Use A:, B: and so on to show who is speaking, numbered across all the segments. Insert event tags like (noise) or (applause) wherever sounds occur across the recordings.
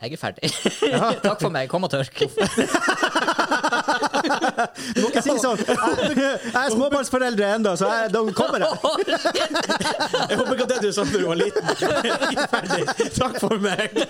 A: Jeg er ferdig. (laughs) Takk for meg. Kom og tørk.
B: Du må ikke (laughs) si sånn! Jeg, jeg er småbarnsforeldre ennå, så jeg, da kommer jeg.
C: Jeg håper ikke at det du sa da du var liten. Ikke ferdig. (laughs) Takk for meg.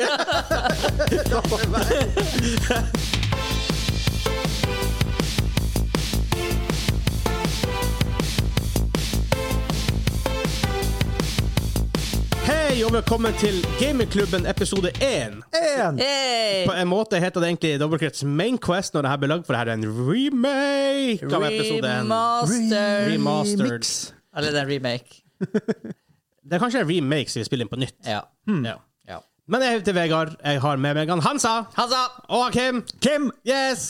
C: Hei og velkommen til Gamingklubben episode 1.
B: En.
A: Hey!
C: På en måte heter det egentlig Dobbeltkrets Main Quest når det her ble lagd, for det her er en remake av episode 1.
A: Remaster.
C: Remastered.
B: Remix.
A: Eller det er en remake.
C: Det er kanskje en remake som vi spiller inn på nytt.
A: Ja.
C: Ja.
A: ja.
C: Men jeg heter Vegard. Jeg har med meg han Hansa.
A: Hansa!
C: Og Kim.
B: Kim!
C: Yes!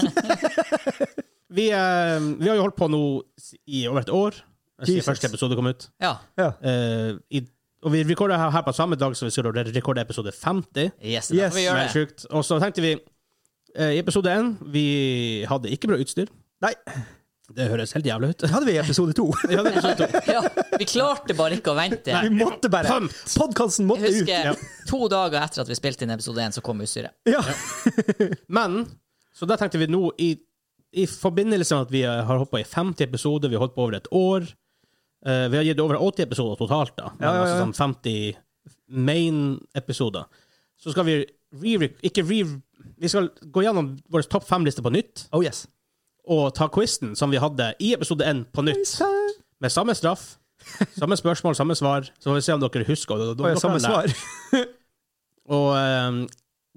C: vi, eh, vi har jo holdt på nå s- i over et år, siden
B: Jesus.
C: første episode kom ut.
A: Ja.
B: Ja.
C: Eh, i, og vi rekorder her, her på samme dag som vi skulle re- rekorde episode 50.
A: Yes,
B: Yes,
A: da får vi
C: Det
A: gjøre
C: er
A: det.
C: sjukt. Og så tenkte vi eh, I episode 1 Vi hadde ikke bra utstyr.
B: Nei,
C: Det høres helt jævlig ut.
B: det hadde vi i episode to.
C: Ja, det er episode to.
A: (laughs) Ja, vi klarte bare ikke å vente.
B: (laughs) Vi måtte bare
C: Pømt.
B: Podkasten måtte
A: Jeg
B: ut.
A: husker to dager etter at vi spilte inn episode én, så kom utstyret.
B: Ja.
C: Men Så da tenkte vi nå, i, i forbindelse med at vi har holdt på i 50 episoder, vi har holdt på over et år eh, Vi har gitt over 80 episoder totalt, da. Men
B: Ja, ja, ja.
C: Altså sånn 50 main-episoder. Så skal vi re Ikke re... Vi skal gå gjennom vår topp fem-liste på nytt
B: Oh yes.
C: og ta quizen som vi hadde i episode 1 på nytt. Med samme straff, samme spørsmål, samme svar. Så får vi se om dere husker. og da- da-
B: Og
C: da-
B: samme
C: da- (laughs)
B: svar.
C: og eh,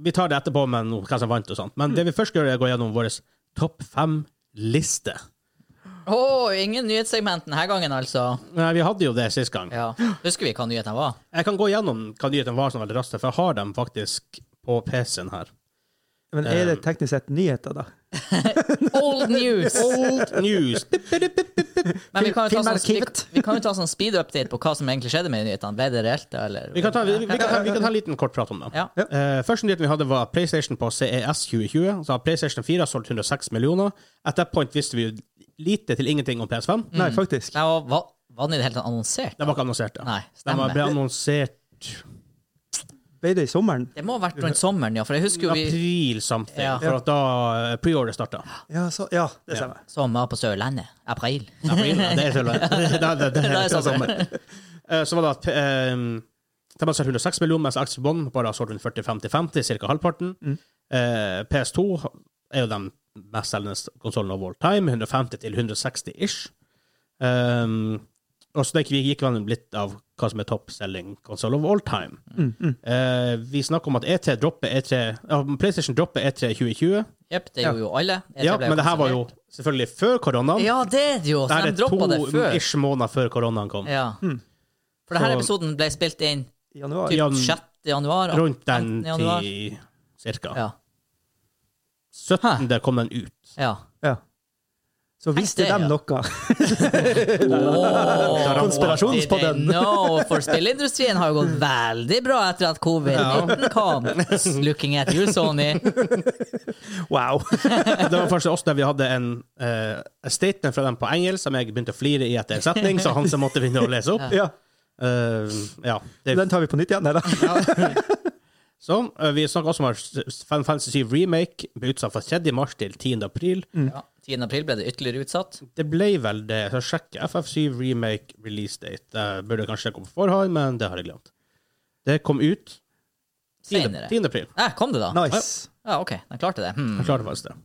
C: vi tar det etterpå med noe, hva som vant og sånt. Men det vi først gjør, er å gå gjennom vår topp fem-liste.
A: Å, ingen nyhetssegment denne gangen, altså.
C: Nei, Vi hadde jo det sist gang.
A: Ja. Husker vi hva nyheten var?
C: Jeg kan gå gjennom hva nyheten var sånn veldig raskt, for jeg har dem faktisk på PC-en her.
B: Men er det teknisk sett nyheter, da?
A: Old news!
C: Old news!
A: Men vi kan jo ta sånn, vi,
B: Filmarkivet.
A: vi kan jo ta sånn speed update på hva som egentlig skjedde med nyhetene. Ble det reelt, da, eller?
C: Vi kan ta, vi, vi kan, ta- vi kan ta en liten kort prat om det.
A: Ja.
B: Ja.
C: Eh, første nyheten vi hadde, var PlayStation på E CES 2020. Så har PlayStation 4 har solgt 106 millioner. At that point visste vi jo lite til ingenting om
A: Mm.
C: PS5.
B: Nei, faktisk.
A: Nei, hva, hva, var den i det hele tatt annonsert?
C: Den var ikke annonsert, da.
A: Nei,
C: Den var-
A: stemmer.
C: ble annonsert
B: Ble det i sommeren?
A: Det må ha vært rundt sommeren, ja, for jeg husker jo vi
C: april something,
A: Ja.
C: for at da eh, pre-order starta.
B: Ja, så, ja det stemmer.
A: som var på Sørlandet. April.
C: April, ja, det er
A: (laughs)
C: selv- det- det- det-
A: Da er
C: det er
A: sånn.
C: sommer. Eh, Så var det at eh, de har solgt 106 millioner, mens Axel Bond bare har solgt rundt 40-50-50, ca. halvparten. Eh, PS2 er jo den mest selgende konsollen av all time, 150 til 160 ish. Um, og så det gikk- vi gikk gjennom litt av hva som er toppselging konsoll of all time. Eh, vi snakker om at E3 dropper E3 ja, PlayStation dropper E E3 2020.
A: Jepp, det gjorde jo alle. Jeg
C: Ja,
A: ble
C: men det her var jo
A: kansellert.
C: selvfølgelig før koronaen.
A: Ja, det er det jo! Så
C: det her
A: de droppa det
C: er to
A: før.
C: ish måneder før koronaen kom.
A: Ja. For denne
C: Så-
A: episoden ble spilt inn
B: I januar.
C: Ja.
A: typ 6. januar.
C: Rundt den
A: 15. januar.
C: tid, cirka.
A: Ja.
C: 17. kom den ut.
A: ja.
B: Ja. Så viste
A: det, ja.
B: dem noe.
C: (laughs)
A: Oh,
B: Konspirasjonspodden.
A: No, for spillindustrien har jo gått veldig bra etter at covid-19 kom.
C: (laughs)
A: Looking at you, Sony.
B: Wow.
C: Det var først oss der vi hadde en eh, statement fra dem på engelsk som jeg begynte å flire i etter en setning, så Hanse måtte begynne å lese opp.
B: (laughs) Ja.
C: Eh, ja. Det, (laughs)
B: Den tar vi på nytt igjen, eller?
C: så, eh, vi snakker også om at Final Fantasy 7 Remake ble utsatt fra 3. mars til 10. april.
A: Ja, 10. april ble det ytterligere utsatt.
C: Det ble vel det. Så sjekk FF7 Remake release date. Jeg burde kanskje sjekke på forhånd, men det har jeg glemt. Det kom ut 10.
A: Senere.
C: 10. april.
A: Eh, kom det, da?
B: Nice.
A: Ja, OK, den klarte det. Hmm.
C: Jeg klarte faktisk det.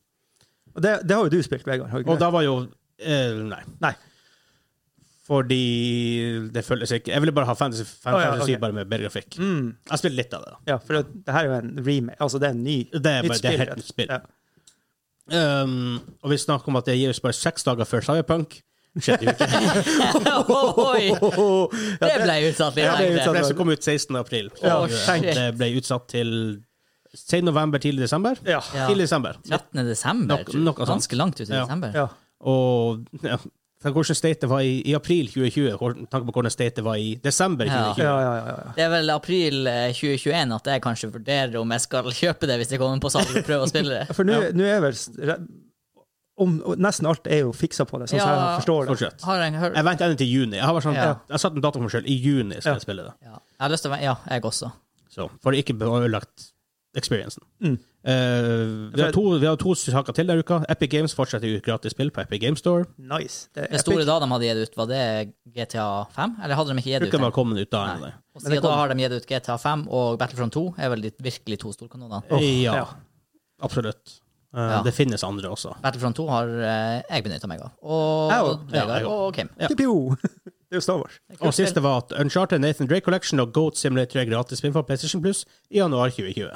B: Og det, det har jo du spilt, Vegard. Har du ikke
C: Og
B: det?
C: da var jo eh, Nei.
B: Nei.
C: Fordi det føles ikke Jeg ville bare ha Fantasy,
B: Å,
C: fantasy
B: ja, ok.
C: bare med bedre grafikk.
B: Mm.
C: Jeg spiller litt av det. da.
B: Ja, for det, det her er jo en remake. Altså, det er en ny
C: Det er,
B: nytt
C: bare, det er
B: spill,
C: helt nytt
B: rett.
C: spill.
B: Ja.
C: Um, og vi snakker om at det gir oss bare seks dager før Cyberpunk. Skjedde
A: (laughs)
C: jo ikke.
A: Oi,
B: Åh, ja,
A: det ble utsatt
B: Ja,
A: litt
B: det er
A: lenge.
B: utsatt.
C: det som kom ut 16. april.
B: Ja,
C: Og, eh,
A: shit.
C: det ble utsatt til sen november, tidlig desember.
B: Ja.
A: Ja.
C: Tidlig desember.
A: 13. desember.
C: Nok- noe sånt.
A: Ganske langt ut i
C: Ja.
A: desember.
B: ja.
C: Og ja, for hvordan state det var i, i april 2020, hvor- med tanke på hvordan state det var i desember
A: Ja.
C: 2020.
B: Ja, ja, ja, ja.
A: Det er vel april eh, 2021 at jeg kanskje vurderer om jeg skal (laughs) kjøpe det hvis det kommer på salg og prøve å spille det.
B: For nå nå er vel s- re- om, og Nesten alt er jo fiksa på det, sånn som
A: Ja.
B: jeg forstår
C: Stort
B: det.
C: sett.
A: Har jeg, hørt?
C: Jeg venter ennå til juni. Jeg har bare sånn,
A: Ja.
C: jeg satt en dato for meg selv. I juni skal jeg spille det.
A: Ja. jeg har lyst til å være Ja, jeg også.
C: Så, for ikke å bli ødelagt experiencen.
B: Mm.
C: Eh, vi, har to, vi har to saker til denne uka. Epic Games fortsetter å gi ut gratis spill på Epic Game Store.
D: Nice. Det er
A: Det store da de hadde gitt ut, var det GTA 5? Eller hadde de ikke gitt ut
C: Bruker
A: det?
C: å komme ut da.
A: Nei.
C: eller?
A: Og siden da har de gitt ut GTA 5 og Battlefront 2, er vel de virkelig to storkanoner.
C: Eh, ja,
D: ja.
C: absolutt. Eh,
A: Ja.
C: Det finnes andre også.
A: Battlefront 2 har eh, jeg benytta meg av. Og
D: Jeg også.
C: Ja, jeg
A: Vegard og Kim.
C: Ja.
D: Pio. (laughs) Det er jo Star Wars.
C: Og siste var at Uncharted Nathan Drake Collection og Goat Simulator er gratis spill for PlayStation Plus i januar 2020.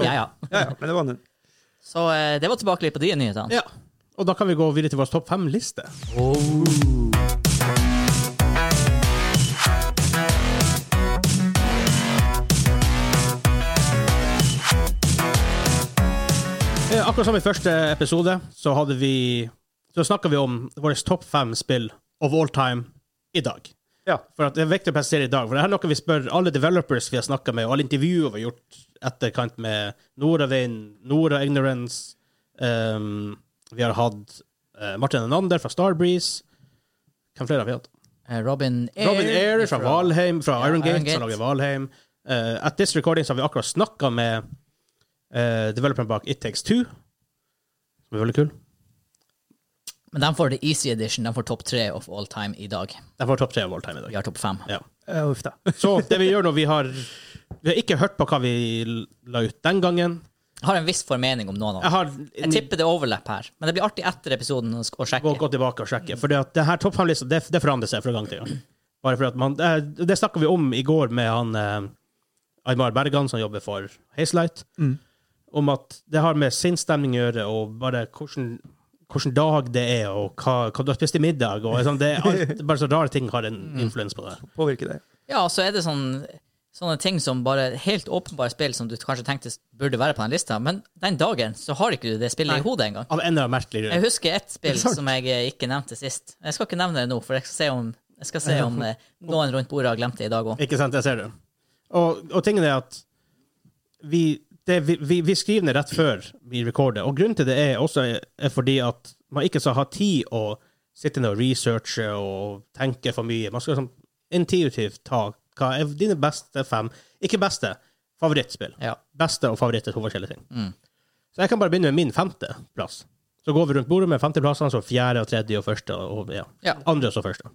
A: Ja, ja.
D: Ja, ja, men det var den.
A: Så eh, det var tilbakelipp på de nyhetene.
C: Ja. Og da kan vi gå videre til vår topp fem-liste. Oh. Eh, Akkurat som i første episode, så hadde vi Så snakka vi om våre topp fem spill of all time i dag.
D: Ja.
C: For at det er viktig å presisere i dag, for det her er noe vi spør alle developers vi har snakka med, og alle intervjuer vi har gjort etterkant med Nordavind, Nora Ignorance ehm, Vi har hatt eh, Martin Henander fra Starbreeze. Hvem flere har vi hatt?
A: Eh, Robin Air.
C: Robin Eyre fra Valheim, fra
A: Ja,
C: Iron
A: Iron
C: Gate,
A: Gate.
C: som lager Valheim. Eh, at this recording så har vi akkurat snakka med eh, developeren bak It Takes Two, som er veldig kul.
A: Men de får the easy edition. De får topp tre of all time i dag.
C: Den får topp tre av all time i
A: Vi
C: dag.
A: har topp fem.
C: Ja.
D: Uh, uff da.
C: Så det vi gjør nå, vi har Vi har ikke hørt på hva vi la ut den gangen.
A: Jeg har en viss formening om noen av
C: Jeg
A: dem.
C: har
A: Jeg tipper det er overlapp her, men det blir artig etter episoden å sk- å
C: gå,
A: sjekke.
C: gå tilbake og sjekke. For det at det her topp fem-lista, det, det forandrer seg fra gang til gang. Bare for at man, det det snakka vi om i går med han eh, Aymar Bergan, som jobber for Hazelight,
A: Mm.
C: om at det har med sinnsstemning å gjøre, og bare hvordan, hvordan dag det er, og hva, hva du har spist til middag, og sånn, det
A: (laughs)
C: er alt, bare så rare ting har en
A: Mm.
C: influens på det.
D: Påvirker det.
A: Ja, og så er det sånn, sånne ting som bare helt åpenbare spill som du kanskje tenkte burde være på den lista, men den dagen så har ikke du det spillet i hodet engang.
C: Av en eller annen merkelig grunn.
A: Jeg husker ett spill som jeg eh, ikke nevnte sist. Jeg skal ikke nevne det nå, for jeg skal se om, jeg skal se om
C: (laughs)
A: eh, noen rundt bordet har glemt det i dag òg.
C: Ikke sant, jeg ser det. Og, og tingen er at vi, det, vi, vi, vi skriver det rett før vi recorder, og grunnen til det er også er, er fordi at man ikke skal ha tid å sitte ned og researche og tenke for mye. Man skal sånn intuitivt ta hva er dine beste fem, ikke beste, favorittspill.
A: Ja. Mm.
C: Beste og favoritt er to forskjellige ting. Så jeg kan bare begynne med min femte plass. Så går vi rundt bordet med femteplassene, så fjerde og tredje og første og ja.
A: Ja.
C: andre og så første.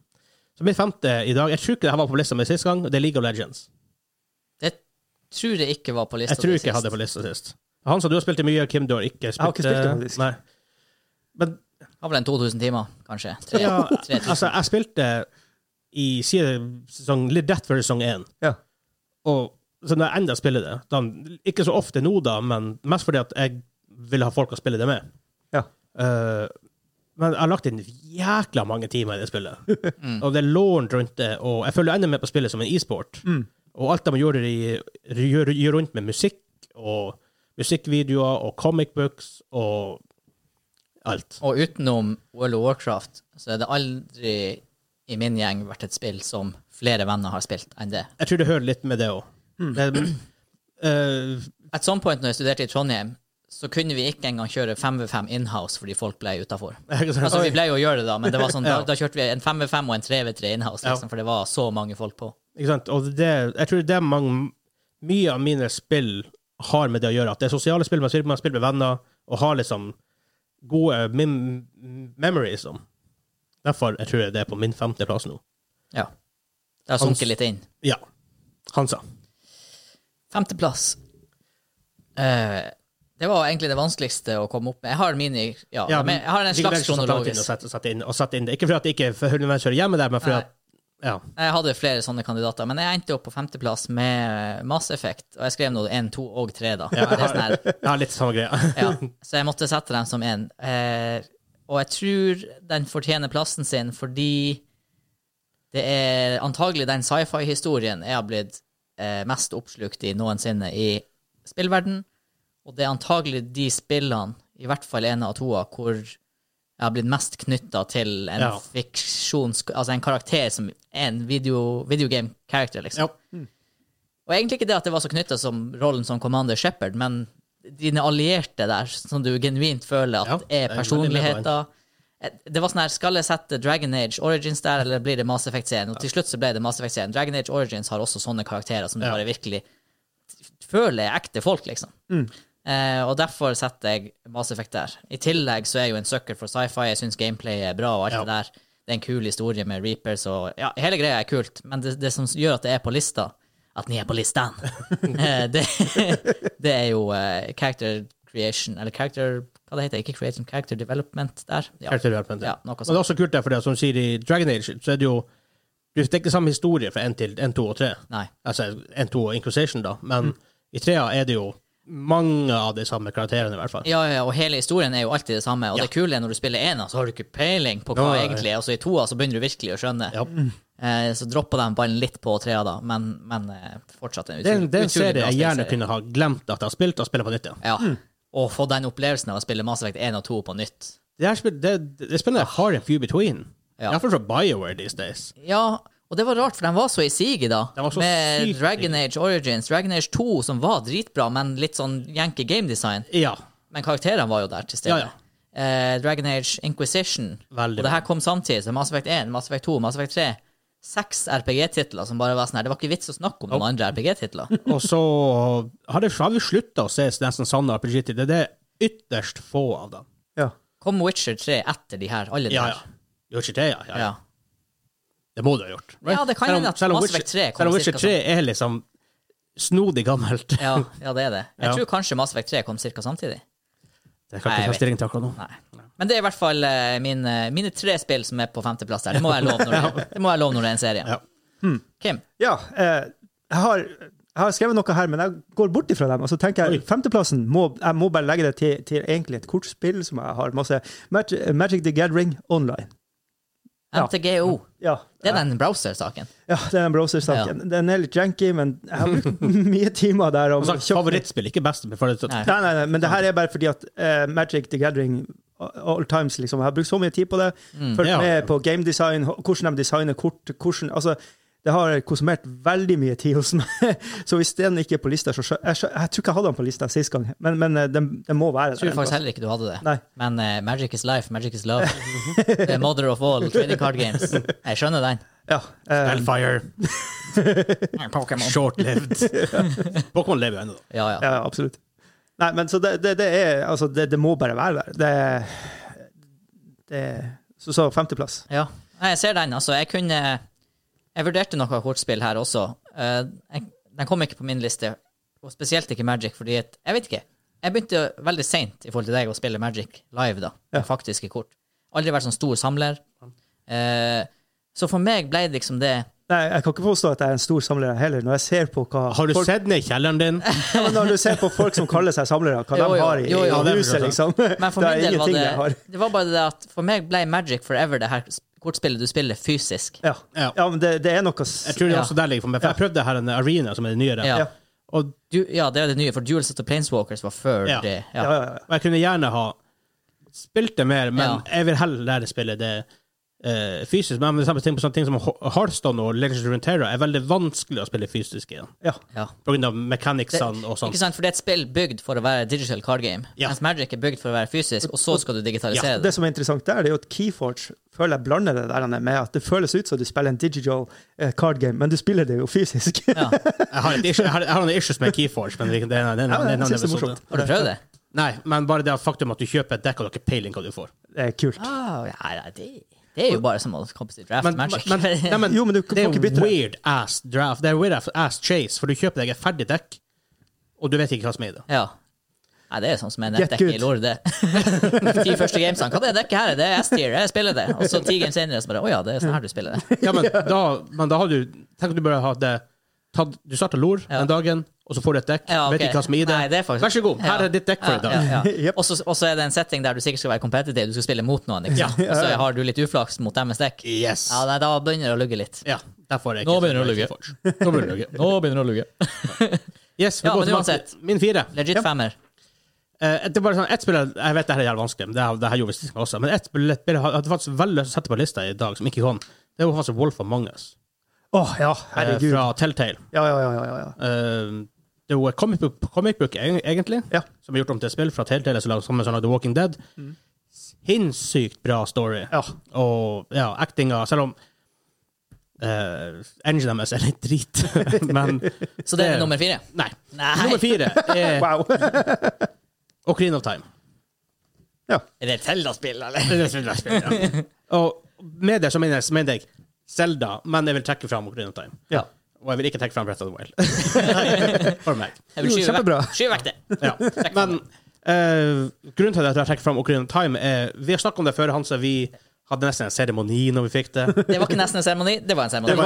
C: Så min femte i dag Jeg tror ikke det her var på lista mi sist gang. Det er League of Legends.
A: Det tror jeg ikke var på lista.
C: Jeg tror
A: til
C: ikke jeg hadde
A: sist.
C: på lista sist. Han som du har spilt i mye, Kim, du har ikke spilt eh,
D: har ikke spilt det faktisk.
C: Nei. Men
A: Har vel en 2000 timer, kanskje. Tre,
C: ja,
A: 3000.
C: altså, jeg spilte i siden sesong, litt rett før sesong én.
D: Ja.
C: Og så når jeg enda spiller det da, Ikke så ofte nå, da, men mest fordi at jeg vil ha folk å spille det med.
D: Ja.
C: Eh, men jeg har lagt inn jækla mange timer i det spillet.
A: Mm.
C: Og det er lånt rundt det, og jeg følger enda mer på spillet som en e-sport. Og alt de gjør, i- gjør, gjør rundt med musikk og musikkvideoer og comic books og alt.
A: Og utenom World of Warcraft, så er det aldri i min gjeng vært et spill som flere venner har spilt enn det.
C: Jeg tror det hører litt med det eh, òg.
A: At some point når jeg studerte i Trondheim, så kunne vi ikke engang kjøre 5v5 inhouse fordi folk ble utafor.
C: sånn-
A: Altså, vi ble jo å gjøre det, da, men det var
C: (laughs)
A: sånn, da, da kjørte vi en 5v5 og en 3v3 inhouse,
C: Ja.
A: liksom, for det var så mange folk på.
C: Ikke sant? Og det, jeg tror det er mange Mye av mine spill har med det å gjøre. At det er sosiale spill, man spiller, man spiller med venner og har liksom gode mem memories. Om. Derfor jeg tror jeg det er på min femteplass nå.
A: Ja. Det har
C: Hans-
A: sunket litt inn.
C: Ja. Hansa.
A: Femteplass. Eh, det var egentlig det vanskeligste å komme opp med. Jeg har mine Ja, men jeg har en
C: Ligger sånn
A: slags
C: Bergson satt langt inn og
A: kronologisk.
C: satt- satt inn- og satt inn det. Ikke fordi at det ikke nødvendigvis hører hjemme der, men fordi
A: Nei.
C: at Ja.
A: Jeg hadde flere sånne kandidater, men jeg endte opp på femteplass med Mass Effect, og jeg skrev nå én, to og tre, da. Det er sånn her,
C: Jeg har litt samme greia.
A: ja. Så jeg måtte sette den som én. Eh, og jeg tror den fortjener plassen sin fordi det er antagelig den sci-fi-historien jeg har blitt eh, mest oppslukt i noensinne i spillverden, og det er antagelig de spillene, i hvert fall ene av toa, hvor jeg har blitt mest knytta til en
C: Ja.
A: fiksjons... Altså en karakter som er en video, videogame-character, liksom.
C: Ja.
A: Og egentlig ikke det at det var så knytta som rollen som Commander Shepherd, men dine allierte der, som du genuint føler
C: Ja,
A: at
C: det er
A: er
C: veldig
A: personligheter. Det var sånn her, skal jeg sette Dragon Age Origins der, eller blir det Mass Effect-serien? Og til slutt så ble det Mass Effect-serien. Dragon Age Origins har også sånne karakterer som du bare virkelig føler er ekte folk, liksom.
D: Mm.
A: Eh, og derfor setter jeg Mass Effect der. I tillegg så er jeg jo en sucker for sci-fi. Jeg syns gameplay er bra og alt
C: Ja.
A: det der. Det er en kul historie med Reapers og Ja, hele greia er kult, men det, det som gjør at det er på lista, at den er på
C: (laughs)
A: listen, eh, det, (laughs) det er jo eh, character creation, eller character Hva det heter Ikke creation, character development der. Ja,
C: Character development, ja.
A: ja noe
C: Men det
A: sånt.
C: er også kult, der, for det, som sier i Dragon Age, så er det jo Det er ikke samme historie fra 1 til 1, 2 og 3.
A: Nei. Mm.
C: Altså 1, 2 og Inquisition, da. Men i 3 er det jo mange av de samme karakterene, i hvert fall.
A: Ja, ja, og hele historien er jo alltid det samme. Og
C: Ja.
A: det kule er når du spiller ena, så har du ikke peiling på hva
C: Ja, ja,
A: det
C: ja.
A: egentlig er, og så i toa så begynner du virkelig å skjønne.
C: Ja.
A: Eh, så droppa de ballen litt på trea, da, men, men eh, fortsatt en
C: Det er
A: utrolig
C: en, det er en
A: utrolig
C: serie
A: bra
C: jeg gjerne
A: spillserie.
C: kunne Mm. ha glemt at jeg har spilt, og spille på nytt igjen.
A: Ja. Og få den opplevelsen av å spille Mass Effect 1 og 2 på nytt.
C: Det, her spill- det, det spillet har en few between.
A: Ah. Ja.
C: Iallfall fra BioWare these days.
A: Ja, og det var rart, for de var så i siget da.
C: De var så
A: Med
C: sykt
A: Dragon Age Origins, Dragon Age 2, som var dritbra, men litt sånn Yankee game design.
C: Ja.
A: Men karakterene var jo der til stede.
C: Ja, ja.
A: Eh, Dragon Age Inquisition.
C: Veldig
A: og det her kom samtidig. Så Mass Effect 1, Mass Effect 2, Mass Effect 3. Seks RPG-titler som bare var sånn her. Det var ikke vits å snakke om noen andre
C: (laughs)
A: RPG-titler.
C: Og så har, det, har vi slutta å se nesten sanne RPG-titler. Det er ytterst få av dem.
D: Ja.
A: Kom Witcher 3 etter de her, alle de
C: Ja,
A: her.
C: ja. Gjør ikke det, ja. ja, ja.
A: Ja.
C: Det må du ha gjort.
A: Ja, det kan
C: Selv om-
A: hende at
C: selv om
A: Mass Effect
C: Witcher-
A: 3 kom
C: Selv om
A: cirka sånn.
C: Witcher 3 er liksom snodig gammelt.
A: Ja, ja, det er det. Jeg
C: Ja.
A: tror kanskje Mass Effect 3 kom ca. samtidig.
C: (laughs) Det kan
A: Nei,
C: ikke
A: jeg
C: ta
A: vet.
C: stilling til akkurat nå.
A: Nei. Men det er i hvert fall eh, min, eh, mine tre spill som er på femteplass der. Det må jeg love når
C: (laughs)
A: det, det, må jeg love når det er en serie.
C: Ja. Hmm.
A: Kim,
D: ja eh, jeg, har, jeg har skrevet noe her, men jeg går bort ifra dem. Og så tenker jeg femteplassen må jeg må bare legge det til, til egentlig et kortspill som jeg har masse Mag Magic the Gathering online. Ja.
A: MTGO.
D: Ja.
A: Det er den browser-saken.
D: Ja, det er den browser-saken. Den er litt janky, men jeg har brukt (laughs) mye timer der. Og
C: Og sagt, favorittspill, ikke best. men For det,
A: Nei.
D: Nei, nei, nei, men det her er bare fordi at eh, Magic the Gathering all times, liksom. Jeg har brukt så mye tid på det.
A: Mm.
D: Fulgt
C: Ja.
D: med på gamedesign, hvordan de designer kort, hvordan Altså, det har konsumert veldig mye tid hos meg. (laughs) Så hvis den ikke er på lista, så skjø- jeg, skjø- jeg tror ikke jeg hadde den på lista sist gang, men, men eh, den, den må være
A: Jeg tror
D: der.
A: faktisk heller ikke du hadde det.
D: Nei.
A: Men eh, Magic is life, Magic is love. Det er Mother of all, trading card games. Jeg skjønner den.
D: Ja, eh,
A: (laughs)
C: Hellfire,
A: Pokémon. (laughs)
C: short-lived. Pokémon lever jo ennå, da.
A: Ja, ja.
D: ja, absolutt. Nei, men så det, det, det er Altså, det, det må bare være der. Det, det Så, så femteplass.
A: ja. Nei, jeg ser den. Altså, jeg kunne Jeg vurderte noe kortspill her også. Eh, jeg, den kom ikke på min liste, og spesielt ikke Magic, fordi at Jeg vet ikke. Jeg begynte veldig seint i forhold til deg å spille Magic live, da.
D: Ja.
A: Med faktiske kort. Aldri vært sånn stor samler. Eh, så for meg ble det liksom det
D: Nei, jeg kan ikke påstå at jeg er en stor samler heller, når jeg ser på hva
C: Har du
D: folk
C: sett ned i kjelleren din?
D: Ja, men (laughs) når du ser på folk som kaller seg samlere, hva
A: Jo, jo,
D: de har i,
A: jo, jo,
C: det
D: i
C: er
D: huset,
C: forstått.
D: liksom.
A: Men for
D: Det er
A: min del var
D: ingenting jeg
A: det
D: har.
A: Det var bare det at for meg ble Magic Forever det her s- kortspillet du spiller fysisk.
D: Ja,
C: Ja.
D: ja men det, det er noe s-
C: Jeg tror det er
A: Ja.
C: også der ligger for meg. For jeg prøvde her en arena, som er det nyere.
A: Ja.
D: Ja.
C: Og,
A: Du, ja, det er det nye, for Duel Set og Planeswalkers var før
C: Ja.
A: det.
D: ja,
A: Ja.
D: ja, ja.
C: og jeg kunne gjerne ha spilt det mer, men
A: Ja.
C: jeg vil heller lære å spille det eh, fysisk. Men for eksempel ting på sånne ting som Ho- Hearthstone og Legends of Runeterra er veldig vanskelig å spille fysisk igjen.
D: ja.
A: Ja.
C: På grunn av mechanicsene og sånt.
A: Ikke sant, for det er et spill bygd for å være digital card game,
C: Sånn. Ja.
A: mens Magic er bygd for å være fysisk, og så skal du digitalisere
D: Det
A: det.
D: som er interessant der, det er jo at Keyforge føler jeg blander det der med at det føles ut som du spiller en digital eh, card game, men du spiller det jo fysisk.
A: Ja.
C: Jeg har, et issue, jeg, har, jeg har noen issues med Keyforge, men det er- det er det er en
D: Ja, men jeg
C: annen
D: synes det er
C: episode.
D: morsomt.
A: Har du prøvd det?
C: Nei, men bare det at faktum at du kjøper et dekk og du har ikke peiling hva du får.
D: Det er kult.
A: Ah, ja, nei, det, det er jo bare som å komme til draft
C: Men,
A: Magic. (laughs)
C: men, nei, men,
D: Jo, men du kan
C: det er
D: ikke bytte det.
C: weird ass draft. Det er weird ass chase, for du kjøper deg et ferdig dekk, og du vet ikke hva som er i det.
A: ja. Nei, det er sånn som er
D: Get
A: nettdekket
D: good.
A: i lår, det. (laughs) De ti første gamesene. Hva er det dekket her? er? Det er S-tier, jeg spiller det. Og så ti games senere så bare Å ja, det er sånn her du spiller det.
C: Ja,
D: (laughs)
C: men da, men da har du Tenk at du bare hadde tatt, Du starter lor
A: Ja.
C: den dagen, og så får du et dekk,
A: Ja, ok.
C: vet ikke hva som er i det.
A: Nei, det er faktisk-
C: Vær så god, her
A: Ja.
C: er ditt dekk
A: Ja,
C: for i dag.
A: ja,
C: (laughs)
A: ja.
D: Jep.
A: Og så- Og så er det en setting der du sikkert skal være competitive, du skal spille mot noen, ikke sant? og så har du litt uflaks mot deres dekk.
C: Yes.
A: Ja, nei, da begynner det å lugge litt.
C: Ja, derfor er jeg
E: Nå
C: ikke-
E: begynner det å lugge.
C: Keyforge.
E: Nå begynner det å lugge. Nå begynner det å lugge.
C: (laughs) Yes, vi
A: Ja, men
C: går tilbake.
A: uansett.
C: Min fire.
A: Legit femmer.
C: Eh, det er bare sånn, et spill, Jeg vet det her er jævlig vanskelig, men det, her- det her gjorde vi sist gang også. Men et spill et spill jeg hadde faktisk veldig lyst til å sette på lista i dag, som ikke kom. Det var faktisk Wolf Among Us
D: Åh, ja,
C: eh,
D: herregud.
C: fra Telltale.
D: Ja, ja, ja, ja, ja, ja.
C: Eh, det er jo et comic book, comic book egen- egentlig,
D: Ja. Mm.
C: som er gjort om til et spill fra Telltale, som lag- som er sånn The Walking Dead. Sinnssykt bra story.
D: Ja.
C: Og ja, actinga, selv om Uh, Engine deres er litt drit, (laughs) men
A: Så det
C: Det-
A: er nummer fire?
C: Nei.
A: Nei,
C: Nummer fire
D: (laughs)
C: er
D: Wow.
C: Ocarina of Time.
A: er det Zelda-spill, eller?
C: Det er et veldig spill, ja. (laughs) Og med det så mener jeg, mener jeg Zelda, men jeg vil trekke fram Ocarina of Time.
D: Ja.
C: Og jeg vil ikke trekke fram Breath of the Wild. (laughs) For meg.
A: Jeg vil
D: Jo,
A: skyve
D: kjempebra.
A: vekk- skyve vekk det.
C: Ja. Men eh, grunnen til at jeg trekker fram Ocarina of Time, er Vi har snakket om det før, Hanse. Vi hadde nesten en seremoni når vi (laughs) fikk det.
A: Det var ikke nesten en seremoni, det var en seremoni.
C: Det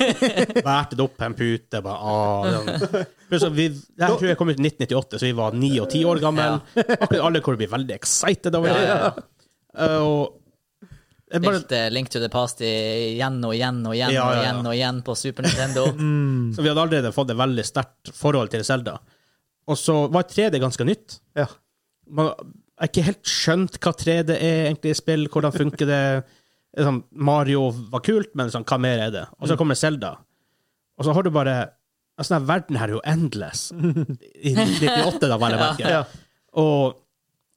C: var Bærte det opp på en pute. Bare, ah, den. Plutselig, vi, det her tror jeg kom ut i 1998, så vi var ni og ti år gamle. Akkurat alle kunne bli veldig excited over det.
A: Ja,
C: Eh, og jeg bare,
A: Spilte Link to the Past i- igjen og igjen og igjen
C: Ja,
A: og
C: ja, Mm. ja.
A: igjen og igjen på Super
C: (laughs)
A: Nintendo.
C: så vi hadde allerede fått et veldig sterkt forhold til Zelda. Og så var 3D ganske nytt.
D: Ja.
C: Man har ikke helt skjønt hva 3D er egentlig i spill, hvordan funker det. Det er Sånn, Mario var kult, men sånn, hva mer er det? Og så kommer Zelda. Og så har du bare altså, denne Verden her er jo endless. I 98, da, var jeg merke.
D: Ja.
C: Og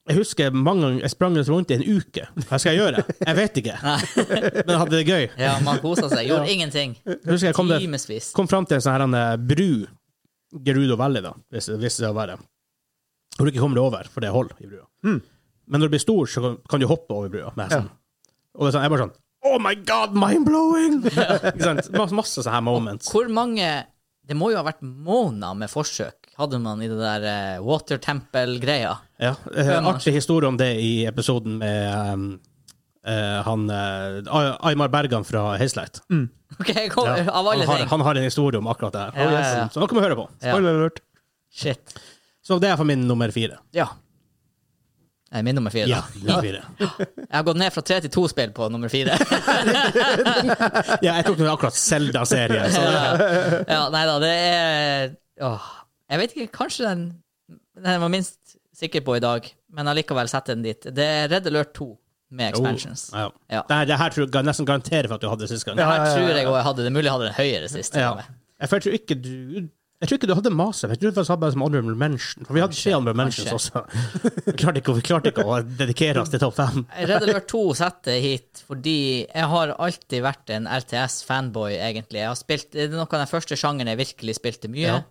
C: jeg husker mange ganger jeg sprang rundt i en uke. Hva skal jeg gjøre? Jeg vet ikke. Men jeg hadde det gøy.
A: Ja, man kosa seg. Gjorde ingenting.
C: Jeg husker jeg kom, det,
A: Timevis.
C: kom fram til en sånn her en, eh, bru, Gerudo Valley, da, hvis, hvis det er å være. Hvor du ikke kommer deg over, for det er hold i brua.
A: Hmm.
C: Men når du blir stor, så kan- kan du hoppe over brua med hesten. Og det er sånn, jeg er bare sånn Oh my
A: (laughs)
C: god, mind-blowing! Ikke sant? Masse, masse sånne her moments.
A: Hvor mange Det må jo ha vært måneder med forsøk, hadde man i det der eh, Water Temple-greia.
C: Ja, eh, artig historie om det i episoden med ehm, eh, han eh, Aymar Bergan fra Hazelight.
A: Ok, kom,
C: Ja.
A: Mm. Av
C: Han,
A: alle
C: har-
A: ting.
C: han har en historie om akkurat det her.
A: Ja, ja, ja.
C: Så nå kan vi høre på.
A: Ja.
D: Spoiler alert.
A: Shit.
C: Så det er for min nummer fire.
A: Ja. Det er min nummer fire. da.
C: Ja, nummer fire.
A: Jeg har gått ned fra tre til to spill på nummer
C: (laughs)
A: fire. (laughs)
C: Ja, jeg tok nå akkurat Zelda-serien. Så
A: ja, nei da, det er åh, Jeg vet ikke, kanskje den den jeg var minst sikker på i dag, men allikevel setter den dit. Det er Red Alert 2 med expansions.
C: Oh, ja.
A: Ja.
C: Det, her, det her tror jeg jeg nesten garanterer for at du hadde sist gang.
A: Det her
D: ja, ja, ja.
A: tror jeg også jeg hadde. Det er mulig jeg hadde den høyere sist. til
C: Ja.
A: og med.
C: Jeg, for jeg tror ikke du jeg tror ikke du hadde maset. Jeg tror du faktisk hadde bare som honorable mention. For vi hadde tre honorable mentions også. Vi klarte ikke, vi klarte ikke å dedikere oss til topp fem.
A: Red Alert 2 setter jeg hit fordi jeg har alltid vært en RTS-fanboy, egentlig. Jeg har spilt, det er noe av den første sjangeren jeg virkelig spilte mye.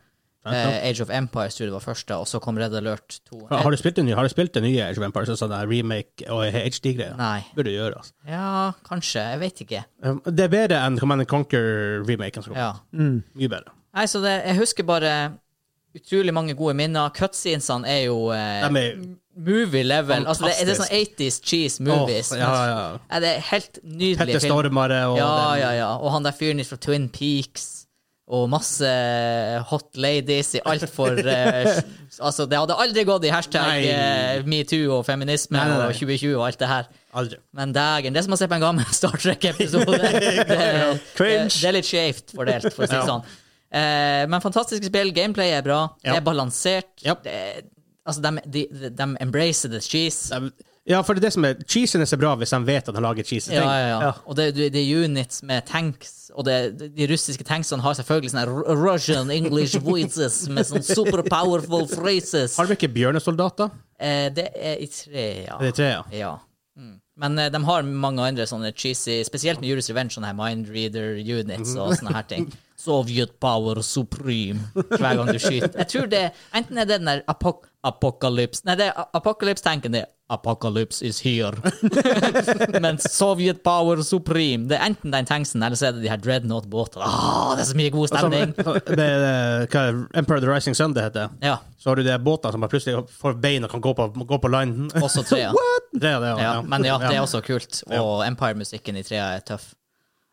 A: Eh, Age of Empires tror jeg det var første, og så kom Red Alert 2.
C: Har du spilt det nye? Har du spilt det nye Age of Empires? Sånn der remake og HD-greier?
A: Nei.
C: Burde du gjøre, altså.
A: Ja, kanskje. Jeg vet ikke.
C: Um, Det er bedre enn Command Conquer-remaken. som kom.
A: Ja. Mm.
C: Mye bedre.
A: Nei, så det, jeg husker bare utrolig mange gode minner. Cutscenesene er jo eh,
C: De er
A: movie level. Altså, det, det er
C: Fantastisk.
A: sånn 80s cheese movies.
C: Åh, ja, ja.
A: Ja, det er helt nydelig
C: Petter
A: film.
C: Stormare og
A: Ja,
C: den-
A: ja, ja. Og han der fyren fra Twin Peaks. Og masse eh, hot ladies i altfor uh,
C: (laughs)
A: Altså, det hadde aldri gått i hashtag
C: Nei.
A: eh, metoo og feminisme
C: Nei, nei, nei.
A: og 2020 og alt det her.
C: Aldri.
A: Men dægen, det er som å se på en gammel (laughs) Star
C: (laughs)
A: Trek-episode. Det, det, det er litt skjevt fordelt, for å si det sånn. Eh, men fantastiske spill. Gameplay er bra.
C: Ja.
A: Det er balansert.
C: Ja.
A: Det er- altså, de, de, de, de embracer the cheese.
C: De- Ja, for det er det som er Cheesiness er bra hvis de vet at de lager cheesy
A: Ja,
C: ting.
A: ja, ja. Og det, det det er units med tanks, og det, de russiske tanksene har selvfølgelig sånne Ru- Russian English voices med sånne super powerful phrases.
C: Har de ikke bjørnesoldater?
A: Eh, det er i tre, ja.
C: Det er tre, ja.
A: Ja. Mm. Men eh, de har mange andre sånne cheesy, spesielt med Judas Revenge, sånne her mind reader units og sånne her ting. Soviet power supreme hver gang du skyter. Jeg tror det Enten er det den der apok apokalypse Nei, det er a- apokalypse-tanken. Det er apocalypse is here. (laughs) Men Soviet power supreme Det er enten den tanksen, eller så er det de her dreadnought-båtene. Ah, det er så mye god
C: (laughs) Som,
A: stemning!
C: det, er, eh, hva er det? Emperor of the Rising Sun det heter.
A: Ja.
C: Så har du de båtene som bare plutselig får bein og kan gå på, gå på land.
A: Også trea.
C: (laughs) Det er det, ja.
A: Ja, men ja, det er også kult. Og Empire-musikken i trea er tøff.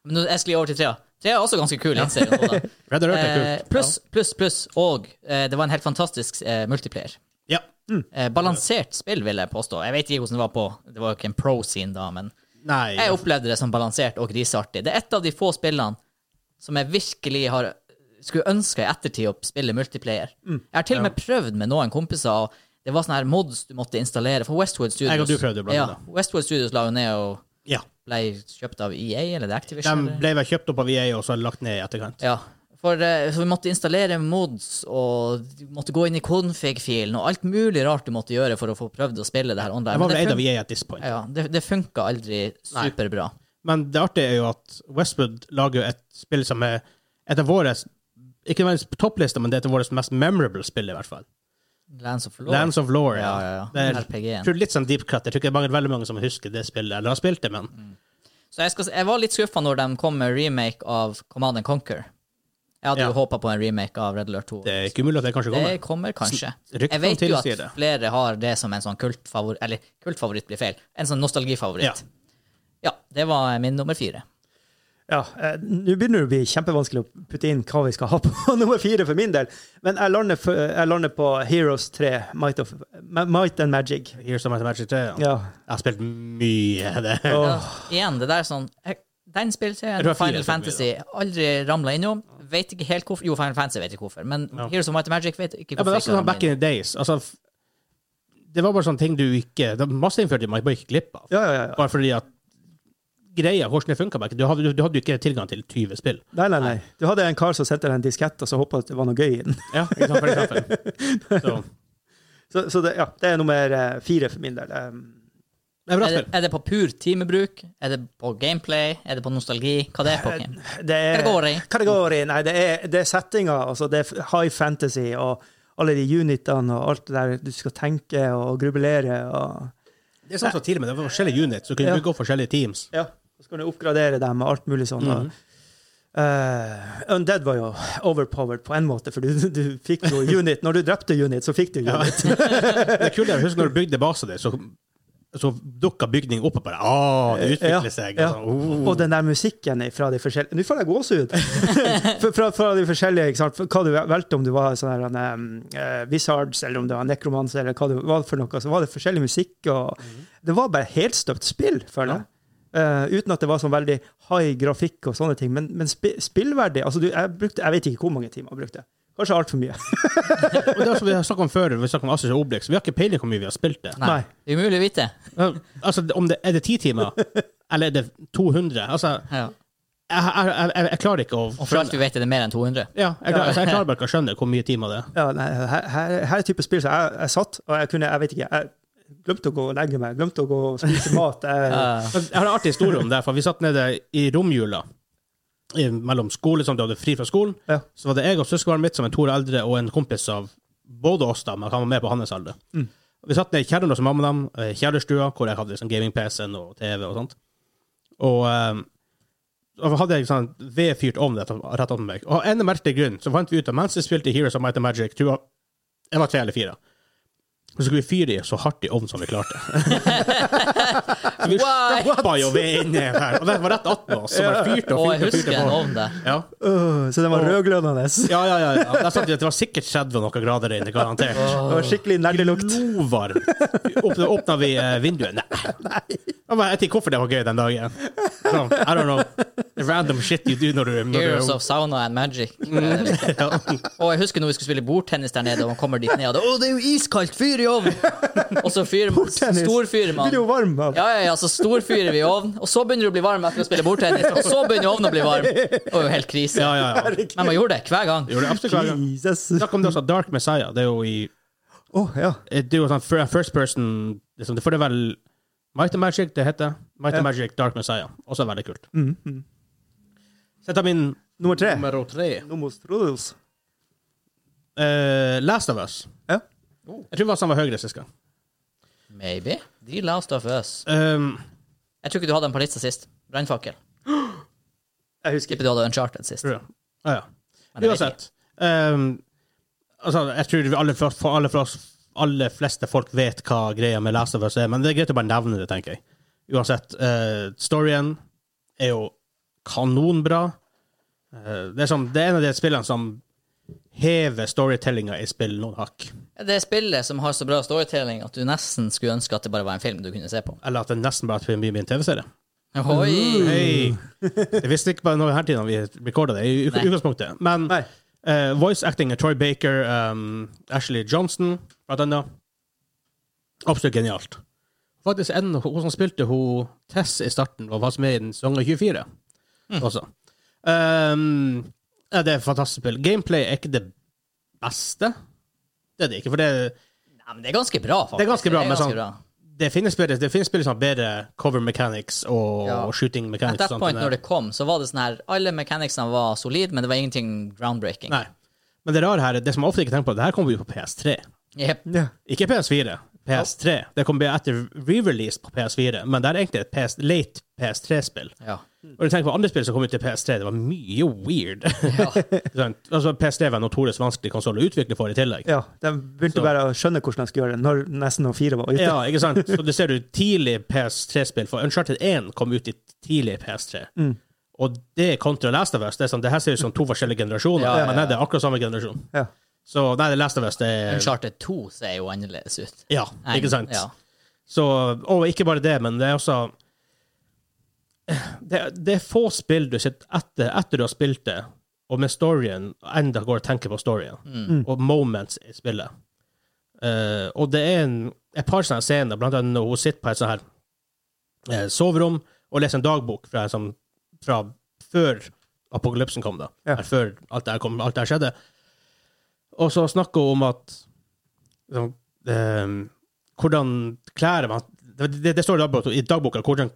A: Men nå, jeg skulle over til trea. Trea er også ganske kul. innser jeg (laughs) nå da.
C: Red Alert er
A: Eh,
C: kult.
A: pluss, pluss, pluss. Og eh, det var en helt fantastisk eh, multiplayer.
C: Ja. Mm.
A: Eh, balansert spill, vil jeg påstå. Jeg vet ikke hvordan det var på Det var jo ikke en pro-scene da, men
C: Nei.
A: jeg opplevde det som balansert og griseartig. Det er et av de få spillene som jeg virkelig har skulle ønske i ettertid å spille multiplayer.
C: Mm.
A: Jeg har til og med prøvd med noen kompiser, og det var sånne her mods du måtte installere. For Westwood Studios
C: Jeg og du prøvde å blande
A: ja,
C: det.
A: Westwood Studios la jo ned og
C: ja.
A: ble kjøpt av EA, eller det er
C: De
A: Activision? eller?
C: ble vel kjøpt opp av VA og så lagt ned i etterkant.
A: Ja. For, eh, så vi måtte installere mods, og du måtte gå inn i config-filen, og alt mulig rart du måtte gjøre for å få prøvd å spille det her online.
C: Jeg var
A: Men
C: vel
A: det
C: eid av E
A: fun-
C: VA at this point.
A: ja, det, det funka aldri superbra.
C: Men det artige er jo at Westwood lager jo et spill som er et av våre Ikke nødvendigvis på topplista, men det er et av våre mest memorable spill, i hvert fall.
A: Lands of Law.
C: Lands of Lore.
A: ja, ja, ja.
C: Det er, jeg
A: RPG-en.
C: tror det er litt sånn deep cut. Jeg tror ikke det er mange- veldig mange som husker det spillet, eller har spilt det, men
A: Mm. Så jeg, skal, si- jeg var litt skuffa når de kom med remake av Command and Conquer. Jeg hadde
C: Ja.
A: jo håpa på en remake av Red Alert 2.
C: det er ikke umulig at det kanskje
A: Det
C: kommer.
A: kommer kanskje.
C: Sn- ryktene
A: Jeg vet jo
C: tilsier
A: at
C: det.
A: flere har det som en sånn kultfavoritt Eller kultfavoritt blir feil. En sånn
C: Ja.
A: nostalgifavoritt. Ja. det var min nummer fire.
D: Ja, eh, Nå begynner det å bli kjempevanskelig å putte inn hva vi skal ha på (laughs) nummer fire, for min del. Men jeg lander, for, jeg lander på Heroes 3, Might, of, Ma- Might and Magic.
C: Here's the Magic 3. Ja.
D: Ja.
C: Jeg har spilt mye av det.
D: Og,
A: Ja, igjen, det der er sånn jeg- Den spillserien,
C: Jeg tror det er
A: Final
C: fire som blir,
A: Fantasy, aldri ramla innom. Vet ikke helt hvorfor. Jo, Final Fantasy vet ikke hvorfor, men
C: Ja.
A: Heroes of Might and Magic vet ikke
C: Ja, men
A: hvorfor.
C: også
A: ikke
C: sånn back
A: ramlet inn.
C: in the days. Altså, f- det var bare sånne ting du ikke Det var masse innført i man bare gikk glipp av.
D: ja, ja, ja.
C: Bare fordi at greia, hvordan det funka Du hadde, du hadde jo ikke tilgang til 20 spill.
D: Nei, nei, nei. Du hadde en kar som sendte deg en diskett, og så håpa at det var noe gøy i den. (laughs)
C: Ja, ikke sant, for eksempel. Så,
D: Så, så det, ja, det er nummer eh, fire for min del. Um,
C: det er bra
A: er det,
C: spill.
A: er det på pur timebruk? Er det på gameplay? Er det på nostalgi? Hva det er på? Kim?
D: det er,
A: Kategori.
D: Kategori, Nei, det er, det er settinga. Altså, det er f- high fantasy og alle de unitene og alt det der du skal tenke og grubulere og
C: Det er sånn som tidligere, men det var forskjellige units, så kunne
D: Ja.
C: du gå forskjellige teams.
D: Ja, så kan du oppgradere dem og alt mulig sånn. og- Eh, Undead var jo overpowered på en måte, for du, du fikk jo unit. Når du drepte unit, så fikk du
C: Ja.
D: unit.
C: Det kule er, husk når du bygde basen din, så, så dukka bygningen opp og bare Å, det
D: Ja,
C: utvikler seg.
D: ja.
C: Og, sånn, «Oh».
D: Og den der musikken fra de forskjellige Nå får jeg gåsehud! Fra- fra, fra de forskjellige, ikke sant. Hva du valgte, om du var sånn her, um, eh, Wizards, eller om du var nekromanser, eller hva det var for noe, så var det forskjellig musikk. Og det var bare helt støpt spill, føler jeg. Eh, uten at det var sånn veldig high grafikk og sånne ting. Men, men spi, spillverdig altså du, jeg, brukte, jeg vet ikke hvor mange timer jeg brukte. Kanskje altfor mye.
C: og det er som vi har snakket om før, vi snakket om Assers og Obelix, vi har ikke peiling på hvor mye vi har spilt det.
A: Nei.
D: Nei.
A: Det er umulig å vite.
C: Altså, om det, er det ti timer, eller er det 200? Altså,
A: Ja.
C: jeg, jeg, jeg, jeg klarer ikke å
A: Og for alt vi vet, er det mer enn 200.
C: Ja, jeg, klarer, altså, jeg klarer bare ikke å skjønne hvor mye timer det er.
D: Ja, nei, her, her, her er type spill som jeg, jeg satt, og jeg kunne Jeg vet ikke. Jeg glemte å gå og legge meg. Glemte å gå og spise mat. Jeg,
A: Uh,
C: Men Jeg har en artig historie om det, for vi satt nede i romjula i- mellom skole, som du hadde fri fra skolen.
D: Ja.
C: Så var det jeg og søskenbarnet mitt, som er to år eldre, og en kompis av både oss, da, men han var med på hans alder. Vi satt nede i kjelleren hos mamma og dem, eh, kjellerstua, hvor jeg hadde liksom gaming-PC-en og TV og sånt. Og eh, og hadde jeg sånn vedfyrt ovn rett rett opp med meg. Og av en merkelig grunn så fant vi ut at mens vi spilte Heroes of Might and Magic, tror jeg jeg var tre eller fire, så skulle vi fyre i så hardt i ovnen som vi klarte. Vi
A: Why?
C: stappa jo ved inni her, og den var rett attmed oss. Så bare fyrte
A: og
C: og
A: jeg
C: fyrte og
A: husker
C: fyrte
A: en
C: på.
A: ovn der.
C: Ja.
D: Øh, så den var rødglødende.
C: Ja, ja, ja. ja. Der satt vi at det var sikkert 30 og noen grader inne, garantert.
D: Det var skikkelig nerdelukt.
C: Glovarm. Åpna, åpna vi eh, vinduet? Nei. Jeg bare- Jeg vet ikke hvorfor det var gøy den dagen. Så, I don't know. Random shit you do når du, når du
A: Heroes of Sauna and Magic. Eh,
C: ja.
A: Og jeg husker når vi skulle spille bordtennis der nede, og man kommer dit ned, og det, «Å, det er jo iskaldt! Fyr i ovnen! Og så fyrer
D: Bordtennis.
A: storfyrer
D: Du
A: man.
D: blir jo varm av
A: Ja, ja, ja, så storfyrer vi i ovnen, og så begynner du å bli varm etter å spille bordtennis, og så begynner ovnen å bli varm. Det var jo helt krise.
C: ja, ja, ja.
A: Men man gjorde det hver gang.
C: Gjorde det absolutt hver gang.
D: Jesus.
C: Snakk om det også, Dark Messiah. Det er jo i
D: Åh, ja.
C: Det er jo sånn fir- first person liksom, Det får det vel Might and Magic, det heter. Might and Magic Dark Messiah. Også veldig kult.
D: Mm, mm.
C: Så jeg tar min
D: Nummer tre.
C: nummer tre.
D: Nomostrudels.
C: Eh, Last of Us.
D: Ja.
C: Jeg tror det var samme høyre sist gang.
A: Maybe. The last of us.
C: Um,
A: Jeg tror ikke du hadde en på lista sist. Brannfakkel.
D: Jeg husker
A: Tipper du hadde Uncharted sist.
C: tror jeg. Ah, ja.
A: Men jeg vet
C: Uansett. Um, altså, jeg tror vi alle, for, for alle, for oss, alle fleste folk vet hva greia med Last of Us er, men det er greit å bare nevne det, tenker jeg. Uansett. eh, storyen er jo kanonbra. Eh, det, er sånn, det er en av de spillene som hever storytellinga i spill noen hakk.
A: Det er spillet som har så bra storytelling at du nesten skulle ønske at det bare var en film du kunne se på.
C: Eller at det nesten bare blir en TV-serie.
A: Oi!
C: Hei! Det visste ikke bare noe her tiden vi recorda det, i
A: Nei.
C: uk- utgangspunktet. Men
D: Nei.
C: eh, voice acting av Troy Baker, um, Ashley Johnson, blant annet. Absolutt genialt. Faktisk en hun som spilte hun Tess i starten, og var med i den sesongen 24
A: Mm.
C: også. Um, ja, det er et fantastisk spill. Gameplay er ikke det beste. Det er det ikke, for det er
A: Nei, men det er ganske bra, faktisk.
C: Det er ganske bra, men sånn- det finnes bedre, det finnes bedre, sånn, bedre cover mechanics og
A: Ja.
C: shooting
A: At
C: mechanics.
A: that
C: og sånt,
A: point,
C: men-
A: når det kom, så var det sånn her Alle mechanicsene var solide, men det var ingenting groundbreaking.
C: Nei. Men det rare her, er- det som jeg ofte ikke tenker på, det her kommer jo på PS3.
A: Jep.
D: Ja.
C: Ikke PS4, PS3. Det kommer etter re-release på PS4, men det er egentlig et PS, late PS3-spill.
A: Ja.
C: Og du tenker på andre spill som kom ut til PS3, det var mye weird. (laughs) Sånn, altså, PS3 var en notorisk vanskelig konsoll å utvikle for i tillegg.
D: ja. De begynte
C: Så-
D: bare å skjønne hvordan de skulle gjøre det når nesten når fire var ute.
C: Ja, ikke sant? Så det ser du tidlig PS3-spill, for Uncharted 1 kom ut i tidlig PS3.
D: Mm.
C: Og det kontra Last of Us, det, er sånn, det her ser ut som to forskjellige generasjoner,
A: Ja, ja,
C: men nei, det er akkurat samme generasjon.
D: Ja.
C: Så nei, Last of Us, det er
A: Uncharted 2 ser jo annerledes ut.
C: Ja, ikke sant?
A: Ja.
C: Så, og ikke bare det, men det er også Det, det er få spill du sitter etter, etter du har spilt det, og med storyen, enda går og tenker på storyen, og moments i spillet. Eh, og det er en, et par sånne scener, blant annet når hun sitter på et sånt her eh, soverom og leser en dagbok fra, en sånn- fra før apokalypsen kom, da.
D: Ja.
C: Eller Før alt det her, kom, alt det her skjedde. Og så snakker hun om at liksom, eh, hvordan klær man det, det, det står i dagboka, i dagboka hvordan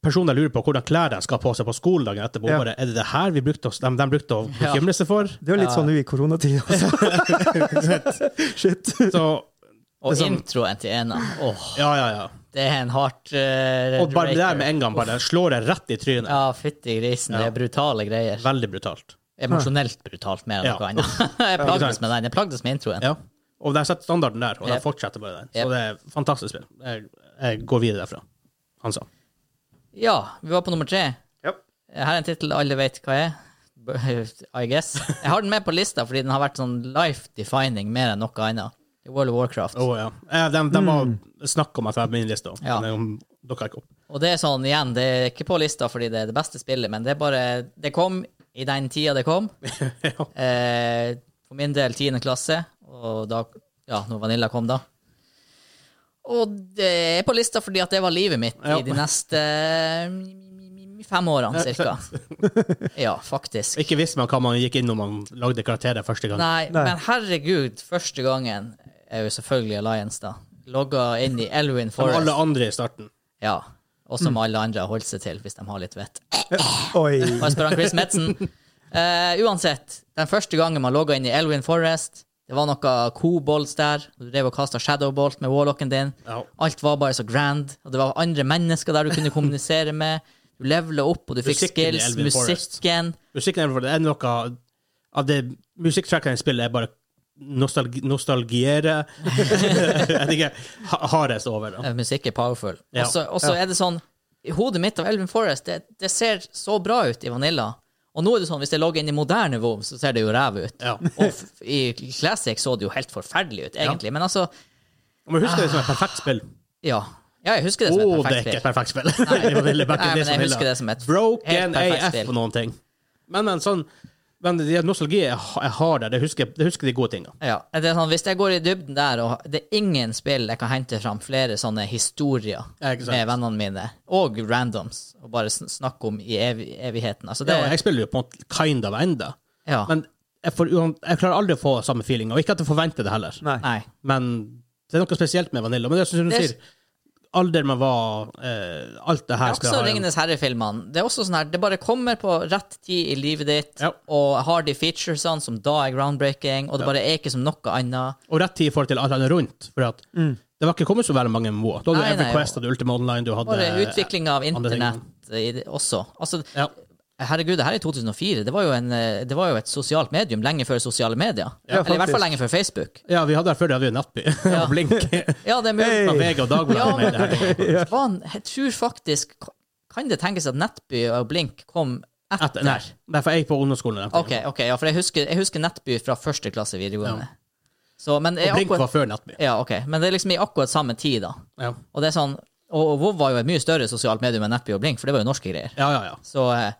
C: personer lurer på hvordan klær de skal ha på seg på skolen dagen etterpå.
D: Ja.
C: Bare, er det det her vi brukte oss, de, de brukte å
A: Ja.
C: bekymre seg for?
D: Det er jo litt
A: Ja.
D: sånn nå i koronatida også. Shit.
C: Så,
A: Og
C: Det er sånn-
A: introen til ena. Åh,
C: ja, ja, ja.
A: det er en hardt uh,
C: Og bare det der med en gang bare slår deg rett i trynet.
A: Ja, fytti grisen. Det
C: Ja.
A: er brutale greier.
C: Veldig brutalt.
A: Emosjonelt brutalt mer enn
C: Ja.
A: noe annet. (laughs) Jeg plagdes med den. Jeg plagdes med introen.
C: Ja. Og de setter standarden der, og de
A: Yep.
C: fortsetter bare den.
A: Yep.
C: Så det er fantastisk spill. Jeg, jeg går videre derfra. Han sa.
A: Ja, vi var på nummer tre. Her er en tittel alle vet hva er. I guess. Jeg har den med på lista fordi den har vært sånn life-defining mer enn noe annet. Det er World of Warcraft.
C: Å, ja. Eh, De, de må snakke om at jeg er på min liste.
A: Mm. Ja.
C: Men om- dukker ikke opp.
A: Og det er sånn, igjen, det er ikke på lista fordi det er det beste spillet, men det er bare Det kom i den tida det kom. eh, for min del 10. klasse, og da Ja, når Vanilla kom, da. Og det er på lista fordi at det var livet mitt
C: Ja.
A: i de neste mm, fem årene, cirka. Ja, faktisk.
C: Ikke visste man hva man gikk inn når man lagde karakterer første gang.
A: Nei,
D: Nei.
A: men herregud, første gangen er jo selvfølgelig Alliance, da. Logga inn i Elwin
C: Som
A: Forest.
C: alle andre Mm. i starten.
A: Ja. Og som alle andre har holdt seg til, hvis de har litt vett.
D: Oi.
A: Bare spør han Chris Metzen. (laughs) Eh, uansett, den første gangen man logga inn i Elwin Forest, det var noe kobolds der, og du drev og kasta shadowbolt med warlocken din.
C: Ja.
A: Alt var bare så grand, og det var andre mennesker der du kunne kommunisere med. Du levela opp, og du fikk
C: Musikken i
A: skills.
C: Elwin Forest.
A: Musikken.
C: Musikken er, det er noe av det Musikktrackene i spillet er bare nostalgi, nostalgiere (laughs) Jeg vet ikke. ha- Hardest over. Da.
A: Eh, Musikk er powerful.
C: Ja.
A: Og så- Og så er det sånn I hodet mitt av Elven Forest, det, det ser så bra ut i Vanilla. Og nå er det sånn, hvis jeg logger inn i moderne WoW, så ser det jo ræv ut.
C: Ja.
A: (laughs) Og f i Classic så det jo helt forferdelig ut, egentlig. Men altså,
C: Men husk det som et perfekt spill.
A: ja. ja. Jeg husker det
C: Å,
A: som et
C: det er
A: perfekt
C: ikke et
A: spill.
C: perfekt spill. (laughs) Det var veldig back in
A: Nei,
C: days
A: men jeg
C: vanilla.
A: husker det som et helt
C: Broken
A: perfekt
C: AF
A: spill.
C: på noen ting. Men, men sånn men de nostalgi jeg ha- jeg har der, det husker, det husker de gode tingene.
A: Ja. Det er sånn, hvis jeg går i dybden der, og det er ingen spill jeg kan hente fram flere sånne historier
C: Ja, ikke sant.
A: med vennene mine, og randoms, og bare sn- snakke om i ev evigheten. Altså, det
C: Ja, jeg spiller jo på en måte kind of enda.
A: Ja.
C: Men jeg, får, uan- jeg klarer aldri å få samme feeling, og ikke at jeg forventer det heller.
D: Nei.
A: Nei.
C: Men det er noe spesielt med Vanilla. Men det er som du
A: Det er-
C: sier, alder man var eh, Alt det
A: Det
C: her
A: er også
C: ha en-
A: Ringenes herre-filmene. Det er også sånn her, det bare kommer på rett tid i livet ditt,
C: Ja.
A: og har de featuresene som da er groundbreaking, og det bare er ikke som noe annet.
C: Og rett tid i forhold til alt annet rundt. For at det var ikke kommet så veldig mange MMO. Da hadde
A: Nei,
C: du
A: nei,
C: EverQuest, du Ultima Online, du hadde
A: Bare utvikling av
C: andre ting.
A: internett i det også. Altså,
C: Ja.
A: herregud, det her er 2004. Det var, jo en, eh, det var jo et sosialt medium lenge før sosiale medier.
D: Ja,
A: Eller i hvert
D: faktisk.
A: fall lenge før Facebook.
C: Ja, vi hadde her før, det hadde vi
A: (laughs)
C: Nettby.
A: Ja.
C: og (laughs) Blink.
A: Ja, det er mulig.
C: Fra VG og Dagbladet.
A: Ja,
C: med det
A: (laughs)
C: her ting.
A: Faen, jeg tror faktisk Kan det tenkes at Nettby og Blink kom etter?
C: Etter, nei, derfor er jeg på ungdomsskolen. den
A: Ok,
C: tiden.
A: ok, ja, for jeg husker, jeg husker Nettby fra første klasse videregående. Så, men jeg
C: Og Blink
A: akkurat-
C: var før Nettby.
A: Ja, ok. Men det er liksom i akkurat samme tid, da.
C: Ja,
A: Og det er sånn, og, og WoW var jo et mye større sosialt medium enn Nettby og Blink, for det var jo norske greier.
C: ja, ja. ja.
A: Så eh,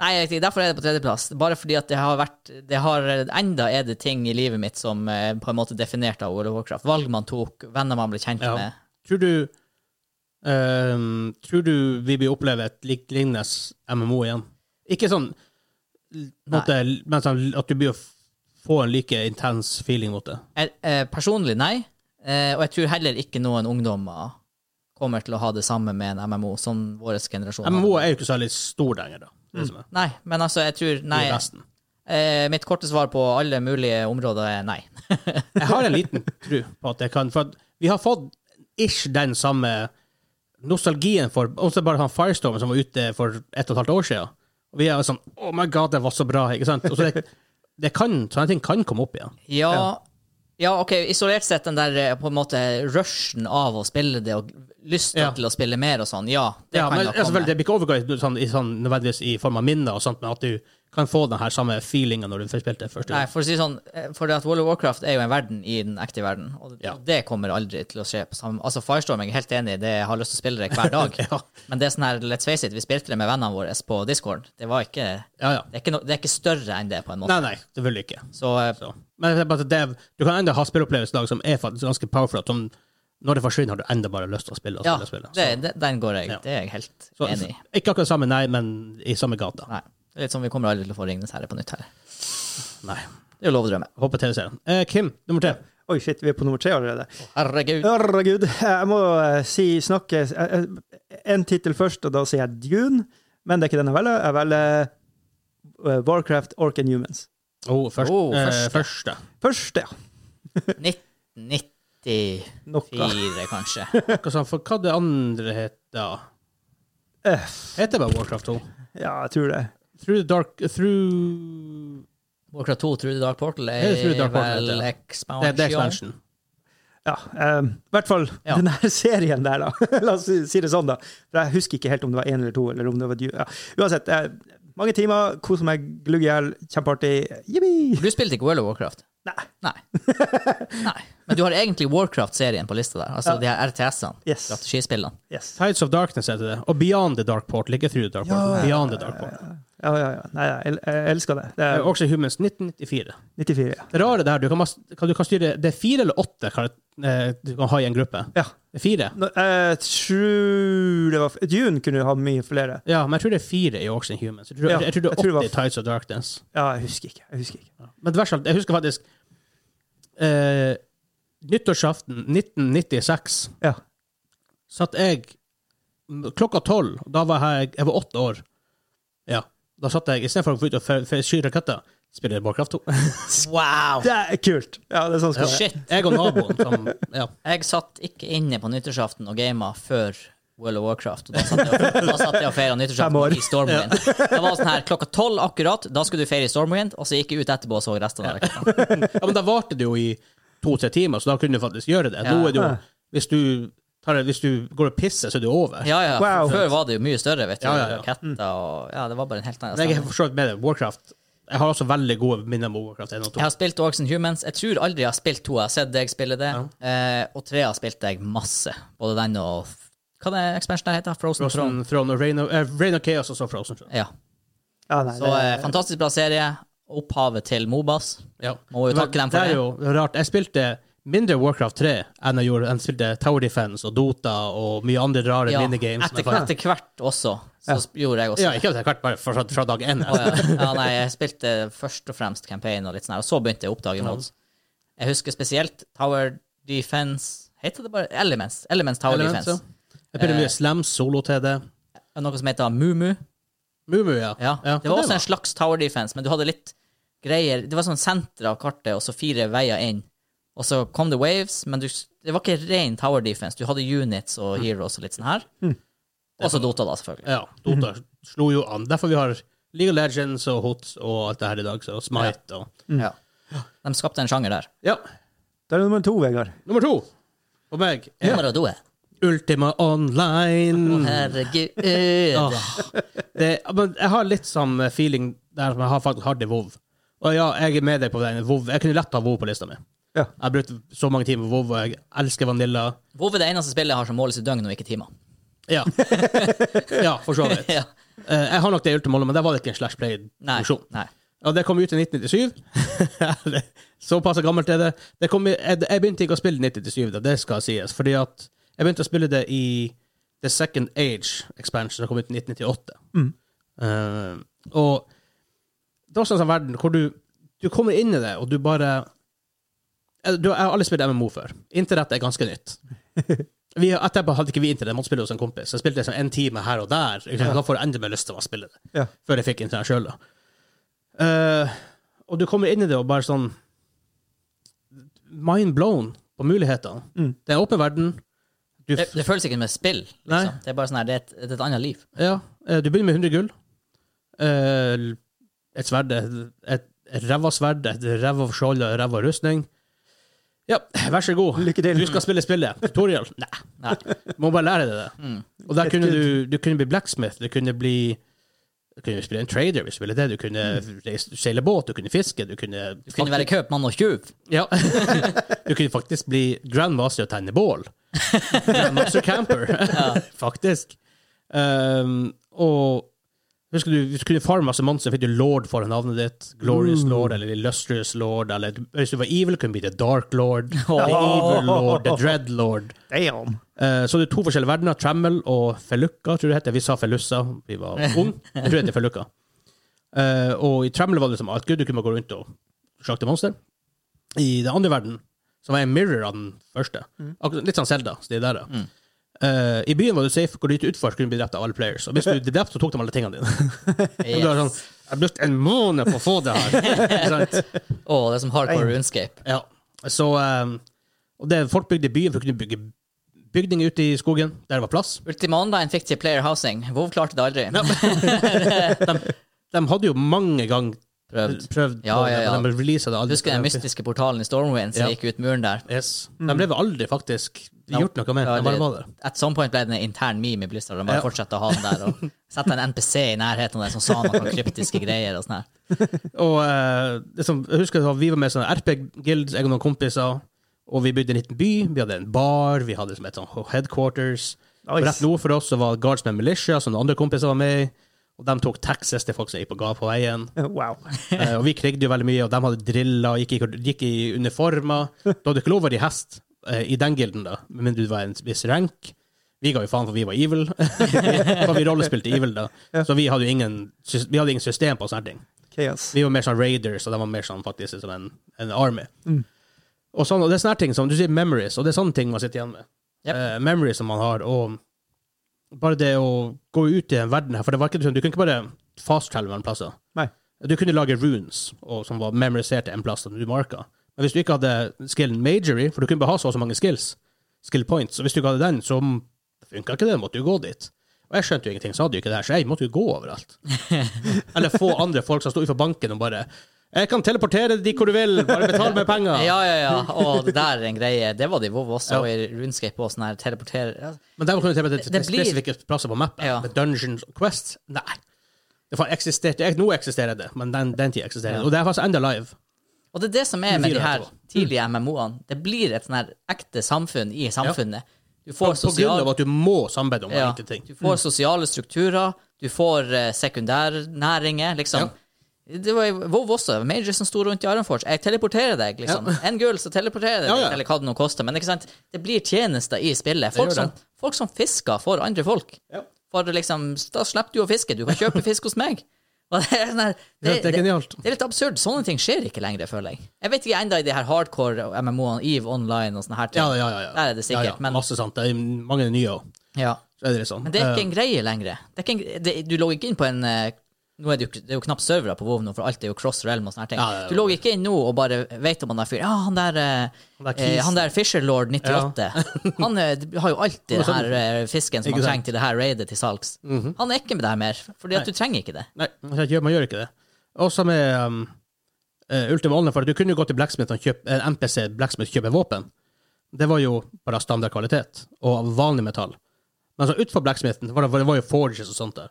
A: Nei, jeg vet ikke, derfor er det på tredjeplass. Bare fordi at det har vært det har, Enda er det ting i livet mitt som eh, på en måte er definert av World of Warcraft. Valg man tok, venner man ble kjent
C: Ja.
A: med.
C: Tror du ehm, Tror du vi blir oppleve et likt lignende MMO igjen? Ikke sånn l- på en måte, men sånn at du blir å f- få en like intens feeling mot det.
A: Jeg, eh, personlig, nei. Eh, og jeg tror heller ikke noen ungdommer kommer til å ha det samme med en MMO, som vår generasjon. hadde.
C: MMO er jo ikke så veldig stor lenger, da. Det er det som er.
A: Nei, men altså, jeg tror Nei.
C: I Vesten.
A: Eh, mitt korte svar på alle mulige områder er nei. (laughs)
C: Jeg har en liten tro på at jeg kan For at vi har fått ish den samme nostalgien for Også bare han Firestorm som var ute for ett og et halvt år siden. Og vi er jo sånn Oh my god, det var så bra. Ikke sant? Og så det, det kan, sånne ting kan komme opp igjen.
A: Ja, ja OK, isolert sett den der eh, på en måte rushen av å spille det, og lysta
C: Ja.
A: til å spille mer og sånn, ja, det
C: Ja,
A: kan
C: men
A: da
C: altså, vel,
A: komme.
C: Det blir ikke overgått sånn, i sånn, nødvendigvis i form av minner, og sånt, men at du kan få den her samme feelingen når du først spilte første
A: Nei,
C: gang.
A: for å si sånn, eh, for det at World of Warcraft er jo en verden i den ekte verden, og
C: Ja.
A: det kommer aldri til å skje på samme Altså, Firestorm, jeg er helt enig i det, jeg har lyst til å spille det hver dag,
C: (laughs) Ja.
A: men det er sånn her, let's face it, vi spilte det med vennene våre på Discord. Det var ikke
C: Ja, ja.
A: Det er ikke, no, det er ikke større enn det, på en måte.
C: Nei, nei, selvfølgelig ikke.
A: Så, eh,
C: Så. Men det er bare at det, du kan enda ha spilleopplevelser i dag som er faktisk ganske powerful. At som, når det forsvinner, har du enda bare lyst til å spille. Og
A: ja,
C: spille, og spille.
A: det, det, den går jeg.
C: Ja.
A: Det er jeg helt
C: Så,
A: enig i.
C: Ikke akkurat samme, nei, men i samme gata.
A: Nei. Det er litt sånn, vi kommer aldri til å få Ringnes herre på nytt her.
C: Nei.
A: Det er jo lov å drømme.
C: Håper TV-serien. Eh, Kim, nummer tre.
D: Oi, shit, vi er på nummer tre allerede.
A: Herregud.
D: Herregud. Jeg må eh, si, snakke eh, eh, en tittel først, og da sier jeg Dune. Men det er ikke den jeg velger. Jeg velger eh, Warcraft Orc and Humans.
C: Oh, først,
A: Oh,
C: eh,
A: første.
C: første.
D: Første, ja.
A: 1994,
D: Noe.
A: kanskje.
C: (laughs) Hva sa han for hva det andre heter?
D: Eh,
C: Heter det bare Warcraft 2?
D: Ja, jeg tror det.
C: Through the Dark Through
A: Warcraft 2, Trude Dark Portal,
C: Det
A: er
C: er Through Dark Portal,
A: vel
C: ja. Det,
A: expansion.
C: det er expansion.
D: Ja, eh, i hvert fall
A: Ja.
D: den her serien der, da. (laughs) La oss si, si det sånn, da. For jeg husker ikke helt om det var én eller to, eller om det var du. Ja. Uansett, eh, mange timer, koser meg, glugg i hjel, kjempeartig. Jippi!
A: Du spilte ikke World of Warcraft?
D: Nei.
C: (laughs)
A: Nei. Nei. Men du har egentlig Warcraft-serien på lista der, altså de her RTS-ene,
D: Yes.
A: strategispillene.
D: Yes.
C: Tides of Darkness heter det. Og Beyond the Dark Portal. Ikke Through the Dark Portal. Beyond the Dark Portal.
D: Ja, ja, ja. Nei, jeg, el- jeg elsker det. Det
C: Eh,
D: er
C: Også Humans 1994.
D: 94, ja.
C: Det rare det her, du kan, mas- kan, du kan styre Det er fire eller åtte kan, eh, du kan ha i en gruppe.
D: Ja.
C: Det er fire.
D: Nå, Jeg tror det var f- Dune kunne jo ha mye flere.
C: Ja, men jeg tror det er fire i Orcs and Humans. Jeg tror,
D: Ja,
C: jeg, tror det
D: jeg tror det
C: er
D: var
C: 80 i Tides of Darkness.
D: Ja, jeg husker ikke. Jeg husker ikke.
C: Men det verste, av alt, jeg husker faktisk eh, Nyttårsaften 1996
D: Ja.
C: satt jeg m- klokka tolv Da var jeg, jeg var åtte år. Ja. Da satt jeg istedenfor å gå ut og fe- fe- skyte raketter, spille Warcraft 2.
A: Wow!
D: Det er kult! Ja, det er sånn skal det være.
A: Shit.
C: (laughs) Jeg og naboen som ja.
A: Jeg satt ikke inne på nyttårsaften og gama før World of Warcraft. Og da satt jeg, da satt jeg og feira
D: Fem
A: nyttårsaften
D: år.
A: i Stormwind. Det var sånn her klokka tolv akkurat, da skulle du feire i Stormwind, og så gikk jeg ut etterpå og så resten av det.
C: ja, men da varte det jo i to-tre timer, så da kunne du faktisk gjøre det. Nå er det jo Hvis du, tar, hvis du går og pisser, så er det jo over.
A: Ja, ja.
D: Wow.
A: Før var det jo mye større, vet du.
C: Ja, ja, ja.
A: Raketter og Ja, det var bare en helt annen
C: Men jeg er
A: stemning.
C: for så vidt med det. Warcraft Jeg har også veldig gode minner om Warcraft 1 og 2.
A: Jeg har spilt Orcs and Humans. Jeg tror aldri jeg har spilt to. Jeg har sett deg spille det. Eh, og tre har spilt deg masse. Både den og f- Hva det er expansion der heter? Frozen, Throne.
C: Frozen Throne og Rain of, eh, Reign of Chaos og så Frozen Throne.
A: Ja.
D: Ja, nei,
A: Så eh,
D: det,
A: fantastisk bra serie. Opphavet til Mobas.
C: Ja.
A: Må jo
C: Men
A: takke dem for
C: det.
A: det.
C: er jo rart. Jeg spilte mindre Warcraft 3 enn jeg gjorde. Jeg spilte Tower Defense og Dota og mye andre rare
A: Ja,
C: minigames.
A: etter, etter hvert altså. også, så sp- gjorde jeg også
C: ja, ikke etter hvert, bare fra, fra dag én.
A: Å, (laughs) ja. ja, nei, jeg spilte først og fremst campaign og litt sånn her, og så begynte jeg å oppdage mods. Jeg husker spesielt Tower Defense Heter det bare Elements? Elements Tower
C: Elements,
A: Defense. Eh.
C: Jeg spilte mye Slams solo til det.
A: Og Noe som heter Mumu.
C: Mumu, ja.
A: Ja. Det var også en slags Tower Defense, men du hadde litt greier Det var sånn senter av kartet, og så fire veier inn. Og så kom det waves, men du, det var ikke ren Tower Defense. Du hadde units og heroes og litt sånn her. Og så Dota, da, selvfølgelig.
C: Ja, Dota slo jo an. Derfor vi har League of Legends og HOTS og alt det her i dag. Så Smite og
A: Ja. De skapte en sjanger der.
C: Ja,
D: mm. da er det nummer to, Vegard.
C: nummer to på meg er
A: Nummer to er
C: Ultima Online.
A: Herregud.
C: Åh, det, men jeg har litt sånn feeling der som jeg har faktisk har det i WoW. Og ja, jeg er med deg på den. WoW. Jeg kunne lett ha WoW på lista mi.
D: Ja.
C: Jeg har brukt så mange timer på WoW, og jeg elsker Vanilla.
A: WoW er det eneste spillet jeg har som måles i døgn og ikke timer.
C: Ja, (laughs) ja for så vidt.
A: Ja.
C: Eh, Jeg har nok det i Ultima Online, men der var det ikke en slash
A: Nei.
C: play-funksjon.
A: Nei.
C: Ja, det kom ut i 1997. Såpass gammelt er det. det kom, i- jeg, jeg begynte ikke å spille 1997, da, det skal sies. Fordi at jeg begynte å spille det i The Second Age Expansion, som kom ut i 1998. Eh, og det er også en sånn verden hvor du, du kommer inn i det, og du bare Eh, du, Jeg har aldri spilt MMO før. Internett er ganske nytt. Vi, etterpå hadde ikke vi internett, måtte spille hos en kompis. Jeg spilte liksom en time her og der. ikke sant? Da får jeg endelig meg lyst til å spille det.
D: Ja.
C: Før jeg fikk internett sjøl, da. Eh, og du kommer inn i det og bare sånn Mind blown på mulighetene.
D: Mm. Eh.
C: Det er åpen verden. Du,
A: Det, det føles ikke som et spill.
C: Nei.
A: Liksom. Det er bare sånn her, det er et, det er et annet liv.
C: ja, eh, du begynner med 100 gull. Eh, et sverd, et et ræva sverd, et ræva skjold og ræva rustning. Ja, vær så god.
D: Lykke til.
C: Du skal spille spillet. Tutorial? Nei.
A: Nei.
C: (laughs) Må bare lære deg det.
A: Mm.
C: Og der
D: Helt
C: kunne
D: good.
C: du, du kunne bli blacksmith, du kunne bli du kunne spille en trader hvis du ville det, du kunne reise- seile båt, du kunne fiske, du kunne
A: Mm. Du kunne være kjøpmann og
C: (laughs)
A: tjuv.
C: Ja. Du kunne faktisk bli grandmaster og tenne bål. Grandmaster camper, (laughs) faktisk. Um, og husker du, hvis du kunne farme masse monstre, fikk du lord foran navnet ditt. Glorious lord eller illustrious lord, eller hvis du var evil, kunne du bli the dark lord, the evil lord, the dread lord.
D: Damn!
C: Eh, Så det er to forskjellige verdener, Trammel og Felukka, tror jeg det heter. Vi sa Felussa, vi var unge. Jeg tror det heter Felukka. Eh, og i Trammel var det liksom alt gud, du kunne bare gå rundt og slakte monster. I den andre verden, som var en mirror av den første, Akkurat- litt sånn Zelda, så det der, ja. Eh, I byen var du safe, går du ut utfor, så kunne du bli drept av alle players. Og hvis du ble drept, så tok de alle tingene dine. (laughs) Og du er sånn, jeg har brukt en måned på å få det her. Ikke sant?
A: Å, det er som hardcore runescape.
C: Ja. Så, eh, og det, folk bygde byen for å kunne bygge bygninger ute i skogen, der det var plass.
A: Ultima Online fikk til player housing. WoW klarte det (laughs) aldri.
C: De hadde jo mange ganger prøvd,
A: Prøvd.
C: på
A: Ja, ja, ja.
C: det, men de releaset det aldri.
A: Husker den mystiske portalen i Stormwind som
C: Ja.
A: gikk ut muren der?
C: Yes. De ble vel aldri faktisk gjort noe med.
A: Mm. Ja,
C: De bare var der.
A: At some point ble det en intern meme i Blizzard. De bare
C: Ja.
A: fortsatte å ha den der.
C: (laughs)
A: Og sette en NPC i nærheten av den som sa noen kryptiske greier. og sånn her.
C: Og eh, det som, jeg husker at vi var med i sånne RP-guilds, jeg og noen kompiser, og vi bygde en liten by. Vi hadde en bar, vi hadde liksom et sånt headquarters. Og
D: Nice.
C: Rett nord for oss så var Guards med Militia, som noen andre kompiser var med i. Og de tok taxes til folk som gikk på ga på veien.
D: (laughs) Wow.
C: Eh, og vi krigde jo veldig mye, og de hadde driller, gikk, i- gikk i uniformer. Du hadde ikke lov å være i hest eh, i den gilden, da, med mindre du var en viss rank. Vi ga jo faen for vi var evil, (laughs) for vi rollespilte evil da. Så vi hadde jo ingen, sys- vi hadde ingen system på sånne ting.
D: Chaos.
C: Vi var mer sånn raiders, og de var mer sånn faktisk som en, en army. Og, sånn, og det er sånne ting som, du sier memories, og det er sånne ting man sitter igjen med.
A: Yep.
C: Eh, memories som man har, og bare det å gå ut i den verden her, for det var ikke sånn, du kunne ikke bare fast-travel mellom plasser.
D: Nei.
C: Du kunne lage runes og, som var memorisert til en plass som du marka. Men hvis du ikke hadde skillen majory, for du kunne bare ha så og så mange skills, skill points, og hvis du ikke hadde den, så funka ikke det, måtte du gå dit. Og jeg skjønte jo ingenting, så hadde jo ikke det her, så jeg måtte jo gå
A: (laughs)
C: overalt. Eller få andre folk som sto utenfor banken og bare 'Jeg kan teleportere deg dit hvor du vil, bare betal meg penger'.
A: Ja, ja, ja. Og det der er en greie. Det var det i WoW også, og i runescape og sånn her teleportere ja.
C: Men der kunne du teleportere til
A: Det blir-
C: spesifikke plasser på mappen.
A: Ja.
C: Med Dungeons og Quests? Nei. Det faen eksisterte, nå eksisterer det, men den, den tid eksisterer det. Og det er faktisk enda live.
A: Og det er det som er med
C: Fire Mm.
A: de her
C: etterpå.
A: tidlige MMO-ene. Det blir et sånn her ekte samfunn i samfunnet. Du
C: På,
A: får
C: på grunn av
A: sosial,
C: at du må samarbeide om
A: ja,
C: enkelte ting.
A: du får sosiale strukturer, du får eh, sekundærnæringer, liksom. Det var jo WoW også. Major som sto rundt i Ironforge. Jeg teleporterer deg, liksom. En gull, så teleporterer jeg deg,
C: Ja, ja.
A: eller hva det nå koster. Men ikke sant? det blir tjenester i spillet. Folk
C: gjør
A: som,
C: det.
A: folk som fisker for andre folk. For liksom, da slipper du å fiske. Du kan
C: (laughs)
A: kjøpe fisk hos meg. Og det er sånn her
C: Ja, det er genialt.
A: det er litt absurd. Sånne ting skjer ikke lenger, føler jeg. Jeg vet ikke enda i de her hardcore og MMO-ene, Eve Online og sånne her ting.
C: Ja, ja, ja, ja.
A: Der er det sikkert,
C: Ja, ja.
A: men-
C: Masse sant. Det er mange nye òg.
A: Ja.
C: Så er det litt sånn.
A: Men det er ikke en greie lenger. Det er ikke en, gre- det, du logger ikke inn på en eh, nå er det, jo, det er jo knapt servere på WoW nå, for alt er jo cross realm og sånne her ting.
C: Ja, ja, ja.
A: Du logger ikke inn nå og bare vet om han der fyren Ja, han der, eh,
C: Han der
A: eh,
C: Kisen.
A: han der Fisherlord
C: (laughs)
A: 98. Han eh, har jo alltid den her eh, fisken som
C: sånn-
A: han
C: Ikke sant?
A: trenger til det her raidet til salgs. Han er ikke med det her mer, fordi at du trenger ikke det.
C: Nei, altså, man gjør, man gjør ikke det. Også med um, eh, Ultima Online, for du kunne jo gå til Blacksmith og kjøpe eh, en MPC Blacksmith kjøpe våpen. Det var jo bare standard kvalitet og av vanlig metall. Men så utenfor Blacksmithen var det, var det var jo forges og sånt der.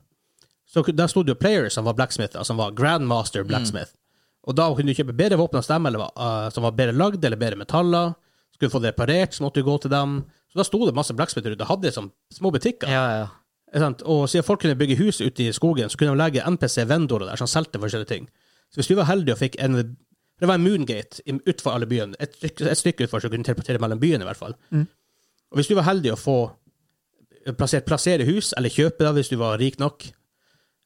C: Så ku- der stod det jo players som var blacksmither, som var grandmaster blacksmith. Og da kunne du kjøpe bedre våpen og stemmer, eller, eh, som var bedre lagd, eller bedre metaller. Skulle du få det reparert, så måtte du gå til dem. Så da sto det masse blacksmither ute og hadde liksom små butikker.
A: Ja,
C: (laughs)
A: ja, ja.
C: Ikke sant? Og siden folk kunne bygge hus ute i skogen, så kunne de legge NPC-vendorer der som solgte forskjellige ting. Så hvis du var heldig og fikk en Det var en moongate i- utenfor alle byene, et, stykke- et stykke utenfor, så kunne du teleportere mellom byene, i hvert fall. Og hvis du var heldig å få plassert, plassere hus, eller kjøpe det hvis du var rik nok,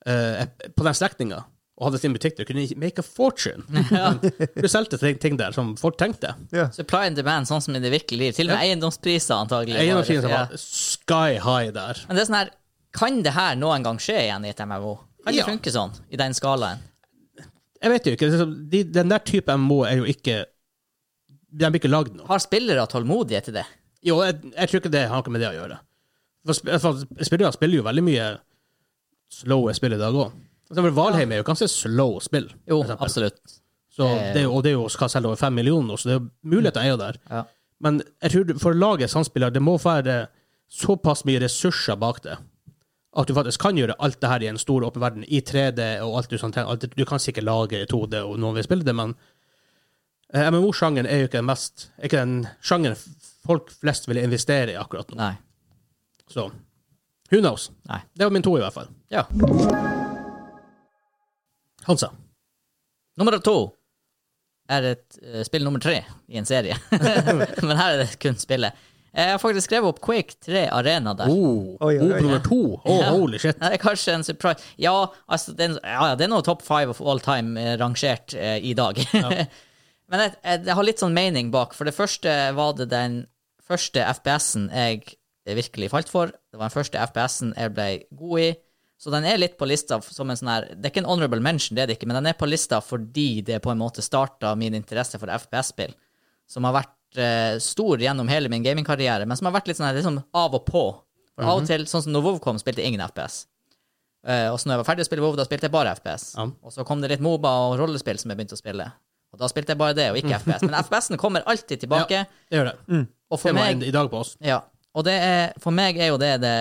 C: eh, på den strekninga, og hadde sin butikk der, kunne de make a fortune.
A: (laughs)
C: Du solgte ting- ting der som folk trengte.
D: Ja.
A: Supply and demand, sånn som det virkelig blir. Til og med eiendomspriser, antagelig.
C: Eiendomsprisen
A: Ja.
C: var sky high der.
A: Men det er sånn her, kan det her noen gang skje igjen i et MMO? Kan det
C: Ja.
A: funke sånn, i den skalaen?
C: Jeg vet jo ikke. det er sånn- de, den der type MMO er jo ikke De blir ikke lagd nå.
A: Har spillere tålmodighet til det?
C: Jo, jeg, jeg tror ikke det har noe med det å gjøre. For, sp- for Spillere spiller jo veldig mye slowe spill i dag òg. Valheim er jo ganske slow spill. Altså,
A: Jo,
C: for eksempel.
A: absolutt.
C: Så
A: Det er-
C: det er jo, og det er jo skal selge over fem millioner, så det er jo muligheter er jo der.
A: Ja.
C: Men jeg tror du- for å lage samspiller, det må være såpass mye ressurser bak det at du faktisk kan gjøre alt det her i en stor åpen verden, i 3D og alt du sånn trenger. Alt det- Du kan sikkert lage i 2D, og noen vil spille det, men eh, MMO-sjangeren er jo ikke den mest er ikke den sjangeren f- folk flest vil investere i akkurat nå.
A: Nei.
C: Så who knows?
A: Nei.
C: Det var min to, i hvert fall.
A: Ja.
C: Hansa.
A: Nummer to er et eh, spill nummer tre i en serie. (laughs) Men her er det kun spillet. Jeg har faktisk skrevet opp Quake 3 Arena der.
C: Oh,
D: Oi, oi, oi.
C: nummer to. Oh,
A: Ja.
C: Holy shit.
A: Ja, Det er (laughs) kanskje en surprise. Ja, altså, det er, ja, ja, det er noe topp five of all time eh, rangert eh, i dag. (laughs) Men jeg, jeg, jeg har litt sånn mening bak. For det første var det den første FPS-en jeg virkelig falt for. Det var den første FPS-en jeg ble god i. Så den er litt på lista som en sånn her Det er ikke en honorable mention, det er det ikke, men den er på lista fordi det på en måte starta min interesse for FPS-spill, som har vært eh, stor gjennom hele min gamingkarriere, men som har vært litt sånn her liksom av og på. For Av og til, sånn som når WoW kom, spilte jeg ingen FPS. Eh, og så når jeg var ferdig å spille WoW, da spilte jeg bare FPS.
C: Ja.
A: Og så kom det litt Moba og rollespill som jeg begynte å spille. Og da spilte jeg bare det, og
C: (laughs)
A: ikke FPS. Men FPS-en kommer alltid tilbake.
C: Det gjør det.
A: Og
C: Det
A: for
C: var
A: meg
C: en i dag på oss.
A: ja, og det er, for meg er jo det det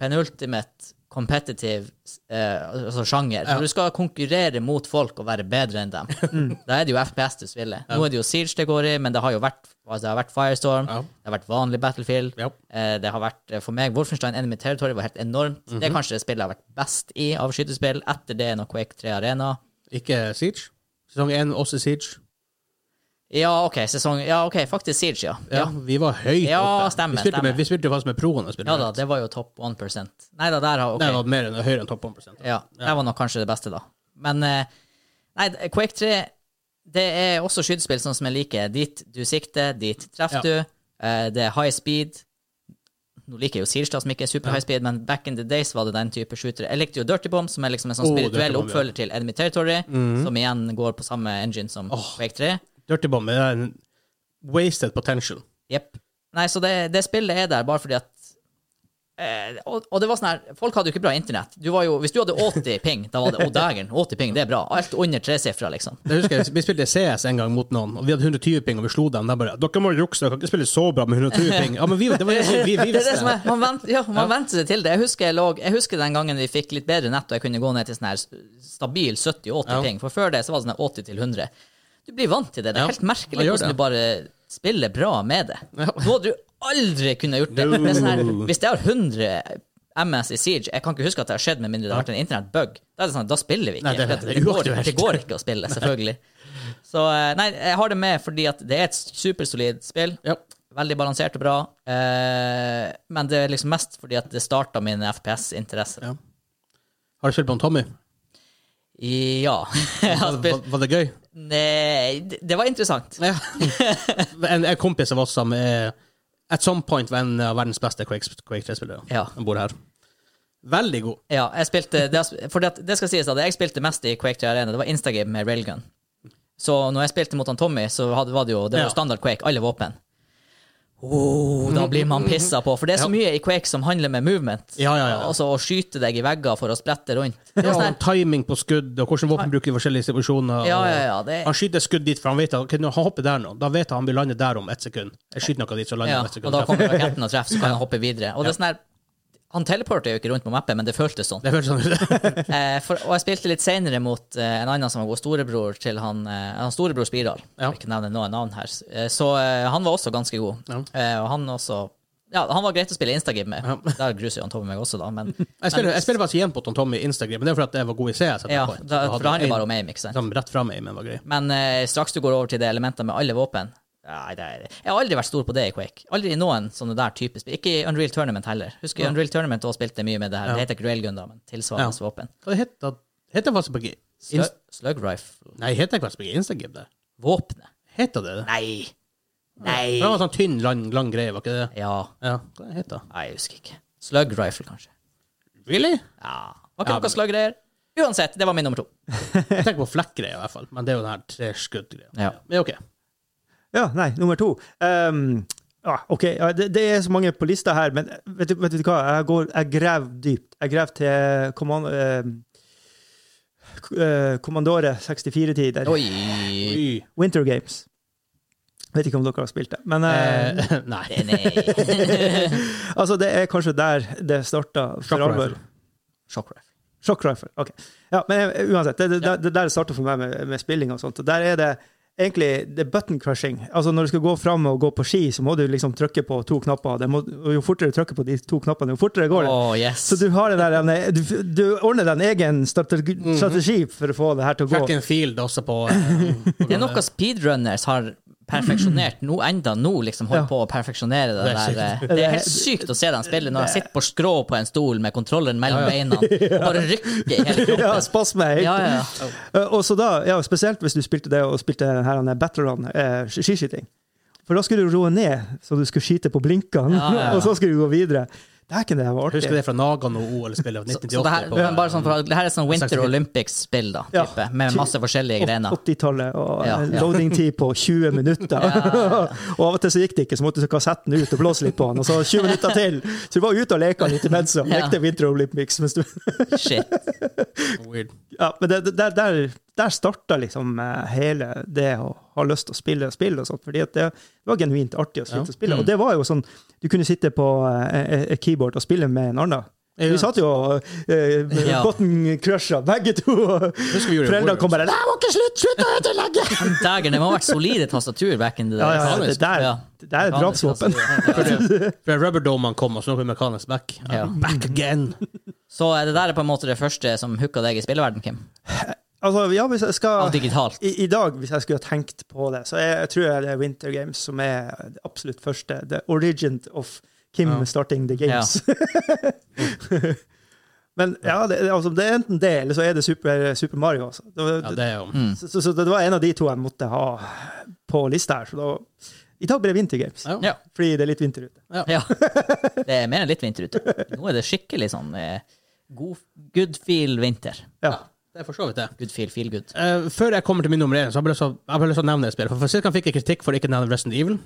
A: penultimate competitive eh, altså sjanger. Når du skal konkurrere mot folk og være bedre enn
C: (laughs)
A: dem,
C: Mm.
A: da er det jo FPS du spiller. Nå er det jo Siege det går i, men det har jo vært, altså det har vært Firestorm,
C: Ja.
A: det har vært vanlig Battlefield,
C: Ja.
A: eh, det har vært eh, for meg Wolfenstein Enemy Territory var helt enormt. Det er
C: Mhm.
A: kanskje det spillet jeg har vært best i av skytespill. Etter det er nok Quake 3 Arena.
C: Ikke Siege. Sesong én, også Siege.
A: Ja, OK, sesong Ja, OK, faktisk Siege, ja. ja.
C: Ja, Vi var høyt
A: Ja,
C: oppe.
A: stemmer,
C: vi, spilte
A: stemmer.
C: Med, vi spilte jo faktisk med proene. Spilte
A: Ja da, det var jo topp 1 Nei da, der har OK.
C: Det var mer enn høyere enn topp 1
A: Ja, det var nok kanskje det beste, da. Men eh, nei, Quake 3 det er også skytespill sånn som jeg liker. Dit du sikter, dit treffer
C: Ja.
A: du. Eh, det er high speed. Nå liker jeg jo Sirstad, som ikke er super high speed, men back in the days var det den type shootere. Jeg likte jo Dirty Bomb, som er liksom en sånn
C: Oh, Dirty
A: spirituell
C: Bomb, ja. Mhm.
A: oppfølger til Enemy Territory, som igjen går på samme engine som Quake 3.
C: Dirty Bomb det er en wasted potential.
A: Jepp. Nei, så det, det spillet er der bare fordi at eh, og, og det var sånn her, folk hadde jo ikke bra internett. Du var jo, hvis du hadde 80 ping, da var det 'Å, dægeren, 80 ping, det er bra'. Alt under tresifra, liksom.
C: Jeg husker jeg, Vi spilte CS en gang mot noen, og vi hadde 120 ping, og vi slo dem. De bare 'Dere må jukse, dere kan ikke spille så bra med 120 ping'. Ja, men vi, det var, vi,
A: (laughs)
C: vi, vi
A: Det er det
C: visste
A: som er, man vent, ja, man venter seg til det. Jeg husker, jeg, lå, jeg husker den gangen vi fikk litt bedre nett, og jeg kunne gå ned til sånn her s- stabil 70-80
C: Ja.
A: ping. For før det så var det sånn her 80 til 100. Du blir vant til det. Det
C: Ja,
A: er helt merkelig
C: man gjør
A: hvordan
C: det.
A: du bare spiller bra med det.
C: Ja.
A: Nå hadde du aldri kunnet gjort det.
C: No.
A: det er sånn her, hvis jeg har 100 MS i Siege, jeg kan ikke huske at det har skjedd med mindre det har vært en internettbug, da er det sånn at da spiller vi ikke.
C: Nei, det-
A: for at
C: det er
A: går,
C: uaktuelt.
A: det går ikke å spille, selvfølgelig. Så eh, nei, jeg har det med fordi at det er et supersolid spill.
C: Ja.
A: Veldig balansert og bra. Eh, men det er liksom mest fordi at det starta min FPS-interesse.
C: Ja. Har du spilt på en Tommy?
A: Ja. (laughs) Jeg har
C: Var,
A: spilt-
C: var- var det gøy?
A: Nei, det det var interessant.
C: Ja. (laughs) en, en kompis av oss som er at some point var en av verdens beste Quake, Quake 3-spillere.
A: Ja.
C: Han bor her. Veldig god.
A: Ja, jeg spilte det, For det, det skal sies at jeg spilte mest i Quake 3 Arena. Det var Instagame med railgun. Så når jeg spilte mot han Tommy, så hadde, var det jo det var
C: Ja.
A: jo standard Quake. Alle våpen. Oh, da blir man pissa på, for det er så mye i Quake som handler med movement.
C: Ja, ja, ja.
A: Altså å skyte deg i vegger for å sprette rundt. Det var
C: Ja,
A: sånn her-
C: og timing på skudd, og hvordan våpen bruker i forskjellige situasjoner. og-
A: Ja, ja, ja, det-
C: Han skyter skudd dit, for han vet at ok, når han hopper der nå, da vet han han blir landet der om ett sekund. Jeg skyter noe dit, så lander
A: Ja,
C: han om ett sekund.
A: og da kommer raketten og treffer, så kan han hoppe videre. Og det er sånn her, Han teleporter jo ikke rundt på mappen, men det føltes sånn.
C: (laughs) Det føles sånn
A: (laughs)
C: ut.
A: Eh, for, og jeg spilte litt senere mot eh, en annen som var god storebror til han, eh, han storebror Spiral.
C: Ja.
A: Jeg vil ikke nevne noe navn her. Eh, så eh, han var også ganske god. Eh, og han også Ja, han var greit å spille Instagame med. Der gruser jo han Tommy meg også, da, men
C: Jeg spiller, jeg spiller faktisk igjen på Tom Tommy Instagram, men det er fordi at jeg var god i CS.
A: ja, da, for det handler bare om aim, ikke sant?
C: Som sånn rett frem aim, men var grei.
A: Men eh, straks du går over til det elementet med alle våpen Nei, det er, Jeg har aldri vært stor på det i Quake. Aldri i noen sånne der type spill. Ikke i Unreal Tournament heller. Husker Unreal Tournament også spilte mye med det her. Det heter ikke Railgun, da, men tilsvarende
C: Ja.
A: våpen.
C: Hva heter heter det faktisk på G-
A: Slu- Slug rifle.
C: Nei, heter ikke Vestbygget Instagib, det?
A: Våpenet.
C: Heter det det?
A: Nei.
C: Det var
A: Nei.
C: en sånn tynn, lang, lang greie, var ikke det det?
A: Ja.
C: Ja, hva heter det?
A: Nei, jeg husker ikke. Slug rifle, kanskje.
C: Really?
A: Ja. Var ikke noe slug-greier. Uansett, det var min nummer to.
C: Jeg tenker på flekkgreia, i hvert fall. Men det er jo den her treskuddgreia.
A: Ja.
C: Men OK.
D: Ja, nei, nummer to. Ehm, ja, OK, ja, det, det er så mange på lista her, men vet du, vet du hva? Jeg, går, jeg graver dypt. Jeg graver til kommand, ehm, k- eh, Kommandore 64-tider.
A: Oi.
C: Y.
D: Winter Games. Vet ikke om dere har spilt det. Men eh,
C: Eh, (laughs) nei.
A: Nei.
D: (laughs) altså, det er kanskje der det starta
C: Shock
D: for alvor.
C: rifle.
A: Shock rifle.
D: Shock rifle. OK. Ja, men eh, uansett, det, det, det- det der starta for meg med, med spilling og sånt. Og der er det egentlig det er button crushing. Altså når du skal gå fram og gå på ski, så må du liksom trykke på to knapper. Det må, og jo fortere du trykker på de to knappene, jo fortere går det.
A: Åh, yes.
D: Så du har den der den- du, du ordner den egen strategi,
A: Mhm.
D: strategi for å få det her til å gå.
C: Track and field også på
A: (laughs)
C: eh,
A: Det er noe speedrunners har perfeksjonert nå enda nå, liksom holder
D: Ja.
A: på å perfeksjonere det,
C: Det er
A: der.
C: sykt.
A: eh, Det er helt sykt å se dem spille når de sitter på skrå på en stol med kontrolleren mellom
D: (laughs)
A: beina og bare rykker i hele kroppen.
D: (laughs) Ja, spasme. helt.
A: Ja, ja.
D: Eh, Og så da, ja, spesielt hvis du spilte det og spilte den her den Battlerun eh, sk- skiskyting. For da skulle du roe ned, så du skulle skyte på blinkene,
A: Ja, ja, ja.
D: (laughs) og så skulle du gå videre. Dæken, det her var
C: Jeg husker
D: artig.
C: det fra Nagano-OL-spillet av
A: Så, så det,
C: 1998.
A: her,
C: på-
A: men bare sånn for, det her er sånn Winter
C: 64.
A: Olympics-spill, da,
D: Ja.
A: type, med masse forskjellige grener.
D: 80-tallet og
A: Ja,
D: eh,
A: ja.
D: loading tid på 20 minutter. (laughs) og av og til så gikk det ikke, så måtte du kassette den ut og blåse litt på den. Og så 20 minutter til! Så du var ute og leka litt imens og
A: Ja.
D: lekte Winter Olympics. Mens du,
A: Shit.
C: eh, Weird.
D: ja, men det, det- der, der, der starta liksom eh, hele det å ha lyst til å spille spill og sånt. fordi at det, det var genuint artig å sitte og spille. Og det var jo sånn Du kunne sitte på eh, et keyboard og spille med en annen. Vi satt jo og eh,
A: Ja.
D: button crusha begge to. og
C: Husker vi gjorde
D: Foreldrene kom bare
C: Warriors.
D: 'Det må ikke slutt! Slutt å ødelegge!'
A: Dægen, det må ha vært solide tastatur back in the
D: Ja, ja, altså.
A: days.
D: det der,
A: Ja.
D: det der er drapsvåpen.
C: For Rubberdomene kom, og så noe Mechanics Back.
A: Ja.
C: Back again!
A: (laughs) Så er det der på en måte det første som hooka deg i spilleverden, Kim?
D: Altså, ja, hvis jeg
A: Av
D: skal
A: digitalt?
D: i, I dag, hvis jeg skulle ha tenkt på det, så jeg, jeg tror jeg det er Winter Games som er det absolutt første. The origin of Kim
C: Ja.
D: starting the games. (laughs) Men ja, det, det- altså, det er enten det, eller så er det Super, Super Mario. Altså. Det, var-
C: Ja, det er jo
A: Mm.
D: så, så, så det var en av de to jeg måtte ha på lista her. Så da, i dag blir det Winter Games,
C: Ja.
A: Ja.
D: fordi det er litt vinter ute.
A: Ja. Det er mer enn litt vinter ute. Nå er det skikkelig sånn eh, god, good feel vinter.
D: Ja.
C: Det er for så vidt det.
A: Good feel, feel good.
C: Eh, før jeg kommer til min nummer én, så har jeg bare lyst til å- jeg har bare lyst til å nevne et spill. For, for Sist gang fikk jeg kritikk for ikke å nevne Resident
A: (gasps)
C: Evil.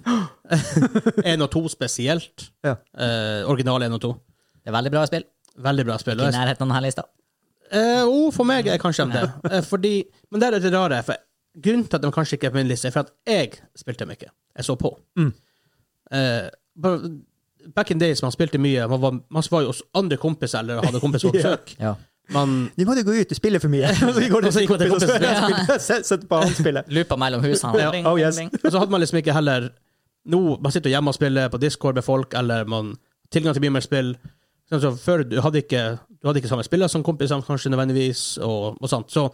C: (laughs) Én og to spesielt.
D: Ja.
C: Eh, original én og to.
A: Det er veldig bra spill.
C: Veldig bra spill.
A: Ikke i nærheten av denne lista.
C: Eh, oh, for meg er kanskje de det. Eh, fordi, men der er det rare. For grunnen til at de kanskje ikke er på min liste, er for at jeg spilte dem ikke. Jeg så på. Eh, bare- back in days, man spilte mye. Man var, man var jo hos andre kompiser eller hadde kompiser på besøk.
A: Ja.
C: Man
D: Nå må du gå ut, du spiller (laughs) for mye. Og så går du
C: Og så
D: til
C: går det til
D: kompisen og spiller-
C: kompisen.
D: spiller- Sett på han spille.
A: Loopa mellom husene.
C: Ja.
A: Bling,
D: Oh, yes.
A: bling.
C: (laughs) Og så hadde man liksom ikke heller Nå, man sitter jo hjemme og spiller på Discord med folk, eller man tilgang til mye mer spill. Sånn som før, du hadde ikke, du hadde ikke samme spiller som kompisene, kanskje nødvendigvis, og, og sånt. Så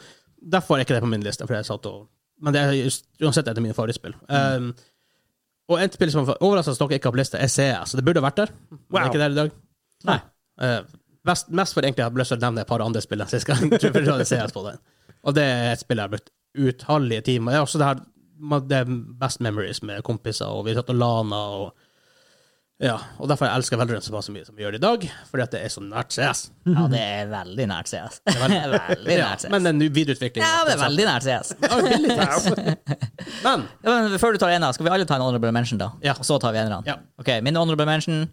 C: derfor er ikke det på min liste, for jeg satt og Men det er just, uansett et av mine favorittspill. Um, og et spill som overraskende nok ikke har på lista, er CS. Så det burde vært der. Men det er
D: Wow.
C: ikke der i dag.
A: Nei.
C: Eh, mest, mest for egentlig jeg har lyst til å nevne et par andre spill enn sist (laughs) gang. Tror jeg det ser jeg på den. Og det er et spill jeg har brukt utallige timer. Det er også det her man- det er best memories med kompiser, og vi satt og lana og Ja. Og derfor jeg elsker Veldrun såpass mye som vi gjør i dag, fordi at det er så nært CS.
A: Ja, det er veldig nært CS. (laughs) veldig
C: Ja,
A: nært CS.
C: men den videreutviklingen
A: Ja, det er veldig nært CS. (laughs)
C: Men
A: Ja, men før du tar ena, skal vi alle ta en honorable mention, da?
C: Ja.
A: Og så tar vi enerne?
C: Ja.
A: Ok, min honorable mention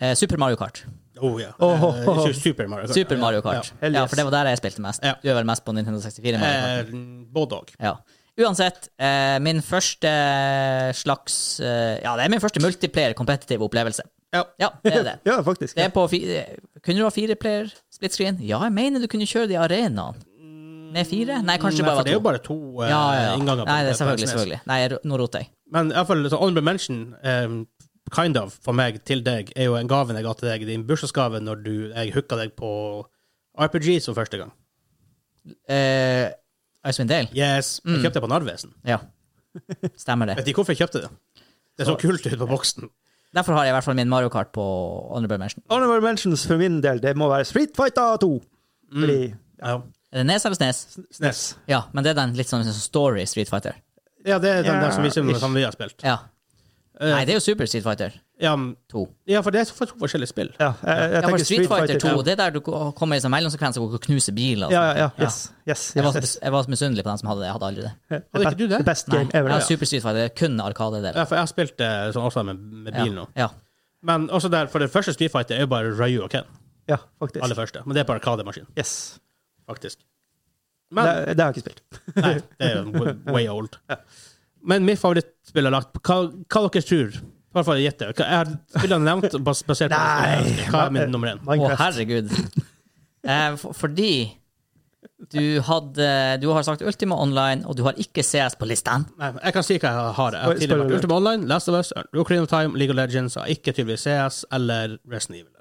A: eh, Super Mario Kart.
C: oh, ja.
D: Åh, åh, åh.
C: Eh, Super Mario Kart.
A: Super Mario Kart.
D: hell
A: Ja,
D: yes.
A: for det var der jeg spilte mest.
C: Ja.
A: Du er vel mest på Nintendo 64? Mario Kart.
C: Eh, Både og.
A: Ja. Uansett, eh, min første slags eh, Ja, det er min første multiplayer competitive opplevelse.
C: Ja.
A: det
C: (laughs)
A: er det.
D: Ja, faktisk.
A: Det er på fi kunne du ha fire player split screen? Ja, jeg mener du kunne kjøre det i arenaen. Nei, fire? Nei, kanskje
C: Mm, Nei,
A: bare var
C: for det er jo
A: to.
C: bare to eh,
A: Ja, ja, ja.
C: innganger. på-
A: Nei, det er
C: på E
A: selvfølgelig,
C: SNES.
A: selvfølgelig. Nei, jeg ro- nå roter jeg.
C: Men i hvert fall, så honorable mention, um, kind of, for meg, til deg, er jo en gaven jeg ga til deg, din bursdagsgave, når du, jeg hooka deg på RPGs for første gang.
A: Eh, Icewind Dale?
C: Yes. Jeg kjøpte det på Narvesen. (laughs)
A: Ja. Stemmer det.
C: Vet ikke hvorfor jeg kjøpte det. Det så kult ut på boksen.
A: Derfor har jeg i hvert fall min Mario Kart på honorable mention. Mm.
D: Honorable mentions for min del, det må være Street Fighter 2. Fordi
C: Ja.
A: Er det Eh, Nes eller Snes?
C: SNES.
A: Ja, men det er den litt sånn sånn story Street Fighter.
C: Ja, det er den
D: Ja,
C: der som viser
D: ish.
C: som vi har spilt.
A: Ja.
C: Eh,
A: Nei, det er jo Super Street Fighter
C: ja, men-
A: 2.
C: ja, for det er for to forskjellige spill.
D: Ja, jeg, jeg,
A: Ja, for
D: tenker
A: Street Fighter 2,
D: 2.
A: det er der du ko- kommer i sånn mellomsekvens og går og knuser biler. og
D: Ja,
A: sånt.
D: ja, ja. Yes. yes,
A: Jeg var,
D: yes, yes.
A: jeg var så misunnelig på den som hadde det. Jeg hadde aldri det.
C: Hadde ikke du det?
D: The best
A: Nei,
D: game
A: jeg
D: ever.
A: har
D: Ja.
A: Super Street Fighter, det er kun Arkade-del.
C: Ja, for jeg har spilt det sånn også med, med bil nå.
A: Ja.
C: Men også der, for det første Street Fighter er jo bare Ryu og Ken.
D: ja, faktisk.
C: Aller første. Men det er på Arkademaskin,
D: Yes.
C: faktisk.
D: Det,
C: Men
D: det har jeg ikke spilt.
C: Nei, det er jo w- way old. Men min favorittspill er lagt Hva, hva dere tror? I hvert fall gjett det. Hva- Jeg har spillene nevnt bas- basert på
D: Nei.
C: Hva er min nummer én?
A: Å,
D: Minecraft.
A: herregud. (laughs) Eh, for, fordi du hadde Du har sagt Ultima Online, og du har ikke CS på listen.
C: Nei, jeg kan si hva jeg har. Jeg har tidligere vært Ultima Online, Last of Us, Ocarina of Time, League of Legends, og ikke tydeligvis CS eller Resident Evil.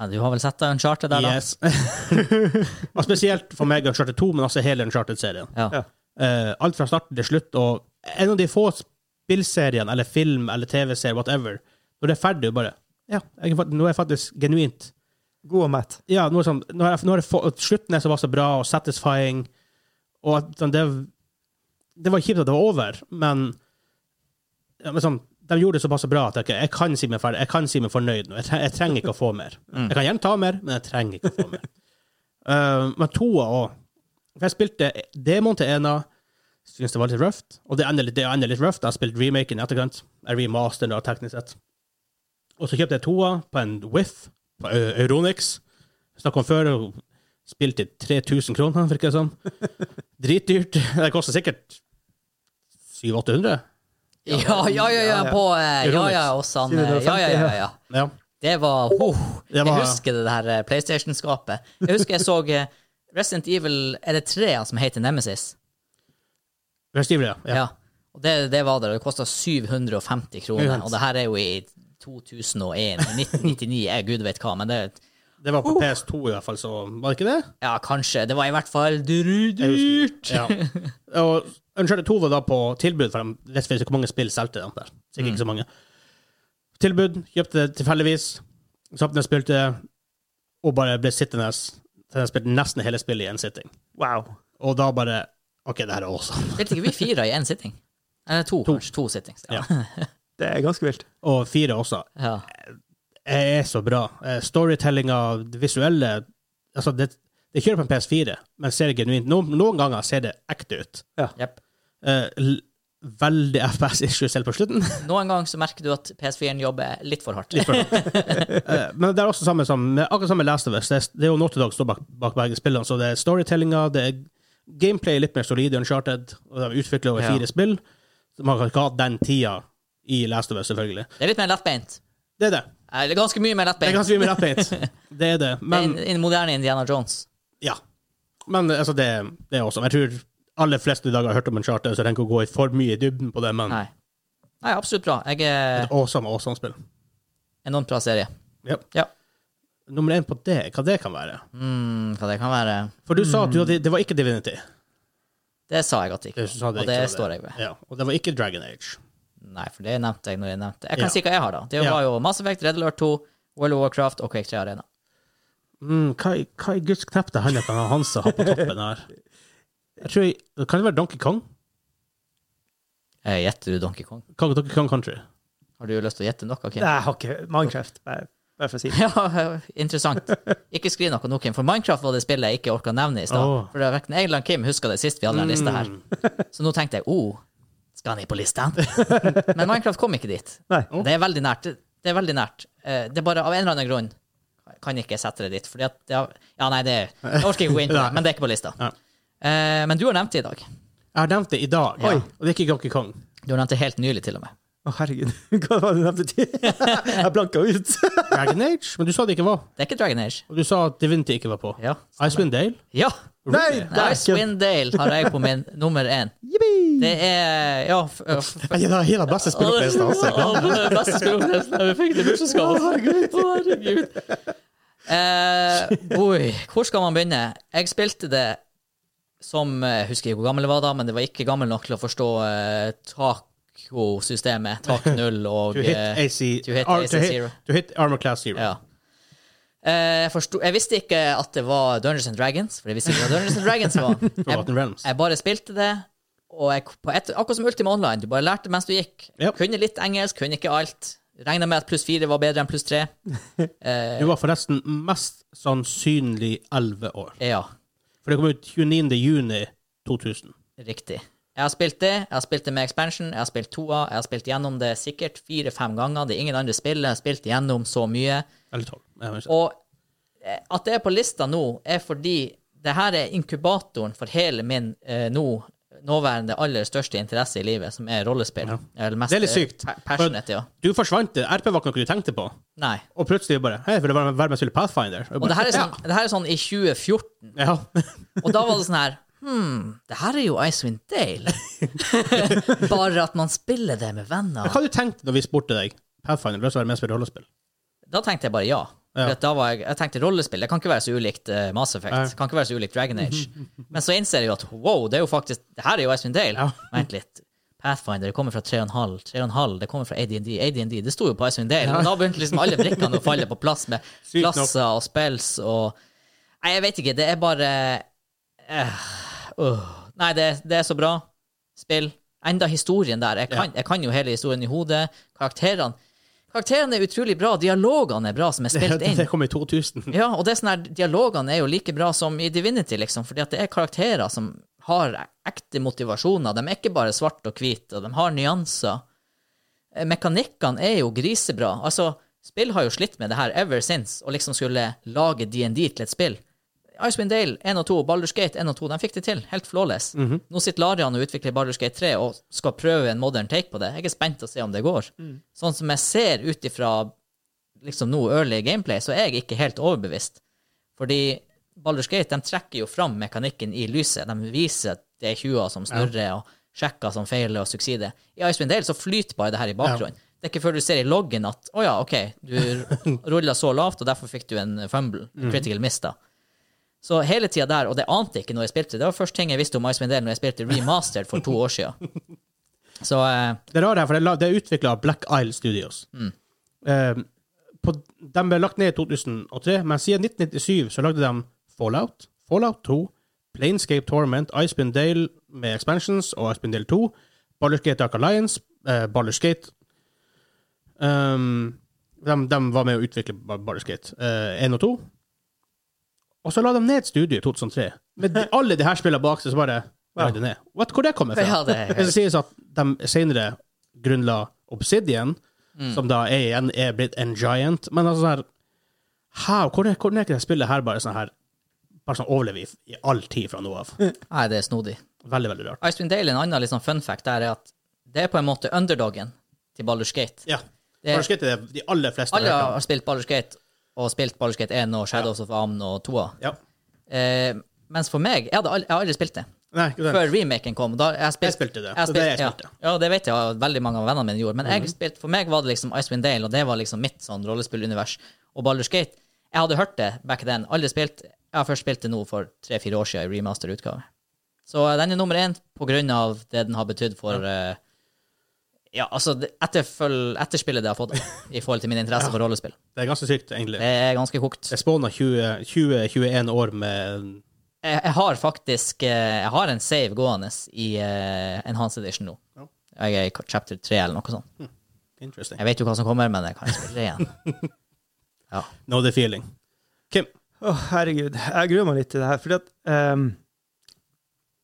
A: Ja, du har vel sett Uncharted der, da?
C: Yes. (laughs) og spesielt for meg Uncharted 2, men også hele Uncharted-serien.
A: Ja.
D: Ja.
C: Eh, alt fra starten til slutt, og en av de få spillseriene, eller film, eller TV-serier, whatever, når det er ferdig, bare Ja, jeg, er fakt- nå er jeg faktisk genuint
D: God og mett.
C: Ja, noe sånn, nå har jeg, nå har jeg få, at slutten er såpass bra og satisfying, og at sånn, det, det var kjipt at det var over, men, ja, men sånn, de gjorde det såpass bra at jeg, ikke- jeg kan si meg ferdig, jeg kan si meg fornøyd nå. Jeg, tre, jeg trenger ikke å få mer. Jeg kan gjerne ta mer, men jeg trenger ikke å få mer. (laughs) Eh, men toa òg. For jeg spilte demoen til ena, syntes det var litt røft, og det ender litt, det ender litt røft. Jeg har spilt remaken i etterkant, jeg remaster da, teknisk sett. Og så kjøpte jeg toa på en Whiff, på Au- Euronix. Snakka om før, og spilte i 3000 kroner, virker det som. Dritdyrt. Det koster sikkert 700-800.
A: (laughs) Ja, ja, ja, ja, på eh, Ja, ja, hos han eh, Ja, ja, ja. ja.
C: Ja.
A: Det var, oh,
C: Det var-
A: Jeg husker det der eh, PlayStation-skapet. Jeg husker jeg så eh, Resident Evil Er det tre han som heter Nemesis?
C: Resident Evil, ja.
A: Ja.
C: ja.
A: Og det, det var der. og Det kosta 750 kroner. Og det her er jo i 2001. 1999 er gud vet hva, men det
C: Det var på PS2 i hvert fall, så var det ikke det?
A: Ja, kanskje. Det var i hvert fall
C: Jeg husker-
A: dyrt.
C: Ja. Og Uncharted 2 var da på tilbud, for de vet faktisk ikke hvor mange spill solgte de der. Sikkert ikke så mange. Tilbud, kjøpte det tilfeldigvis, satt ned og spilte, og bare ble sittende til jeg spilte nesten hele spillet i en sitting.
D: Wow.
C: Og da bare OK, det her er awesome.
A: Spilte ikke vi fire i én sitting? Eller to, kanskje. To sittings. Ja.
D: Det er ganske vilt.
C: Og fire også.
A: Ja.
C: er så bra. Eh, Storytellinga, det visuelle altså det, det kjører på en PS4, men ser genuint Noen, noen ganger ser det ekte ut.
A: Jep.
C: Eh, l- veldig FPS-issue selv på slutten. (laughs)
A: Noen gang så merker du at PS4-en jobber litt for hardt.
C: Eh, men det er også samme som med- akkurat samme Last of Us. Det er, det er jo Naughty Dog står bak, bak begge spillene, så det er storytellinga, det er gameplay er litt mer solid i Uncharted, og de utvikler over
A: Ja.
C: fire spill. Så Man kan ikke ha den tida i Last of Us, selvfølgelig.
A: Det er litt mer lettbeint.
C: Det er det.
A: Eller ganske mye mer
C: Det er
A: lettbeint.
C: ganske mye mer lettbeint. Det er det. Men
A: I den moderne Indiana Jones.
C: Ja. Men altså, det, det er også Jeg tror aller fleste i dag har hørt om en charter, så jeg trenger ikke å gå i for mye i dybden på det, men
A: Nei. Nei, absolutt bra. Jeg er
C: et awesome, awesome spill.
A: enormt bra serie.
C: Ja.
A: Ja.
C: Nummer én på det, hva det kan være?
A: Mm, hva det kan være
C: For du sa at du hadde, det var ikke Divinity.
A: Det sa jeg at det ikke
C: Du
A: var.
C: sa
A: Og
C: det ikke
A: det
C: var det.
A: står jeg ved.
C: Ja, og det var ikke Dragon Age.
A: Nei, for det nevnte jeg når jeg nevnte Jeg kan
C: Ja.
A: si hva jeg har, da. Det
C: Ja.
A: var jo Mass Effect, Red Alert 2, World of Warcraft og Quake 3 Arena.
C: Mm, hva, i- hva i guds knepp det handler om han som har på toppen her? Jeg tror jeg, Kan det være Donkey Kong?
A: Eh, Gjetter du Donkey Kong?
C: Kong- Donkey Kong Country.
A: Har du lyst til å gjette noe? Kim?
D: Nei, jeg har ikke Minecraft, bare bare for å si det.
A: (laughs) Ja, interessant. Ikke skriv noe nå, Kim, for Minecraft var det spillet jeg ikke orka nevne i stad.
C: Åh. Mm.
A: For det var verken jeg eller Kim huska det sist vi hadde den lista her. Så nå tenkte jeg oh, skal han i på
C: (laughs)
A: lista? Men Minecraft kom ikke dit.
D: Nei.
A: Det er veldig nært. Det- Det er veldig nært. Eh, Det er bare av en eller annen grunn kan jeg ikke sette det dit. Fordi at det har, Ja, nei, det jeg orker ikke gå
D: (laughs)
A: inn på det, men det er ikke på lista.
C: Ja.
A: Eh, Men du har nevnt det i dag.
C: Jeg har nevnt det i dag,
A: Oi.
C: og det er ikke Donkey Kong.
A: Du har nevnt det helt nylig, til og med.
D: Å, herregud. (laughs) Hva var det du nevnte
A: (laughs)
D: tidligere? Jeg blanka ut.
C: Dragon Age? Men du sa det ikke var.
A: Det er ikke Dragon Age.
C: Og du sa at Divinity ikke var på.
A: Ja.
C: Icewind Dale?
A: ja.
D: Nei, det er ikke
A: Icewind Dale har jeg på min nummer
D: (laughs)
A: én. Det er Ja. f- f-
C: Ja, hele beste spillopplevelsen hans. jeg
A: Å, det er beste spillopplevelsen jeg fikk i bursdagsgave. Å, herregud. Eh, oi, hvor skal man begynne? Jeg spilte det som eh, Jeg husker ikke hvor gammel jeg var da, men det var ikke gammel nok til å forstå eh, taco-systemet. Tak null og
C: To hit
A: eh,
C: AC
A: to hit
C: ar-
A: AC
C: to hit-
A: zero.
C: To hit armor class zero.
A: Ja. Eh, Jeg, forsto, jeg visste ikke at det var Dungeons and Dragons, for jeg visste ikke hva Dungeons and Dragons var.
C: Forgotten Realms.
A: Jeg bare spilte det, og jeg, på et, akkurat som Ultima Online, du bare lærte mens du gikk.
C: Ja.
A: Kunne litt engelsk, kunne ikke alt. Regna med at pluss fire var bedre enn pluss tre.
C: Du var forresten mest sannsynlig 11 år.
A: Ja,
C: For det kom ut 29. juni 2000.
A: riktig. Jeg har spilt det, jeg har spilt det med expansion, jeg har spilt toa, jeg har spilt gjennom det sikkert fire-fem ganger. Det er ingen andre spill jeg har spilt gjennom så mye.
C: Eller 12. Jeg vet ikke.
A: Og eh, at det er på lista nå, er fordi det her er inkubatoren for hele min eh, nå nåværende aller største interesse i livet, som er rollespill. Eller mest
C: Det er litt
A: eh,
C: sykt.
A: pa- Passionate, ja.
C: Du forsvant. det. RP var ikke noe du tenkte på.
A: Nei.
C: Og plutselig bare Hei, vil du være være med og spille Pathfinder? jeg
A: Og
C: bare,
A: det her er sånn, det her er sånn i 2014,
C: Ja. ja. (laughs)
A: og da var det sånn her Hmm, det her er jo Icewind
C: (laughs)
A: Dale. Bare at man spiller det med venner.
C: Hva du tenkte du når vi spurte deg Pathfinder, vil du også være med og spille rollespill?
A: Da tenkte jeg bare ja. For
C: Ja.
A: at Da var jeg, jeg tenkte rollespill, det kan ikke være så ulikt eh, Mass Effect.
C: Nei.
A: Kan ikke være så ulikt Dragon
C: (laughs)
A: Age. Men så innser jeg jo at wow, det er jo faktisk Det her er jo Icewind Dale. Vent litt. Pathfinder det kommer fra 3,5. 3,5 det kommer fra AD&D. AD&D det sto jo på Icewind Dale. Og da begynte liksom alle brikkene å falle på plass med
C: (laughs) Sykt nok.
A: klasser og spells og Nei, jeg vet ikke. Det er bare eh, åh. Nei, det, det er så bra. Spill. Enda historien der. Jeg kan, jeg kan jo hele historien i hodet. Karakterene Karakterene er utrolig bra. Dialogene er bra, som er spilt
C: Det,
A: inn.
C: (laughs) det kom i 2000.
A: (laughs) Ja, og det er sånn her, dialogene er jo like bra som i Divinity, liksom, fordi at det er karakterer som har ekte motivasjoner. De er ikke bare svart og hvit, og de har nyanser. Eh, Mekanikkene er jo grisebra. Altså, spill har jo slitt med det her ever since, og liksom skulle lage DND til et spill. Icewind Dale 1 og 2, Baldur's Gate 1 og 2, de fikk det til, helt flawless. Nå sitter Larian og utvikler Baldur's Gate 3 og skal prøve en modern take på det. Jeg er spent å se om det går. Sånn som jeg ser ut ifra liksom nå early gameplay, så er jeg ikke helt overbevist. Fordi Baldur's Gate de trekker jo fram mekanikken i lyset. De viser at det er tjuver som snurrer, og sjekker som feiler og suksider. I Icewind Dale så flyter bare det her i bakgrunnen. Det er ikke før du ser i loggen at å ja, OK, du rulla så lavt, og derfor fikk du en fumble. en Critical miss, da. Så hele tida der, og det ante jeg ikke når jeg spilte. Det var første ting jeg visste om Icewind Dale når jeg spilte Remastered for to år siden. Så eh,
C: Det rare her, for det er la- det er utvikla av Black Isle Studios. Eh, på, de ble lagt ned i 2003, men siden 1997 så lagde de Fallout, Fallout 2, Planescape Torment, Icebind Dale med expansions og Icebind Dale 2, Baldur's Gate Dark Alliance, eh, Baldur's Gate um, de, de var med å utvikle Ba- Baldur's Gate eh, 1 og 2. Og så la de ned studioet i 2003. Med de, alle de her spillene bak seg, så bare la de ned. Vet du hvor det kommer fra?
A: Ja, det er-
C: Det skal sies at de senere grunnla Obsidian,
A: Mm.
C: som da er igjen er blitt en giant. Men altså sånn her How? Hvordan, hvordan er ikke det spillet her bare sånn her Bare sånn overlever i, i all tid fra nå av?
A: nei, det er snodig.
C: Veldig, veldig rart.
A: Icewind Dale, en annen litt sånn fun fact der, er at det er på en måte underdogen til Baldur's Gate.
C: Ja.
A: Det-
C: Baldur's Gate er det de aller fleste
A: Alle
C: har hørt om.
A: har spilt Baldur's Gate, og spilt Baldur's Gate 1 og Shadows of Amn og 2.
C: Ja.
A: Eh, mens for meg, jeg, hadde aldri, jeg har aldri spilt det.
C: Nei, ikke sant.
A: Før remaken kom. Da, jeg, spilt,
C: Jeg spilte det.
A: har
C: Det er det jeg
A: spilt-
C: spilte. Mhm.
A: Ja, ja, det vet jeg og veldig mange av vennene mine gjorde. Men jeg spilte, for meg var det liksom Icewind Dale, og det var liksom mitt sånn rollespillunivers. Og Baldur's Gate Jeg hadde hørt det back then. Aldri spilt. Jeg har først spilt det nå for tre-fire år siden i remaster-utgave. Så eh, den er nummer én på grunn av det den har betydd for eh, Ja, altså det- etterfølg, etterspillet det har fått i forhold til min interesse for rollespill.
C: Det er ganske sykt, egentlig.
A: Det er ganske kokt.
C: Jeg spåna 20-21 år med
A: jeg, jeg har faktisk eh, Jeg har en save gående i uh, Enhanced Edition nå. Jeg er i ka- chapter 3 eller noe sånt.
C: Interesting.
A: Jeg vet jo hva som kommer, men jeg kan ikke spille
C: (laughs)
A: igjen. Ja.
C: Know the feeling. Kim,
D: Å, herregud. Jeg gruer meg litt til det her. Fordi at ehm,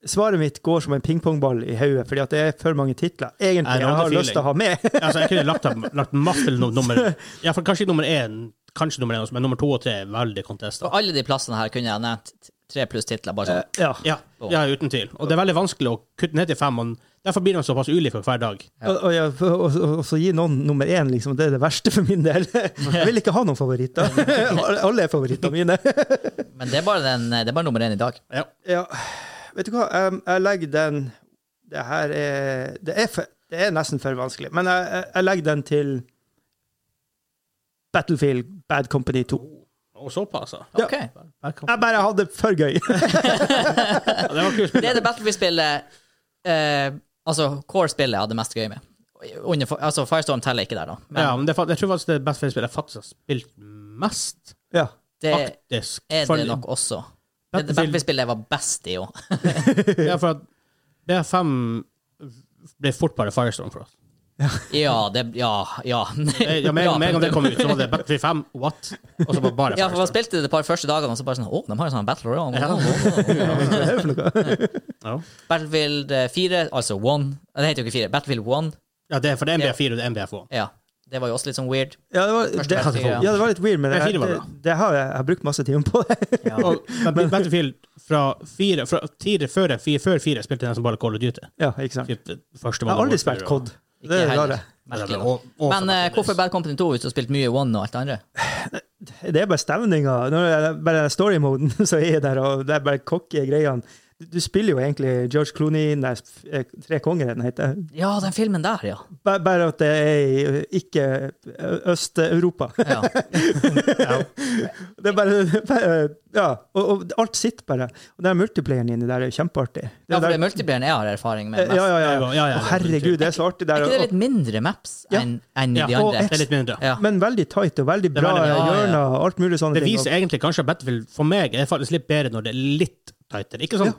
D: Svaret mitt går som en pingpongball i hodet, fordi at det er for mange titler. Egentlig
C: I know
D: jeg
C: the
D: har lyst til å ha med. (laughs)
C: altså, jeg kunne lagt, lagt masse til no- nummer Ja, for kanskje ikke nummer én, kanskje nummer én, også, men nummer to og tre er veldig contesta.
A: Og alle de plassene her kunne jeg nevnt t- tre pluss titler, bare sånn.
D: ja.
C: Ja, ja, uten tvil. Og det er veldig vanskelig å kutte ned til fem, og derfor blir de såpass ulike hver dag.
D: Og, og, ja, og, og, og så gi noen nummer én, liksom. Det er det verste for min del. Jeg vil ikke ha noen favoritter. Alle er favorittene mine.
A: Men det er bare, den, eh, det er bare nummer én i dag.
C: Ja.
D: Ja, vet du hva, jeg, jeg legger den Det her er Det er, for, det er nesten for vanskelig, men jeg, jeg, jeg legger den til Battlefield Bad Company 2.
C: Og såpass, altså.
A: Ok.
D: Jeg bare hadde det for gøy. (laughs)
C: Ja, det var kult.
A: Det er det Battlefield-spillet eh, Altså Core-spillet jeg hadde mest gøy med. Under, altså Firestorm teller ikke der, da. Men
C: Ja, men det, er fa- jeg tror faktisk det er best spillet jeg faktisk har spilt mest.
D: Ja.
A: Det
C: Faktisk.
A: Eh, er
C: For-
A: det nok også. Det
C: Battlefield-
A: Battlefield jeg var best i òg.
C: Ja, for at BF5 ble fort bare Firestorm for oss.
A: (laughs) Ja, det Ja, ja. (laughs)
C: Eh, Ja, med,
A: Ja,
C: med en gang det
A: punktum.
C: kom ut, så var det Battlefield 5, what? Og så var det bare
A: Ja, for man
C: Firestorm.
A: spilte det et par første dagene, og så bare sånn Å, de har jo sånn Battle Royale.
C: Ja.
D: Hva er det for noe?
C: Ja.
A: (laughs) Battlefield eh, 4, altså 1 Det heter jo ikke 4. Battlefield 1.
C: Ja, det er, for det er MBF4 og det er MBF1.
A: Ja. Det var jo også litt sånn weird.
D: Ja, det var,
A: Første
D: det,
A: Battlefield, ja.
D: ja, det var litt weird, men
C: Men
D: det,
C: fire var
D: det,
C: bra.
D: det har jeg, jeg har brukt masse timer på det. (laughs)
C: Og Bat- Battlefield fra fire, fra tidligere før fire, før fire spilte den som bare Call of Duty.
D: Ja, ikke sant.
C: Typ eh, Første
D: Jeg har aldri spilt COD.
A: Ikke
D: Det er det
A: heller.
D: rare.
A: Merkelig nok. Men eh, hvorfor Bad Company 2 hvis du har spilt mye One og alt det andre?
D: Det er bare stemninga. Når jeg bare er story-moden, (laughs) så er jeg der, og det er bare cocky greiene. Du, du spiller jo egentlig George Clooney, nei, f- eh, Tre konger, den heter.
A: Ja, den filmen der, ja.
D: Ba- Bare at det er i eh, ikke eh, Øst-Europa. (laughs)
A: ja.
D: Det er bare, bare Ja. Og, og alt sitter bare. Og den multiplayeren inni der er jo kjempeartig.
A: Ja, for det
D: der,
A: er multiplayer jeg har erfaring med.
D: Eh, ja,
A: mest.
D: ja, ja.
C: Ja, ja, ja.
D: Å, herregud, det er så artig
A: Er
D: der.
A: ikke det
D: og-
A: litt mindre maps
D: Ja.
A: enn enn
C: Ja,
A: de
D: og
A: andre?
C: Det er litt mindre.
A: Ja.
D: Men veldig tight og veldig
C: er
D: bra
C: veldig-
A: ja, ja.
D: hjørner og alt mulig sånne
C: Det viser
D: ting.
C: egentlig kanskje at Battlefield for meg er faktisk litt bedre når det er litt tightere. Ikke sånn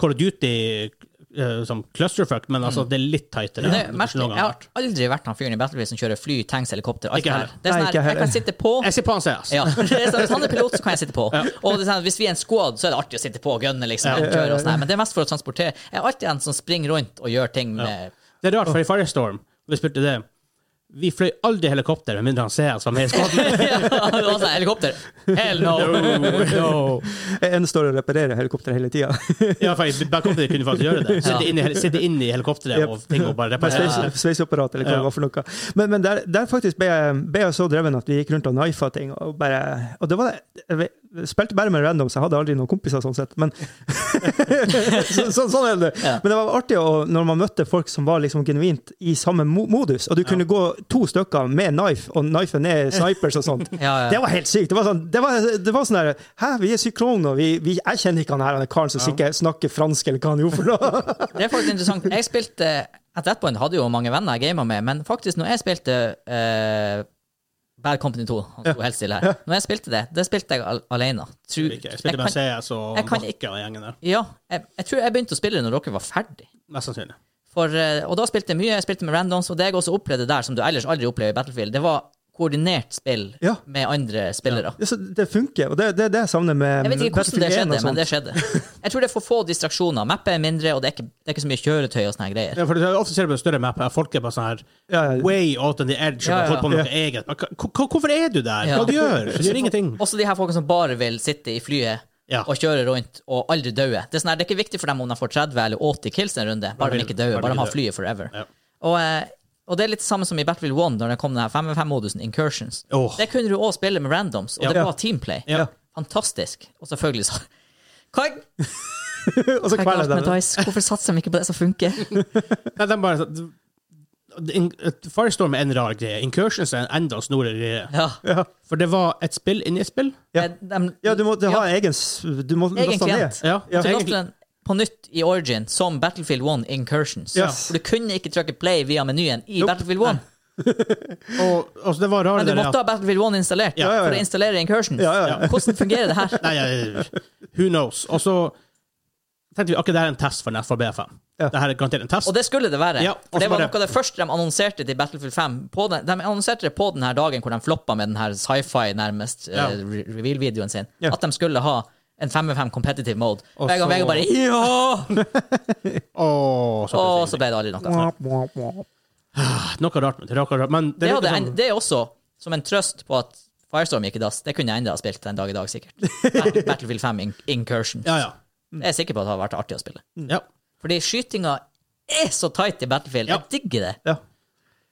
C: Call of Duty eh, som clusterfuck, men altså det er litt tightere.
A: Mm. Det
C: enn
A: er
C: det
A: merkelig.
C: noen gang
A: Jeg
C: har
A: har aldri vært han fyren i Battlefield som kjører fly, tanks, helikopter. Alt
C: Ikke
A: det her.
C: heller.
A: Det er
D: Nei,
A: sånn
D: ikke
A: her, jeg
D: heller.
A: kan sitte på.
C: vært. Jeg sier på han CS.
A: Ja. Det er sånn, hvis han er pilot, så kan jeg sitte på. Og det er sånn, hvis vi er en squad, så er det artig å sitte på og gunne, liksom. og kjøre og sånn her. Men det er mest for å transportere. Jeg er alltid en som springer rundt og gjør ting med (laughs)
C: Det er rart, for i Firestorm, vi spilte det Vi fløy aldri helikopter med mindre han CS var med i
A: (laughs)
C: skåten.
A: ja, det var sånn, Helikopter! Hell no!
D: En står og reparerer helikopter hele tida. (laughs)
C: ja, for i Back Company kunne vi faktisk gjøre det. Sitte
A: Ja.
C: inni hel- sitte inn i helikopteret og ting og bare reparere.
D: Sveis- Sveiseapparat, eller hva
C: Ja.
D: det var for noe. Men, men der, der faktisk ble jeg, ble jeg så dreven at vi gikk rundt og knifa ting. Og, bare, og det var det. Jeg vet- spilte bare med randoms, jeg hadde aldri noen kompiser sånn sett. Men, (laughs) så, så, sånn er det.
A: Ja.
D: men det var artig å, når man møtte folk som var liksom genuint i samme mo modus, og du kunne gå to stykker med knife, og knifen er snipers og sånt.
A: Ja, ja.
D: Det var helt sykt. Det var sånn, det var, det var sånn der Hæ, vi er sykloner, vi, vi, jeg kjenner ikke han her, han er karen som sikkert snakker fransk, eller hva han gjorde for noe.
A: Det er faktisk interessant. Jeg spilte At that point hadde jo mange venner jeg gamet med, men faktisk, når jeg spilte eh, Bad Company 2 Han sto helt stille her. Når jeg spilte det, det spilte jeg al alene. Tru,
C: Ikke. Jeg spilte med
A: kan,
C: CS og
A: jeg kan ikke-
C: Bakke og gjengen der.
A: ja, jeg, jeg tror jeg begynte å spille når dere var ferdig.
C: Mest sannsynlig.
A: For, eh, og da spilte jeg mye. Jeg spilte med randoms, og det jeg også opplevde der, som du ellers aldri opplever i Battlefield, det var koordinert spill
D: Ja.
A: med andre spillere.
D: Ja, så det funker, og det er det, er det jeg savner med
A: Jeg vet ikke hvordan det
D: Battlefield 1
A: skjedde,
D: og sånn. sånt.
A: men det
C: sånn.
A: skjedde.
C: (laughs)
A: Jeg tror det er for få distraksjoner. Mappet er mindre, og det er ikke, det er ikke så mye kjøretøy og sånne greier.
C: Ja, for det er Ofte ser du på en større map at folk er bare sånn her
D: Ja, ja.
C: way out on the
A: Ja,
C: edge og
A: ja.
C: holder på med noe eget. Men hva- hva- Hvorfor er du der?
A: Ja.
C: Hva du
A: (laughs)
C: gjør du? gjør ingenting.
A: Også de her folkene som bare vil sitte i flyet
C: Ja.
A: og kjøre rundt og aldri daue. Det er, sånn her, det er ikke viktig for dem om de får 30 eller 80 kills en runde, bare de
C: vil-
A: ikke dauer.
C: bare
A: Bare
C: vil
A: de har
C: dø.
A: flyet forever.
C: Ja.
A: Og, eh, og det er litt samme som i Battlefield 1, når det kom den her 5-5-modusen, Incursions.
C: Åh.
A: Det kunne du òg spille med randoms, og det
D: Ja.
A: var teamplay.
C: Ja.
A: Fantastisk. Og selvfølgelig så Hva er
D: Og så
A: hva er
D: kveler
A: galt med
D: jeg dem.
A: Dice? Hvorfor satser de ikke på det som funker?
C: Nei, de bare sånn- In- Firestorm er en rar greie. Incursions er en enda snorere greie.
A: (laughs) Ja.
D: Ja.
C: For det var et spill inni et spill.
D: Ja.
A: Eh, dem-
D: ja, du må ha egen s- Du må
A: Egen
D: laste ned. (laughs)
A: klient.
C: Ja,
D: Ja.
A: Så
C: egentlig-
A: laster den på nytt i Origin som Battlefield 1 Incursions.
D: Yes.
A: For du kunne ikke trykke play via menyen i Battlefield 1.
C: Og, altså, det var rart.
A: Men du
C: det der
A: måtte
C: at-
A: ha Battlefield 1 installert
C: Ja,
D: ja, ja.
A: for å installere Incursions.
D: Ja, ja, ja.
A: Hvordan fungerer det
D: (laughs)
A: her?
C: Nei, ja, who knows? Og så tenkte vi ok, det her er en test for neste for BFM.
D: Ja.
C: Det her er garantert en test.
A: Og det skulle det være.
C: Ja,
A: for det
C: og så
A: var
C: bare-
A: noe av det første de annonserte til Battlefield 5. På den, de annonserte det på den her dagen hvor de floppa med den her sci-fi, nærmest,
C: Ja.
A: eh, re- reveal-videoen sin.
D: Ja.
A: At de skulle ha en 5-5 competitive mode.
C: Og
A: Hver gang
C: så-
A: Vegard bare Ja!
C: Åh, så
A: Og
C: plutselig.
A: så ble det aldri noe.
D: Mwah, mwah, mwah.
C: Noe rart, men det er noe rart. Men det,
A: Det,
C: er
A: hadde,
C: litt
A: en-
C: sånn,
A: det er også som en trøst på at Firestorm gikk i dass. Det kunne jeg enda ha spilt den dag i dag, sikkert. Bat- Battlefield 5 in Incursion.
C: ja, ja.
A: Jeg er sikker på at det hadde vært artig å spille.
C: ja.
A: Fordi skytinga er så tight i Battlefield.
C: Ja.
A: Jeg digger det.
D: Ja.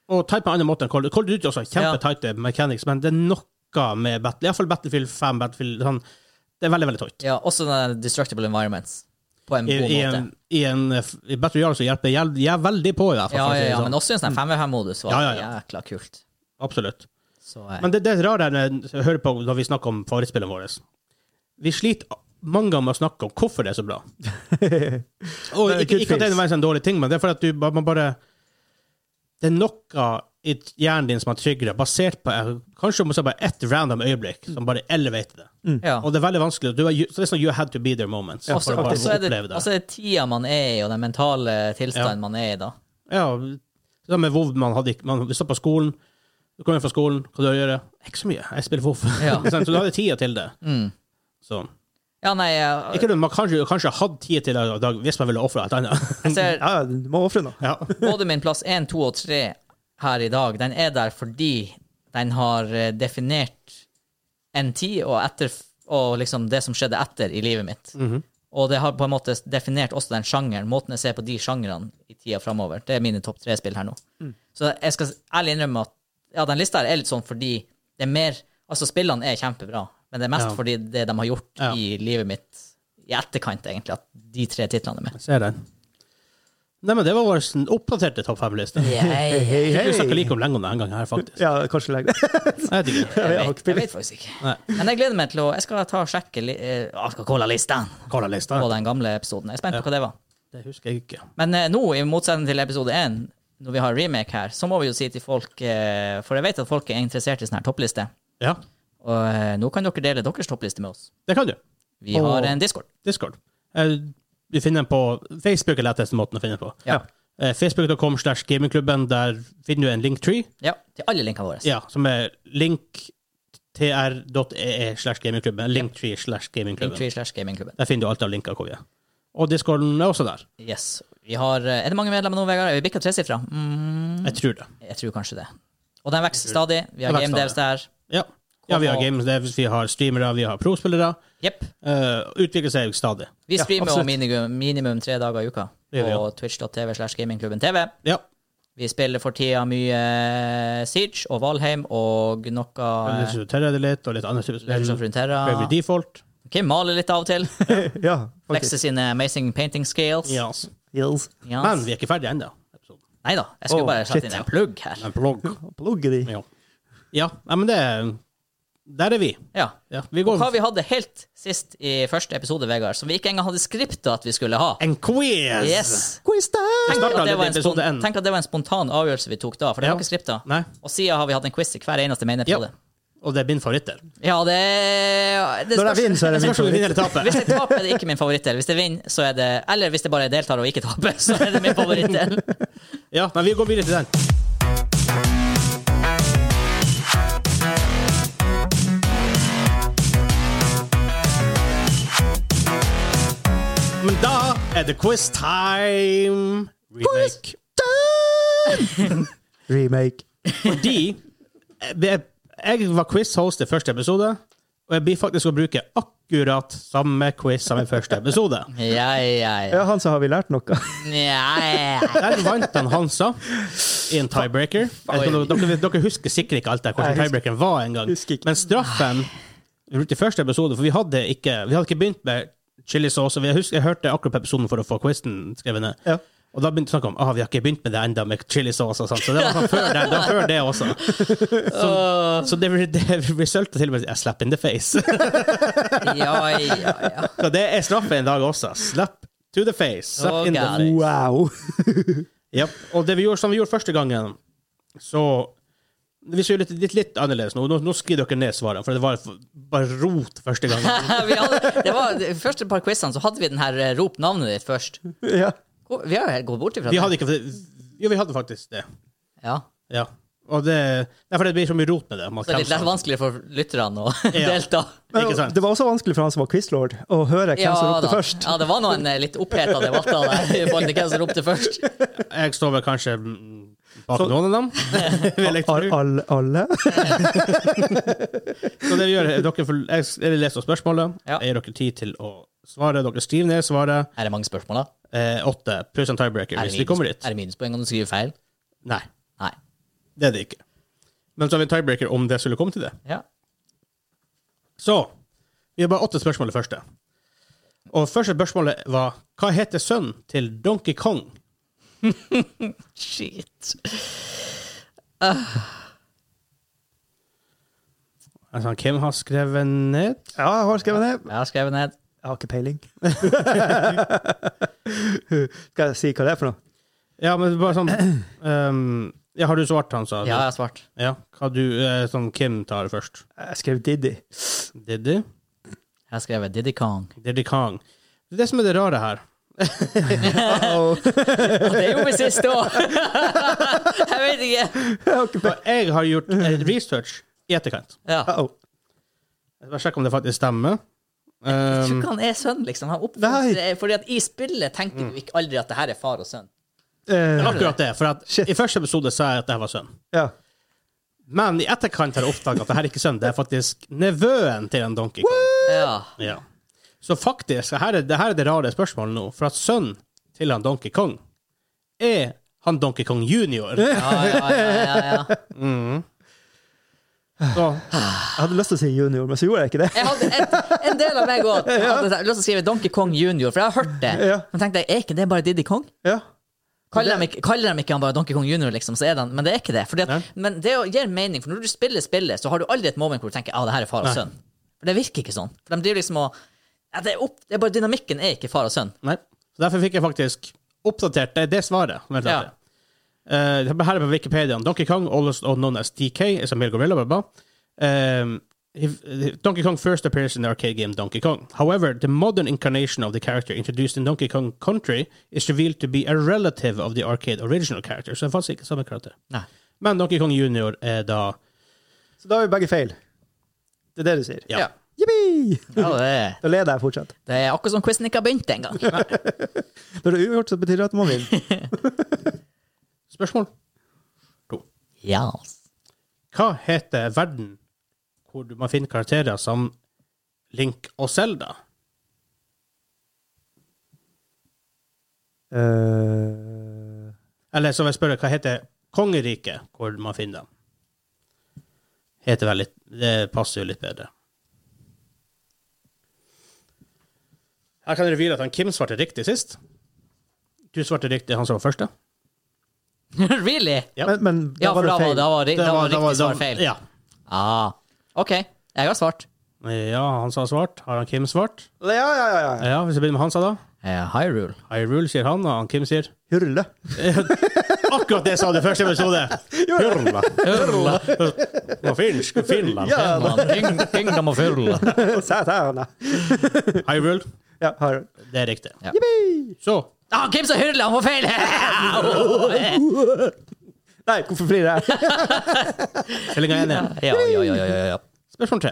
C: Og tight på en annen måte enn Call Call of Duty også. Kjempetighte mechanics, men det er noe med battle. Iallfall Battlefield 5, Battlefield sånn, Det er veldig, veldig tight.
A: Ja, også den der destructible environments. På en
C: I,
A: god
C: i,
A: måte.
C: en, i, en, eh, I Battle Royale så hjelper jeg, jeg veldig på, i hvert fall.
A: Ja,
C: for å
A: ja,
C: si det
A: ja,
C: sånn.
A: men også i en sånn 5-5-modus var
C: Ja,
A: det
C: ja, ja.
A: jækla kult.
C: Absolutt.
A: Så, eh,
C: Men det, det er rart når jeg hører på når vi snakker om favorittspillene våre. Vi sliter mange ganger med å snakke om hvorfor det er så bra. Og
D: Det er
C: ikke,
D: good
C: ikke at det
D: feels.
C: er nødvendigvis en dårlig ting, men det er fordi at du, ba- man bare det er noe i hjernen din som er tryggere, basert på eh, kanskje om å si bare ett random øyeblikk som bare elevater det.
A: Ja.
C: Og det er veldig vanskelig. Du er, ju- så det er sånn you had to be there moments.
D: Ja,
C: for å bare
A: Og så er det,
C: oppleve det.
A: og så er det tida man er i, og den mentale tilstanden man er i da.
C: Ja, det der med WoW man hadde ikke man, Vi satt på skolen, du kom hjem fra skolen, hva du gjør? Ikke så mye, jeg spiller WoW.
A: Ja.
C: Ikke sant? (laughs) så du hadde tida til det.
A: Mm.
C: Så.
A: Ja, nei, jeg,
C: Ikke det, man kanskje, kanskje hadde tid til det i dag hvis man ville ofre et annet. (laughs)
A: jeg ser
D: Ja, du må ofre noe.
C: Ja.
A: både min plass 1, 2 og 3 her i dag, den er der fordi den har eh, definert en tid og, etter, og liksom det som skjedde etter i livet mitt.
C: Mhm.
A: Og det har på en måte definert også den sjangeren, måten jeg ser på de sjangrene i tida framover. Det er mine topp tre-spill her nå.
C: Mm.
A: Så jeg skal ærlig innrømme at ja, den lista her er litt sånn fordi det er mer Altså, spillene er kjempebra, men det er mest
C: Ja.
A: fordi det de har gjort
C: Ja.
A: i livet mitt i etterkant, egentlig, at de tre titlene er med.
C: Jeg ser den. Nei, men det var vår sånn oppdaterte topp fem-liste.
A: Yay.
D: Hei,
C: Vi snakker
D: hei.
C: like om lenge om det en gang her, faktisk.
D: Ja, kanskje legg det.
C: Jeg
A: Jeg
C: vet ikke.
D: Jeg har
A: vet,
D: ikke
A: jeg
D: spilt.
A: vet faktisk ikke.
C: Nei.
A: Men jeg gleder meg til å Jeg skal ta og sjekke li, eh, Coca-Cola-lista
C: Hva er lista?
A: på den gamle episoden. Jeg er spent på hva det var.
C: Det husker jeg ikke.
A: Men eh, nå, i motsetning til episode 1, når vi har remake her, så må vi jo si til folk eh, For jeg vet at folk er interessert i sånne her topplister.
C: Ja,
A: Og eh, nå kan dere dele deres toppliste med oss.
C: det kan du.
A: Vi
C: Og-
A: har en discord.
C: Discord. Eh, Vi finner den på Facebook er letteste måten å finne den på.
A: Ja.
C: Eh, Facebook.com slash gamingklubben, der finner du en linktree,
A: Ja, til alle linkene våre.
C: ja, som er linktr.ee E slash gamingklubben. Linktree slash gamingklubben.
A: Linktree slash gamingklubben.
C: Der finner du alt av linker hvor vi er. Og discorden er også der.
A: Yes. Vi har, eh, er det mange medlemmer nå, Vegard? Er vi bikka tresifra? Mm,
C: Jeg tror det.
A: jeg tror kanskje det. Og den vokser stadig. Vi har
C: Den vokser
A: game devs der.
C: Ja. ja vi har games, devs, vi har streamere, vi har prospillere.
A: Jepp.
C: Eh, utvikler seg stadig.
A: Vi
C: Ja,
A: streamer jo
C: absolutt.
A: minimum, minimum tre dager i uka
C: Det gjør vi,
A: på twitch.tv slash gamingklubben TV.
C: Ja.
A: Vi spiller for tida mye eh, Siege og Valheim og noe
C: Litt
A: eh,
C: Terra det litt, og litt andre typer
A: Legends of
C: spill.
A: Runeterra.
C: Bravely Default.
A: Kim maler litt av og til.
D: (laughs) Ja, faktisk.
A: Flexer sine amazing painting skills.
C: Ja. altså.
D: Yes.
C: Men vi er ikke ferdige ennå.
A: Nei da, jeg skulle
D: Oh,
A: bare sette
D: shit.
A: inn en plugg her.
C: En blogg.
D: Plugge de.
C: (laughs) Ja. ja, nei, men det Der er vi.
A: Ja.
C: Ja, vi
A: Og
C: går
A: hva vi hadde helt sist i første episode, Vegard, som vi ikke engang hadde skripta at vi skulle ha.
C: En quiz!
A: Yes.
D: Quiz time!
A: Tenk at,
C: startet
A: det var en
C: litt i episode
A: spon-
C: én.
A: tenk at det var en spontan avgjørelse vi tok da, for det
C: Ja.
A: var ikke skripta.
C: Nei,
A: Og siden har vi hatt en quiz i hver eneste
C: Ja.
A: menepisode.
C: og det er min favorittdel.
A: Ja, det, det
D: Når jeg
A: spørs-
D: vinner, så er det min
C: Spørs om du
D: favoritt.
C: vinner eller taper.
A: Hvis jeg taper, er det ikke min favorittdel. Hvis jeg vinner, så er det Eller hvis jeg bare deltar og ikke taper, så er det min favorittdel.
C: Ja, men vi går videre til den. Men da er det quiz time! Remake.
D: Remake.
C: Fordi eh, det er, jeg var quiz-host i første episode, og jeg blir faktisk å bruke akkurat samme quiz som i første episode.
A: Ja, ja, ja.
D: Ja, han sa har vi lært noe.
A: ja.
C: Der vant han Hansa i en tiebreaker. Jeg vet ikke om Dere, dere, dere husker sikkert ikke alt det, her, hvordan
D: Nei, husker-
C: tiebreakeren var engang.
D: husker ikke.
C: Men straffen vi brukte i første episode, for vi hadde ikke, vi hadde ikke begynt med chili sauce. og Jeg, husker, jeg hørte akkurat på episoden for å få quizen skrevet ned.
D: Ja.
C: Og da begynte vi å snakke om ah, vi har ikke begynt med det enda med chili sauce og sånt. Så det var sånn før det, det, var før det også. Så, så det, det resultet til og med i jeg slapp in the face. (laughs)
A: ja, ja, ja.
C: Så det er straffen i dag også. Slap to the face. Slap
A: Oh,
C: in the
A: God.
D: Wow. (laughs)
C: Yep. Og det vi gjorde som vi gjorde første gangen, så Vi skal gjøre det litt, litt annerledes nå. Nå, nå skriver dere ned svarene, for det var f- bare rot første
A: (laughs)
C: gangen.
A: Vi hadde, det var de første par quizene, så hadde vi den her eh, Rop navnet ditt først.
D: Ja.
A: Hvor- Vi har jo gått bort ifra
C: Vi hadde
A: det.
C: ikke Jo, vi hadde faktisk det.
A: Ja.
C: Ja. Og det Derfor det blir så mye rot med det. Man
A: Så det er litt
C: krangler.
A: lett vanskeligere for lytterne å
C: Ja.
A: delta.
C: Ikke sant?
D: Det var også vanskelig for han som var quizlord, å høre hvem
A: Ja
D: som ropte
A: da.
D: først.
A: Ja, det var noen eh, litt oppheta debatter der i forhold til hvem som ropte først.
C: Jeg står vel kanskje mm, bak noen av dem. (laughs) Vil jeg
D: Al-
C: tro.
D: al- alle?
C: så det vi gjør, er dere får- jeg s- jeg leser spørsmålet.
A: Ja.
C: Jeg gir dere tid til å svare. Dere skriver ned svaret.
A: Er det mange spørsmål, da?
C: Eh, åtte pluss en tiebreaker
A: Er
C: hvis
A: det
C: vi kommer
A: minus-
C: dit.
A: er det minuspoeng om du skriver feil?
C: Nei,
A: Nei.
C: det er det ikke. Men så har vi en tiebreaker om det skulle komme til det.
A: Ja.
C: Så vi har bare åtte spørsmål i første. Og første spørsmålet var Hva heter sønnen til Donkey Kong?
A: Shit.
C: Altså, Kim har skrevet ned
D: (laughs) Ja, jeg har skrevet det.
A: Jeg har skrevet ned.
D: Jeg har ikke peiling. (laughs) Skal jeg si hva det er for noe?
C: Ja, men bare sånn um, Ja, har du svart han, sa du?
A: Ja, jeg har svart.
C: Ja. Hva du, eh, sånn Kim tar det først.
D: Jeg skrev
A: (laughs)
D: Diddy.
C: Diddy?
A: Jeg har skrevet Diddy Kong.
C: Diddy Kong. Det er det som er det rare her.
A: Og det gjorde vi sist òg! (laughs) jeg vet ikke.
C: For jeg har gjort eh, research i etterkant.
A: Ja.
D: Uh-oh.
C: Jeg skal sjekke om det faktisk stemmer.
A: Jeg tror
C: Um,
A: ikke han er sønn, liksom. Han oppfostrer Fordi at i spillet tenker du ikke aldri at det her er far og sønn.
D: Eh,
C: akkurat det. For at i første episode sa jeg at det var sønn.
D: ja.
C: Men i etterkant har jeg oppdaget at det her er ikke sønn, det er faktisk nevøen til en Donkey Kong.
A: Ja.
C: Ja. Så faktisk, her er, det her er det rare spørsmålet nå, for at sønnen til han Donkey Kong er han Donkey Kong junior.
A: Ja, ja, ja, ja, ja.
C: Så,
D: Jeg hadde lyst til å si junior, men så gjorde jeg ikke det.
A: Jeg hadde et, en del av meg òg hadde lyst til å skrive Donkey Kong Junior, for jeg har hørt det.
D: Ja.
A: Men tenkte jeg, er ikke det bare Diddy Kong?
D: Ja.
A: Kaller de, ikke- kaller de ikke han bare Donkey Kong Junior, liksom, så er det han, men det er ikke det. Fordi
C: Nei.
A: at, men det gir mening, for når du spiller spillet, så har du aldri et moment hvor du tenker at ah, det her er far og
C: Nei.
A: sønn. For det virker ikke sånn. For de driver liksom og ja, det, er opp, det er bare Dynamikken er ikke far og sønn.
C: nei. Så derfor fikk jeg faktisk oppdatert det, det svaret. Vent litt.
A: Ja.
C: Eh, her er på Wikipediaen. Donkey Kong, also known as DK, is a male gorilla, blah, blah. Um, if- if Donkey Kong first appears in the arcade game Donkey Kong. However, the modern incarnation of the character introduced in Donkey Kong Country is revealed to be a relative of the arcade original character. Så det er faktisk ikke samme karakter.
A: Nei.
C: Men Donkey Kong Junior er da
D: Så da har vi begge feil. Det er det du sier.
C: Ja.
D: Jippi!
A: Ja, det, er,
D: Da leder jeg fortsatt.
A: det er akkurat som quizen ikke har begynt engang.
D: Når det er uavgjort, så betyr det at man vinner.
C: Spørsmål?
A: (laughs) Ja.
C: Hva heter verden hvor du må finne karakterer som Link og Zelda?
D: Eh,
C: Eller som jeg spør, hva heter kongeriket hvor man finner dem? Heter vel litt Det passer jo litt bedre. Her kan dere vile at han Kim svarte riktig sist. Du svarte riktig, han som var første.
A: really?
C: Ja.
D: men, men da
A: Ja, for
D: var det
A: da var,
D: feil.
A: da var, ri- da var
C: da
A: riktig
C: da-
A: svar feil.
C: Ja.
A: Ah, OK, jeg har svart.
C: ja, han sa svart. Har han Kim svart?
D: Ja, ja, ja. ja.
C: Ja, Hvis vi begynner med han, sa da.
A: Eh, Hyrule.
C: Hyrule sier han, og han Kim sier
D: (laughs) Hurle.
C: Akkurat det sa du i første episode! Hurla. Hurla. På finsk. Finland.
D: Ja, da.
E: Kingdom of Hyrule.
D: Satana.
C: Hyrule.
D: Ja, Hyrule.
C: Det er riktig.
A: Ja.
C: Så
A: Ah, Kim sa Hyrule, han får feil! (laughs)
D: Nei, hvorfor flirer jeg?
C: stillinga er 1-1.
A: ja, ja, ja, ja, ja, ja.
C: Spørsmål tre.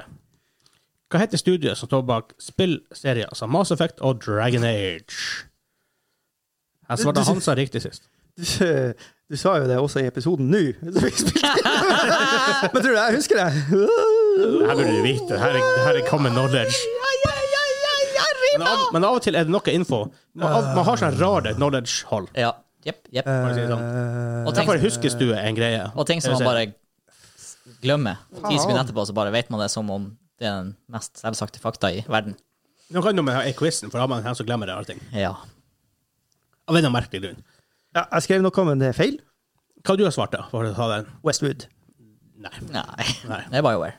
C: Hva heter studioet som står bak spillserier som Mass Effect og Dragon Age? Her svarte han sa riktig sist.
D: (laughs) Du, du sa jo det også i episoden nå. (laughs) Men tror du jeg husker det?
C: Her burde du vite. det. Her er, det her er common knowledge. Men av, men av og til er det noe info. Man, av, man har sånn rare knowledge-hold.
A: ja. Jepp, jepp.
D: Eh,
C: for å si det sånn.
A: Og ting,
C: Derfor huskestue er en greie.
A: Eh, og ting som man
C: Jeg vil
A: bare glemmer. Ti sekunder etterpå så bare vet man det som om det er den mest selvsagte fakta i verden.
C: si. Nå kan du med quizen, for da har man en som glemmer det. Allting.
A: Ja.
C: Av en eller annen merkelig grunn.
D: Ja, jeg skrev noe om en feil.
C: Hva har du har svart, da? For å ta den?
D: Westwood.
C: Nei.
A: Nei.
C: Nei.
A: Det er BioWare.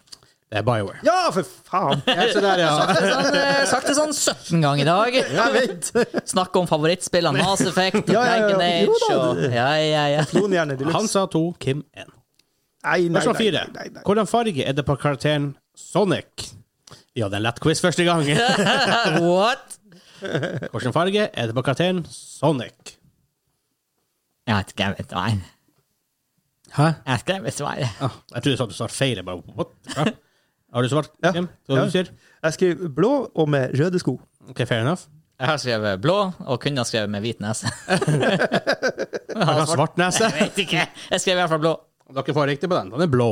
C: Det er Bioware.
D: Ja, for faen!
C: Ja, så der, ja.
A: Det er Sånn, eh, (laughs) sagt det sånn 17 ganger i
D: (laughs)
A: dag.
D: Jeg vet!
A: Snakk om favorittspillene Mass Effect og
D: Ja, ja, ja.
A: Dragon
D: Jo
A: Age
D: da.
A: og Ja, ja, ja. (laughs)
D: Klonhjerne de
C: Han sa to, Kim én.
D: Nei, nei,
C: Spørsmål
D: nei,
C: fire.
D: nei, nei.
C: Hvordan farge er det på karakteren Sonic? Vi hadde en lett quiz første
A: (laughs)
C: gang.
A: What?
C: Hvordan farge er det på karakteren Sonic?
A: Jeg vet ikke, jeg vet ikke. Nei.
C: Hæ?
A: Jeg skrev et svar.
C: Ah, jeg trodde du sa at du svarte feil. Jeg bare, what? the crap? Har du svart,
D: Ja.
C: Kim? Hva
D: Ja.
C: du sier?
D: Jeg skriver blå og med røde sko.
C: Ok, fair enough.
A: Jeg har skrevet blå, og kunne ha skrevet med hvit nese. (laughs)
C: Har han svart nese?
A: Jeg vet ikke. Jeg skrev i hvert fall blå.
C: Dere får riktig på den. Den er blå.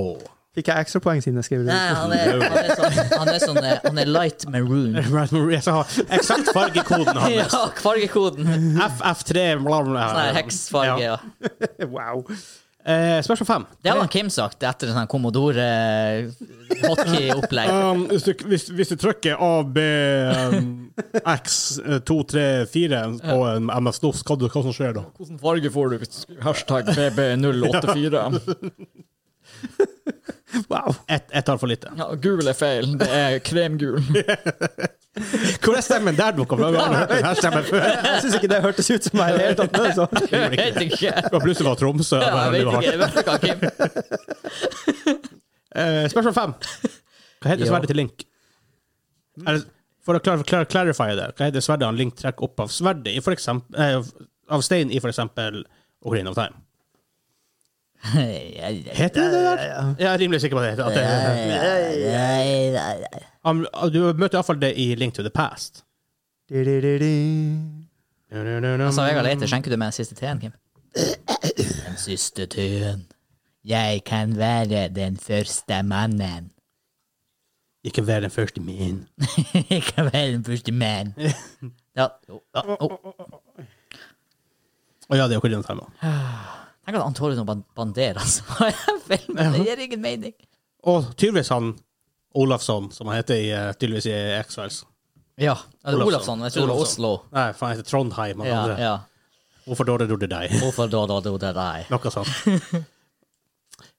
D: Fikk jeg ekstrapoeng siden jeg skrev
A: Nei,
D: røde sko?
A: han er, han er, sånn, han er, sånn, eh, han er light maroon.
C: Right, Maria, så har Eksakt fargekoden
A: (laughs) Ja, (laughs)
C: hans.
A: fargekoden.
C: FF3 bla, bla,
A: Sånn
C: bla.
A: her Sånn heksfarge. Ja.
D: Wow.
C: Eh, spørsmål fem.
A: Det hadde han Kim sagt etter sånn eh, (laughs) Commodore-hotkey-opplegg.
F: Um, hvis, du, hvis, hvis du trykker A, B, um, X, eh, 2, 3, 4 på en MS-DOS, hva, hva som skjer da?
E: Hvilken farge får du hvis du skriver hashtag BB084?
D: wow.
C: Ett et tar for lite.
E: Ja, gul er feil. Det er kremgul.
C: Hvor er stemmen der dukka fra? Vi har aldri hørt den her stemmen før.
D: Jeg syns ikke det hørtes ut som meg i det hele tatt. (laughs) Så.
A: Jeg vet ikke.
C: Det var plutselig var Tromsø.
A: Ja,
C: men
A: jeg
C: det var
A: vet ikke. (laughs) Jeg
C: hardt.
A: vet ikke hva, Kim.
C: Eh, spørsmål fem. Hva heter
A: Ja.
C: sverdet til Link? Er det, for å klar, klar, clarify det, hva heter sverdet han Link trekker opp av sverdet i for eksempel, eh, av stein i for eksempel Ocarina of Time? Heter det det der? Jeg er rimelig sikker på det. heter- At det han, ah, du møter iallfall det i Link to the Past.
A: Altså, Vegard Leite, skjenker du meg den siste teen, Kim? Den siste teen. Jeg kan være den første mannen. (laughs)
C: Ikke vær den første min.
A: Jeg kan være den første mannen. (laughs) Ja. jo, ja, jo.
C: Å ja, det er Ocarina of Time. da.
A: Tenk at Antonio Ban- Banderas (laughs) var en film, men det gir ingen mening.
C: Og tydeligvis han Olafsson, som han heter i, eh, tydeligvis i X-Files.
A: Ja, ja, det er
C: Olafsson.
A: Olafsson. Jeg tror det var Oslo.
C: Nei, for han heter Trondheim. Han
A: Ja,
C: andre.
A: ja.
C: Hvorfor da det gjorde deg?
A: Hvorfor da, da, da, da, da?
C: Noe sånt.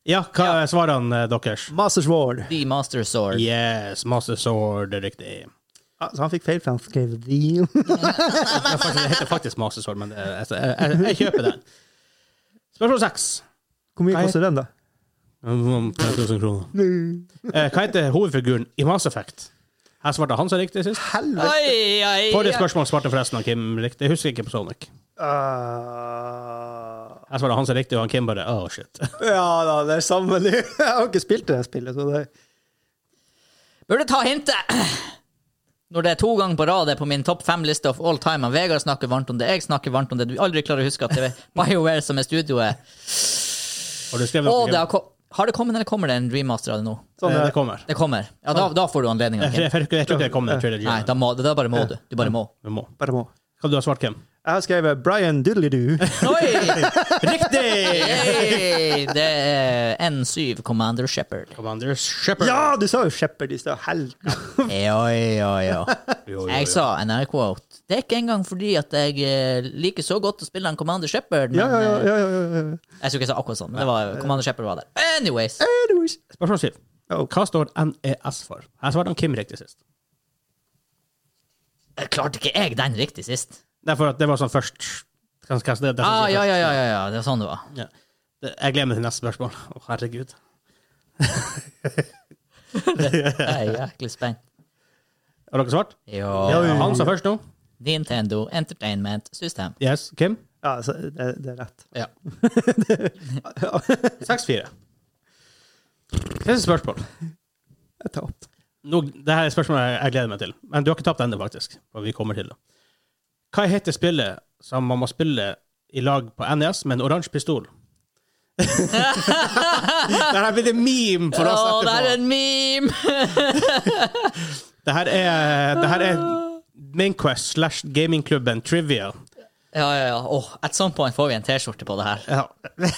C: Ja, hva er svarene eh, deres?
D: Masters Ward.
A: The Master Sword.
C: Yes, masse sword, det er riktig.
D: Ja, så han fikk feil, for han skrev The.
C: Det, er faktisk, det heter faktisk masse sword, men det, er- altså, jeg, jeg, jeg kjøper den. Spørsmål seks.
D: Hvor mye koster den, da?
C: 5000 kroner. Eh, Hva heter hovedfiguren i Mass Effect? Her svarte han seg riktig sist.
D: Helvete!
A: Oi, oi, oi.
C: Forrige spørsmål svarte forresten han Kim riktig. Jeg husker ikke på Sonic.
D: Ah.
C: Her svarte han seg riktig, og han Kim bare oh shit.
D: ja da, det er samme nå. (laughs) Jeg har ikke spilt det der spillet, så det
A: Burde ta hintet! Når det er to ganger på rad det er på min topp fem-liste of all time, og Vegard snakker varmt om det, jeg snakker varmt om det, du aldri klarer å huske at det er (laughs) BioWare som er studioet
C: Har du skrevet
A: Og det
C: noe?
A: har, kom har det kommet, eller kommer det en remaster av det nå?
C: Kim? Eh, Det kommer.
A: Det kommer. Ja, da, da får du anledninga.
C: Jeg, jeg, jeg, jeg tror ikke det kommer en trilogy.
A: Nei, da, må, da bare må du. Du bare må.
C: Vi må.
D: bare må.
C: Hva du har svart, Kim?
D: Jeg har skrevet Brian Diddley-Doo.
A: Oi!
C: Riktig!
A: Hey, det er N7 Commander Shepherd.
C: Commander Shepard.
D: (laughs) ja, du sa jo Shepherd i sted. Helvete.
A: (laughs) Oi, oi, oi.
C: Jo, jo, jo.
A: Jeg sa, and I quote, det er ikke engang fordi at jeg eh, liker så godt å spille en Commander Shepherd, men
D: Ja, ja, ja,
A: eh,
D: ja, ja, ja, ja.
A: Jeg tror ikke jeg sa akkurat sånn, men det var Commander Shepard var der. Anyways.
D: Anyways.
C: Spørsmål syv.
D: Ja.
C: Hva står NES for? Her svarte han Kim riktig sist.
A: Klarte ikke jeg den riktig sist?
C: Nei, for at det var sånn først Hva- hva- det- det-
A: Ah, ja, ja, ja, ja, ja, det var sånn det var.
C: Ja. Det- Jeg gleder meg til neste spørsmål. Å, herregud.
A: Jeg er jæklig spent.
C: Har dere svart?
A: Ja.
C: Han sa først nå.
A: Nintendo Entertainment System.
C: Yes. Kim?
D: Ja, altså, det, det er rett.
A: Ja.
C: 6-4. Siste spørsmål.
D: Jeg tar opp. (laughs)
C: Nå, det her er spørsmålet jeg gleder meg til. Men du har ikke tapt ennå, faktisk. Og vi kommer til det. Hva heter spillet som man må spille i lag på NES med en oransje pistol? det her blir det meme for
A: Å, det
C: oss
A: er
C: etterpå.
A: en meme!
C: Det her er, det her er Mainquest slash gamingklubben Trivia.
A: Ja, ja, ja. Åh, at some point får vi en T-skjorte på det her.
D: Ja, men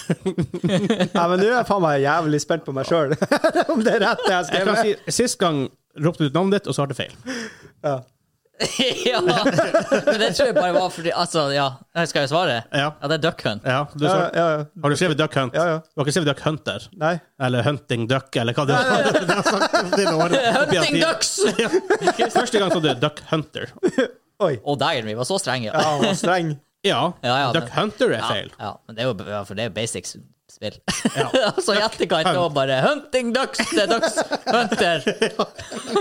D: nå er jeg faen meg jævlig spent på meg (laughs) sjøl. Om det er rett, det jeg
C: Jeg kan
D: skrev.
C: si, Sist gang ropte du ut navnet ditt, og så var det feil.
D: Ja.
A: (laughs) ja. Men det tror jeg bare var fordi Altså, ja. Skal jeg svare?
C: Ja.
A: Ja, det er Duck Hunt.
C: Ja, du
D: Ja,
C: svarte-
D: ja, ja.
C: Har du skrevet Duck Hunt?
D: Ja, ja.
C: Du har ikke skrevet Duck Hunter?
D: Nei.
C: Eller Hunting Duck, eller hva det var? (laughs) Det har sagt om dine år.
A: (laughs) Hunting Ducks!
C: Ja. Første gang sa du Duck Hunter.
D: (laughs) Oi.
A: Og Diary var så streng, ja.
D: Ja, han var streng.
C: Ja,
A: Ja, ja,
C: Duck
A: det-
C: Hunter er
A: Ja,
C: feil.
A: Ja, men det er jo, ja, for det er jo basics spill.
C: Ja.
A: (laughs) Og så i etterkant da bare 'Hunting ducks, det er ducks,
C: (laughs)
A: hunter'.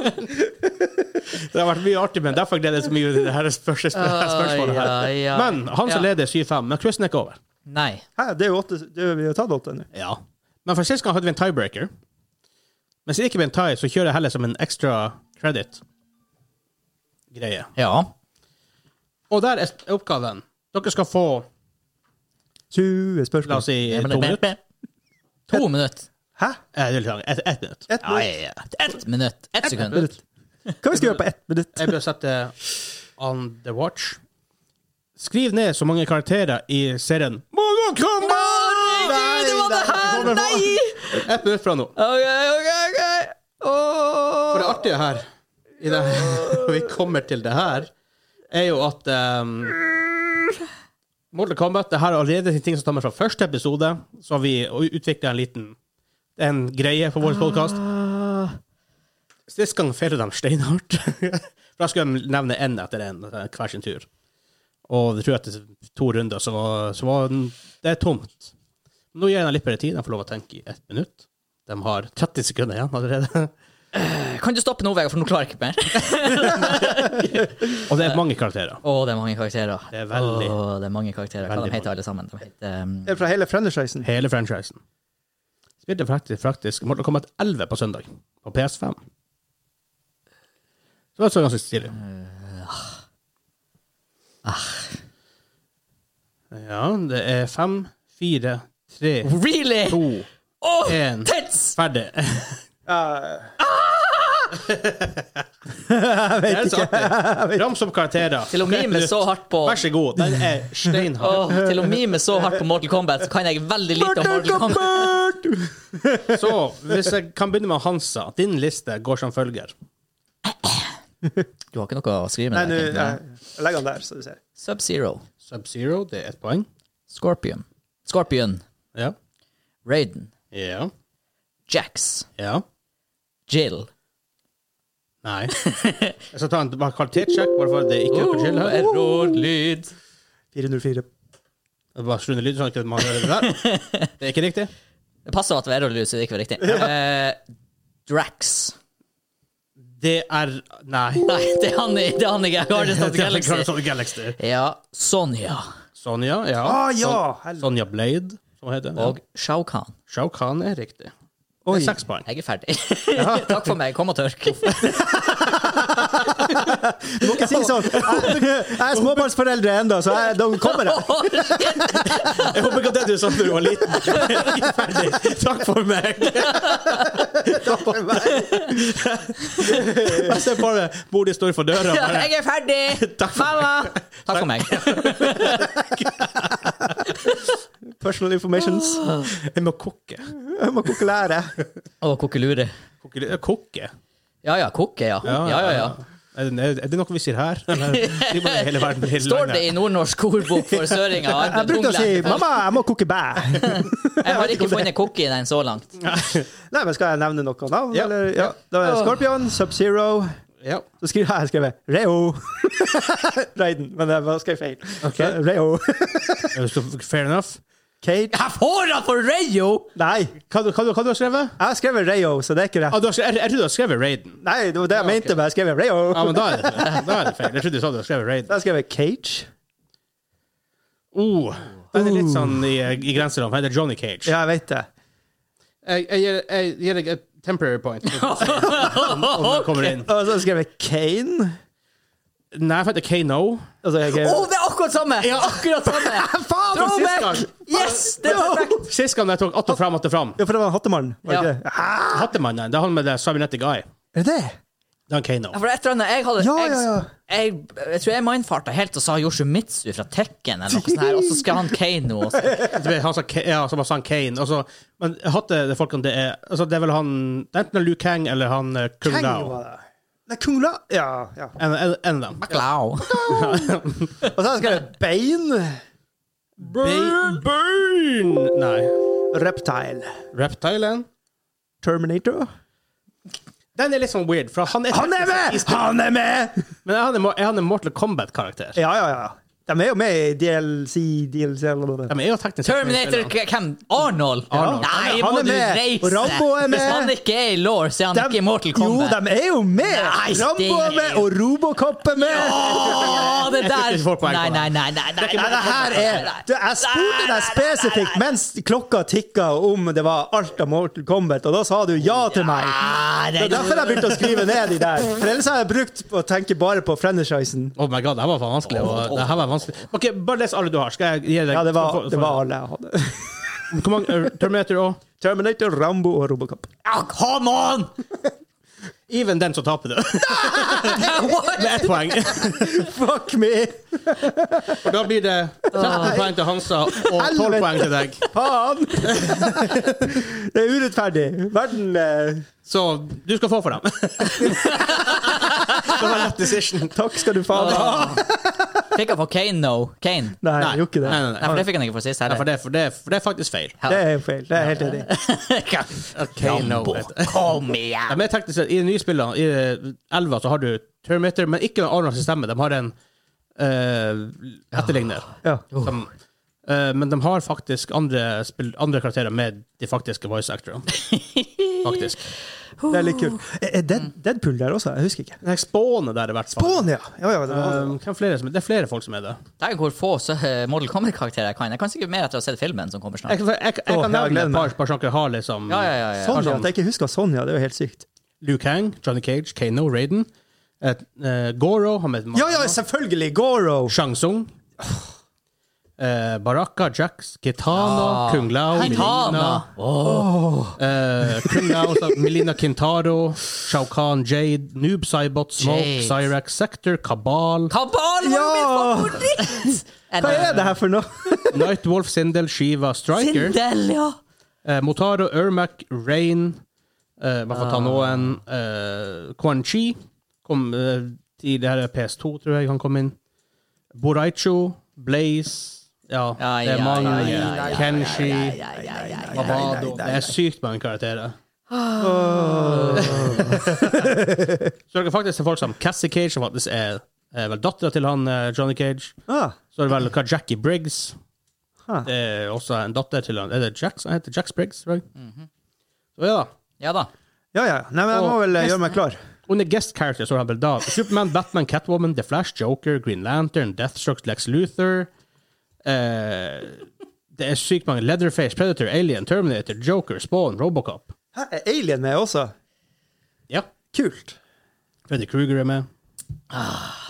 C: Det har vært mye artig, men derfor gleder jeg meg så mye til det her første sp- spørsmålet. her.
A: Ja, ja.
C: Men han
A: Ja.
C: som leder 7-5, men quizen er ikke over.
A: Nei.
D: Hæ, det er jo åtte det er, Vi har tatt åtte nå.
C: Ja. Men for sist gang hadde vi en tiebreaker. Men siden det ikke blir en tie, så kjører jeg heller som en extra credit-greie.
A: Ja.
C: Og der er oppgaven. Dere skal få,
D: 20
C: la oss
D: spørsmål.
C: si,
A: Ja,
C: to
A: men det-
C: minutter.
A: To minutter.
D: Hæ?
C: Eh, det er litt langt. Ett et minutt.
D: Ett
A: Ja,
D: minutt?
A: ja, ja. Ett minutt. Ett sekund.
D: minutt. Hva vi skal gjøre på ett minutt?
C: Jeg bør sette On The Watch. Skriv ned så mange karakterer i serien Mono Kombat!
A: Herregud, det var det her! Nei!
C: Ett minutt fra nå.
A: OK, OK, OK. Åh.
C: For det artige her, (laughs) i det, når vi kommer til det her, er jo at um, Mortal Kombat det her er allerede ting som stammer fra første episode, så har vi utvikla en liten det er en greie for vår podkast. Sist gang feilte de steinhardt. (laughs) For da skulle de nevne én etter én, hver sin tur. Og jeg tror at etter to runder så, så var den, det er tomt. Nå gir jeg dem litt bedre tid. De får lov å tenke i ett minutt. De har 30 sekunder igjen allerede.
A: Kan du stoppe nå, Vegard, for nå klarer jeg ikke mer?
C: Og det er mange karakterer.
A: Å, det er mange karakterer.
C: Det er veldig-
A: Åh, det er mange karakterer. Hva
C: Veldig
A: de heter alle sammen? De heter um,
D: Det er fra hele franchisen.
C: Hele franchisen. Spilte faktisk, faktisk Mortal Kombat 11 på søndag, på PS5. Så det så ganske stilig.
A: Eh, ah.
C: Ja, det er fem, fire, tre,
A: Really?
C: to,
A: Åh,
C: én
A: tits!
C: Ferdig.
D: Jeg
C: (laughs) Det er
D: vet
C: så
D: ikke.
C: artig. Rams opp karakterer.
A: Til å mime så hardt på
C: Vær så god. Den er steinhard.
A: Åh, til å mime så hardt på Mortal Kombat, så kan jeg veldig lite om Mortal Kombat.
C: (laughs) Så hvis jeg kan begynne med Hansa. Din liste går som følger.
A: Du har ikke noe å skrive
D: Nei,
A: med?
D: nå
A: deg,
D: ja.
A: Kent, nei.
D: Legg han der, så du ser.
A: Sub-Zero,
C: Sub-Zero, det er ett poeng.
A: Scorpion, Scorpion,
C: Ja.
A: Raiden,
C: Ja.
A: Jax,
C: Ja.
A: Jill
C: Nei. (laughs) Jeg skal ta en bare kvalitetssjekk, bare for at det ikke er på chill her.
A: Error-lyd.
D: 404.
C: Jeg Bare skru ned lyden, sånn at man hører det der. (laughs) Det er ikke riktig.
A: Det passer at det var error-lyd, så det ikke var riktig. Eh, Drax.
C: Det er (laughs) Nei.
A: Nei, det er han, i- (laughs) det er han ikke. Guardians of the Galaxy.
C: Galaxy. Galaxy.
A: Ja, Sonja
C: Sonja,
D: Å
C: Ah, ja.
D: ja!
C: Son-
D: Helvete.
C: Sonja Blade, som hun heter. Ja.
A: og Shao Kahn.
C: Shao Kahn er riktig. Det
D: Oi.
C: er seks poeng.
A: Jeg er
D: (laughs)
A: ferdig. Takk for meg. Kom og tørk.
D: Du må ikke si sånn! Jeg, jeg er småbarnsforeldre ennå, så jeg, de kommer her.
C: Jeg håper ikke at det du sa da du var liten, er (laughs) ferdig. Takk for meg. (laughs) Jeg ser bare Bodil eh, står for døra. og Bare.
A: Jeg er ferdig!
C: Takk for
A: Mamma! Takk for meg. (laughs)
D: Personal informations.
C: Jeg må kokke.
D: Jeg må koke lære.
A: Og kokkelure.
C: Kokke? kokke.
A: Ja ja, kokke, ja. Ja, ja, ja.
C: Er det, er det noe vi sier her? Eller
A: (laughs)
C: sier man i hele verden? i Hele
A: Står
C: landet?
A: det i nordnorsk ordbok for søringer? og
D: (laughs) Jeg
A: andre
D: brukte å si
A: tunglærer?
D: 'mamma, jeg må koke bæ'.
A: (laughs) Jeg har ikke funnet kokke i den så langt.
D: Nei, men skal jeg nevne noe navn?
C: Ja.
D: Eller? Ja. Da er det Scorpion, Sub-Zero
C: Ja.
D: Så skriver jeg, jeg skrev Reo. (laughs) Reiden, men jeg bare skrev feil.
C: Ok.
D: Så, Reo.
C: Så, Fair enough.
D: Kate
A: Jeg får han for Reyo!
D: Nei,
C: Hva, du- hva, du- hva du har du skrevet?
D: jeg har skrevet Reo, så det er ikke
C: Ah,
D: rett.
C: du har, skrevet- jeg, jeg trodde du hadde skrevet Raiden.
D: Nei, det var det jeg mente, men jeg skrev Reo.
C: Ja, men da er det, da er det feil. Jeg trodde du sa du hadde skrevet Raiden.
D: Da skrev jeg Cage.
C: Oh, den er litt sånn i, eh, i grenseland. for Det er Johnny Cage.
D: Ja, jeg vet det.
C: Jeg, jeg gir- jeg gir deg et temporary
A: (laughs)
C: point. Om den kommer inn.
D: Og så skrev jeg Kane.
C: Nei, for det er Kano.
D: Og så skrev
A: Å,
D: jeg
A: det er akkurat samme! Akkurat samme!
D: Faen!
A: Throw
D: sist-
A: back!
C: gang.
A: Yes! Det er perfekt.
C: Sist gang jeg tok Atte fram, Atte fram.
D: Ja, for det var Hattemannen, var det
A: Ja.
D: ikke det? Ja.
C: Hattemannen. Det er han med det cybernetic eye.
D: Er det det?
C: Det er han Kano.
A: For et eller annet, jeg hadde
D: Ja, ja, ja.
A: Jeg, jeg, jeg tror jeg mindfarta helt og sa Yoshimitsu fra Tekken, eller noe sånt her, og så skal han Kano og så-
C: Det ble Han sa, Ka- ja, så bare sa han Kane. Og så, men Hatte, det folkene, det er altså, Det er vel han det er Enten Lu Kang eller han eh, Kung
D: Kang
C: Lao.
D: var det. Nei, Kung Lao. Ja, ja.
C: En, en, en av dem.
A: Klau.
D: Og så har jeg skrevet Bane.
C: Burn! Burn! Nei.
D: Reptile.
C: Reptilen.
D: Terminator.
C: Den er litt sånn weird, for han er,
D: Han er med! Han er med!
C: Men er han en, mo- er han en Mortal Kombat-karakter?
D: Ja, ja, ja. De er jo med i DLC, DLC eller noe.
C: De er jo teknisk sett
A: Terminator
C: med i spillene.
A: k- hvem? Arnold? Nei,
D: Han er- han
A: må
D: er
A: du
D: med.
A: reise
D: Og Rambo er med.
A: Hvis han ikke er i law, så er han ikke i Mortal Kombat.
D: Jo, de er jo med!
A: Nei,
D: Rambo er
A: det
D: med,
A: er-
D: og Robocop er med!
A: Å, det der!
C: Jeg får poeng på
A: Nei,
C: det.
A: nei, nei. nei, nei,
D: Nei, det her er du, Jeg spurte deg spesifikt mens klokka tikka om det var alt av Mortal Kombat, og da sa du ja til meg.
A: Nei,
D: Ah, Det er derfor jeg begynte å skrive ned de der. For ellers har jeg brukt å tenke bare på franchisen.
C: Oh my god, det her var faen vanskelig. og Det her var vanskelig. Ok, Bare les alle du har. Skal jeg gi deg
D: Oh, Ja, det var,
C: for-
D: det
C: for-
D: var alle jeg hadde.
C: Hvor mange eh, Terminator og
D: (laughs) Terminator, Rambo og Robocop.
A: Ah, Come on!
C: Even den som taper,
A: (laughs)
C: du.
A: What?
C: Med ett poeng.
D: Fuck me!
C: For da blir det
A: Ah.
C: 13 poeng til Hansa og 12
D: Helvete.
C: poeng til deg.
D: Faen! (laughs) Det er urettferdig. Verden eh,
C: Så du skal få for dem. det var en lett decision.
D: Takk skal du faen ha.
A: Fikk han på Kane nå? Kane?
D: Nei, jeg gjorde ikke det.
C: Nei, nei,
A: Nei,
C: nei.
A: for det fikk han ikke for sist.
C: Nei,
A: Heller.
C: for, det, for, det, for det er faktisk feil.
D: Det er jo feil. Det er jeg helt enig. i.
C: Kano.
A: Rambo, kom igjen!
C: De er teknisk sett, I det nye spillet, i eh, elva, så har du Terminator, men ikke med Arnold sin stemme. De har en eh, etterligner.
A: Ah.
D: Ja.
C: Som, eh, men de har faktisk andre, spill, andre karakterer med de faktiske voice actorene. Faktisk. (laughs)
D: Det er litt kult. Er er Dead, Deadpool der også? Jeg husker ikke.
C: Nei, Spåne der, i hvert fall.
D: Bån, ja! ja, ja det var,
C: Eh, hvem flere som, det er flere folk som er det.
A: Der hvor få sø- eh, Mortal Kombat-karakterer jeg kan. Jeg kan sikkert mer etter å ha sett filmen som kommer snart.
C: Jeg, jeg, jeg, jeg
D: Åh,
C: kan
D: jeg
C: nevne
D: gleder
C: et
D: meg.
C: par, par som dere har, liksom.
A: Ja, ja, ja. ja.
D: Sonja, at jeg ikke husker Sonja, det er jo helt sykt.
C: Luke Hang, Johnny Cage, Kano, Raiden. Et, eh, Goro har med
D: Ja, ja, selvfølgelig! Goro!
C: Shang Tsung. Eh, Baraka, Jax, Kitana,
A: Ah.
C: Kung Lao, Milina,
A: Kitana.
C: eh, Kung Lao, så- Milina Kintaro, Shao Kahn, Jade, Noob Cybot, Smoke,
A: Jade.
C: Cyrax, Sector, Kabal,
A: Kabal var jo min
D: Ja.
A: favoritt!
D: Hva er det her for noe?
C: Nightwolf, Sindel, Shiva, Striker,
A: Sindel, ja.
C: eh, Motaro, Ermac, Rain eh, Hva
A: Ah.
C: får ta noen? Eh, Quan Chi kom eh, tidligere PS2, tror jeg han kom inn. Boraicho, Blaze Ja,
A: Ja,
C: det er
A: ja,
C: mange.
A: ja, ja, ja, ja,
C: Kenshi.
A: Ja, ja, ja, ja. Ah.
C: Abado. Det er sykt mange karakterer. (laughs) Så dere faktisk ser folk som Cassie Cage, som faktisk er, er vel dattera til han eh, Johnny Cage.
D: Ah,
C: Så er det vel hva Jackie Briggs.
D: ah.
C: Det er også en datter til han Er det Jax han heter? Jax Briggs? Right? Så ja da.
A: Ja da.
D: Ja, ja. Nei, men jeg må vel eh, gjøre meg klar.
C: Under guest characters så har han vel da Superman, Batman, Catwoman, The Flash, Joker, Green Lantern, Deathstroke, Lex Luthor eh, Det er sykt mange. Leatherface, Predator, Alien, Terminator, Joker, Spawn, Robocop.
D: Hæ, er Alien med også?
C: Ja.
D: Kult.
C: Freddy Kruger er med.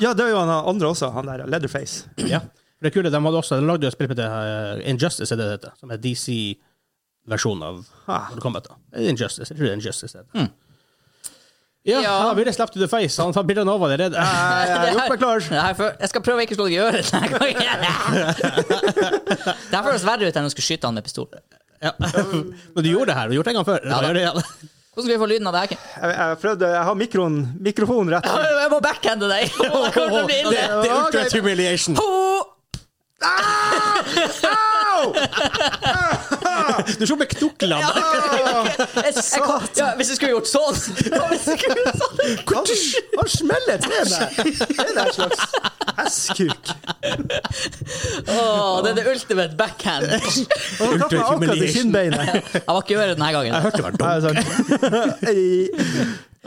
D: Ja, det er jo han andre også, han der Leatherface.
C: Ja. For det kule, de hadde også de lagde jo et spill på det her, Injustice, er det det heter, som er DC-versjonen av
D: Ah.
C: Mortal Kombat. da. Er det Injustice, jeg tror det er Injustice. det heter. Ja,
A: Ja.
C: han burde slapp to the face. Han tar bilde av Nova allerede.
A: Ah,
D: Nei, (laughs) jeg har gjort Eh, meg klar.
A: Det her fø- jeg skal prøve å ikke slå deg i øret denne gangen. Det her føles verre ut enn å skulle skyte han med pistol.
C: (laughs) Ja. Men du gjorde det her. Du har gjort det en gang før.
A: Ja, da.
C: Gjør det igjen.
A: Hvordan skal vi få lyden av det her? Kim?
D: Jeg, jeg, prøvde, jeg har mikroen, mikrofonen rett.
A: Jeg må backhande (laughs) deg! Det kommer til å bli ille.
C: Det er ultimate humiliation.
A: Ho!
C: Du slo med knoklene.
A: Jeg- jeg kom- Ja, hvis jeg skulle gjort sånn! (laughs) Ja, hvis jeg skulle gjort sånn.
D: Han, han smeller
A: (laughs)
D: til meg! Det er en slags hestkuk.
A: Åh, det er det ultimate backhand. Jeg
D: Og han traff meg akkurat i kinnbeinet.
A: var ikke i øret denne gangen.
C: Hørte det var
D: Nei, (laughs)
C: dumt.
A: (laughs)
D: sånn. Ei.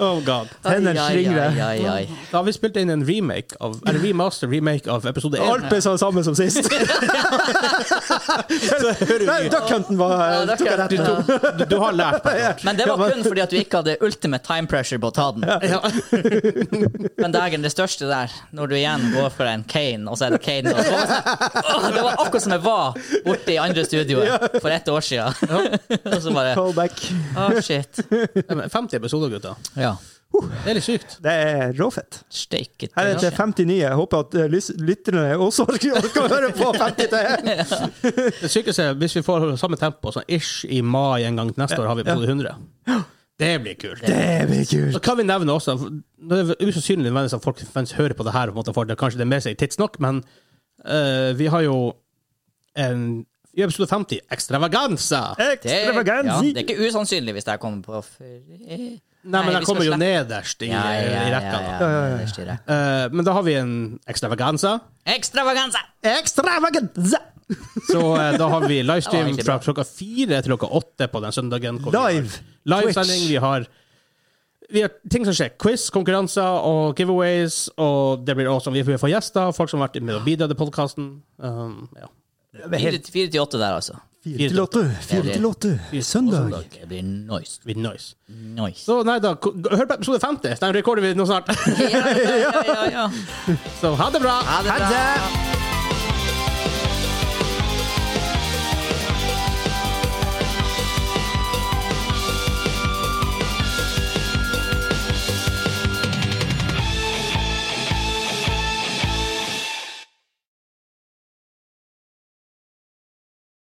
C: Oh god.
D: Tennene
A: Ai, ai,
D: slingrer.
A: ai, ai, ai.
C: Da har vi spilt inn en remake av, eller remaster remake av episode 1.
D: Alt ble sånn samme som
A: (laughs)
D: sist. (laughs) Nei, Duck Hunten var
A: Ja, Duck
D: tok jeg rett
A: Hunten,
D: ut.
C: (laughs) Du, du har lært meg.
A: Men det var kun fordi at du ikke hadde ultimate time pressure på å ta den. (laughs) Men dagen, det største der, når du igjen går for en Kane, og så er det Kane og Åh, Det var akkurat som jeg var borte i andre studioet for ett år siden. (laughs) Og så bare Å,
D: Callback.
A: shit.
C: Ja, men 50 episoder, gutter.
A: Ja.
C: Det er litt sykt.
D: Det er råfett.
A: Steike
D: Her er det til 50 nye. Jeg håper at eh, lys- lytterne også orker orker å høre på 50 til.
C: Det sykeste er hvis vi får samme tempo, sånn ish i mai en gang neste år har vi episode 100. Det blir kult.
D: Det blir kult.
C: Så kan vi nevne også, det er usannsynlig nødvendigvis at folk faktisk hører på det her, og på en måte får det, kanskje det med seg tidsnok, men eh, vi har jo en, i episode 50 ekstravaganza!
A: ja,
D: Ekstravaganzi.
A: det er ikke usannsynlig hvis det her kommer på før-
C: Nei, men
A: Nei,
C: den
A: vi
C: kommer
A: skal
C: jo
A: slette-
C: nederst i,
A: Ja, ja, ja,
C: i
A: ja,
C: rekka. da.
A: ja, nederst i rekka.
C: Eh, men da har vi en ekstravaganza.
A: Ekstravaganza!
D: Ekstravaganza.
C: Så eh, da har vi
A: (laughs) Det var
C: livestream
A: egentlig
C: fra
A: bra.
C: klokka fire til klokka åtte på den søndagen. hvor vi har
D: Live.
C: Livesending. Vi har vi har ting som skjer. Quiz, konkurranser og giveaways. Og det blir awesome. Vi får gjester, folk som har vært med og bidratt i podkasten. Um, ja.
A: Fire fire til åtte der, altså.
D: Fire til åtte. Fire til åtte. Søndag.
A: Det blir nice.
C: Det blir nice.
A: Nice. (laughs)
C: Så nei da, ko- hør på episode 50. Den rekorder vi nå snart. (laughs)
A: Ja, ja, ja, ja, ja.
C: Så ha det bra.
A: Ha det bra.
D: det.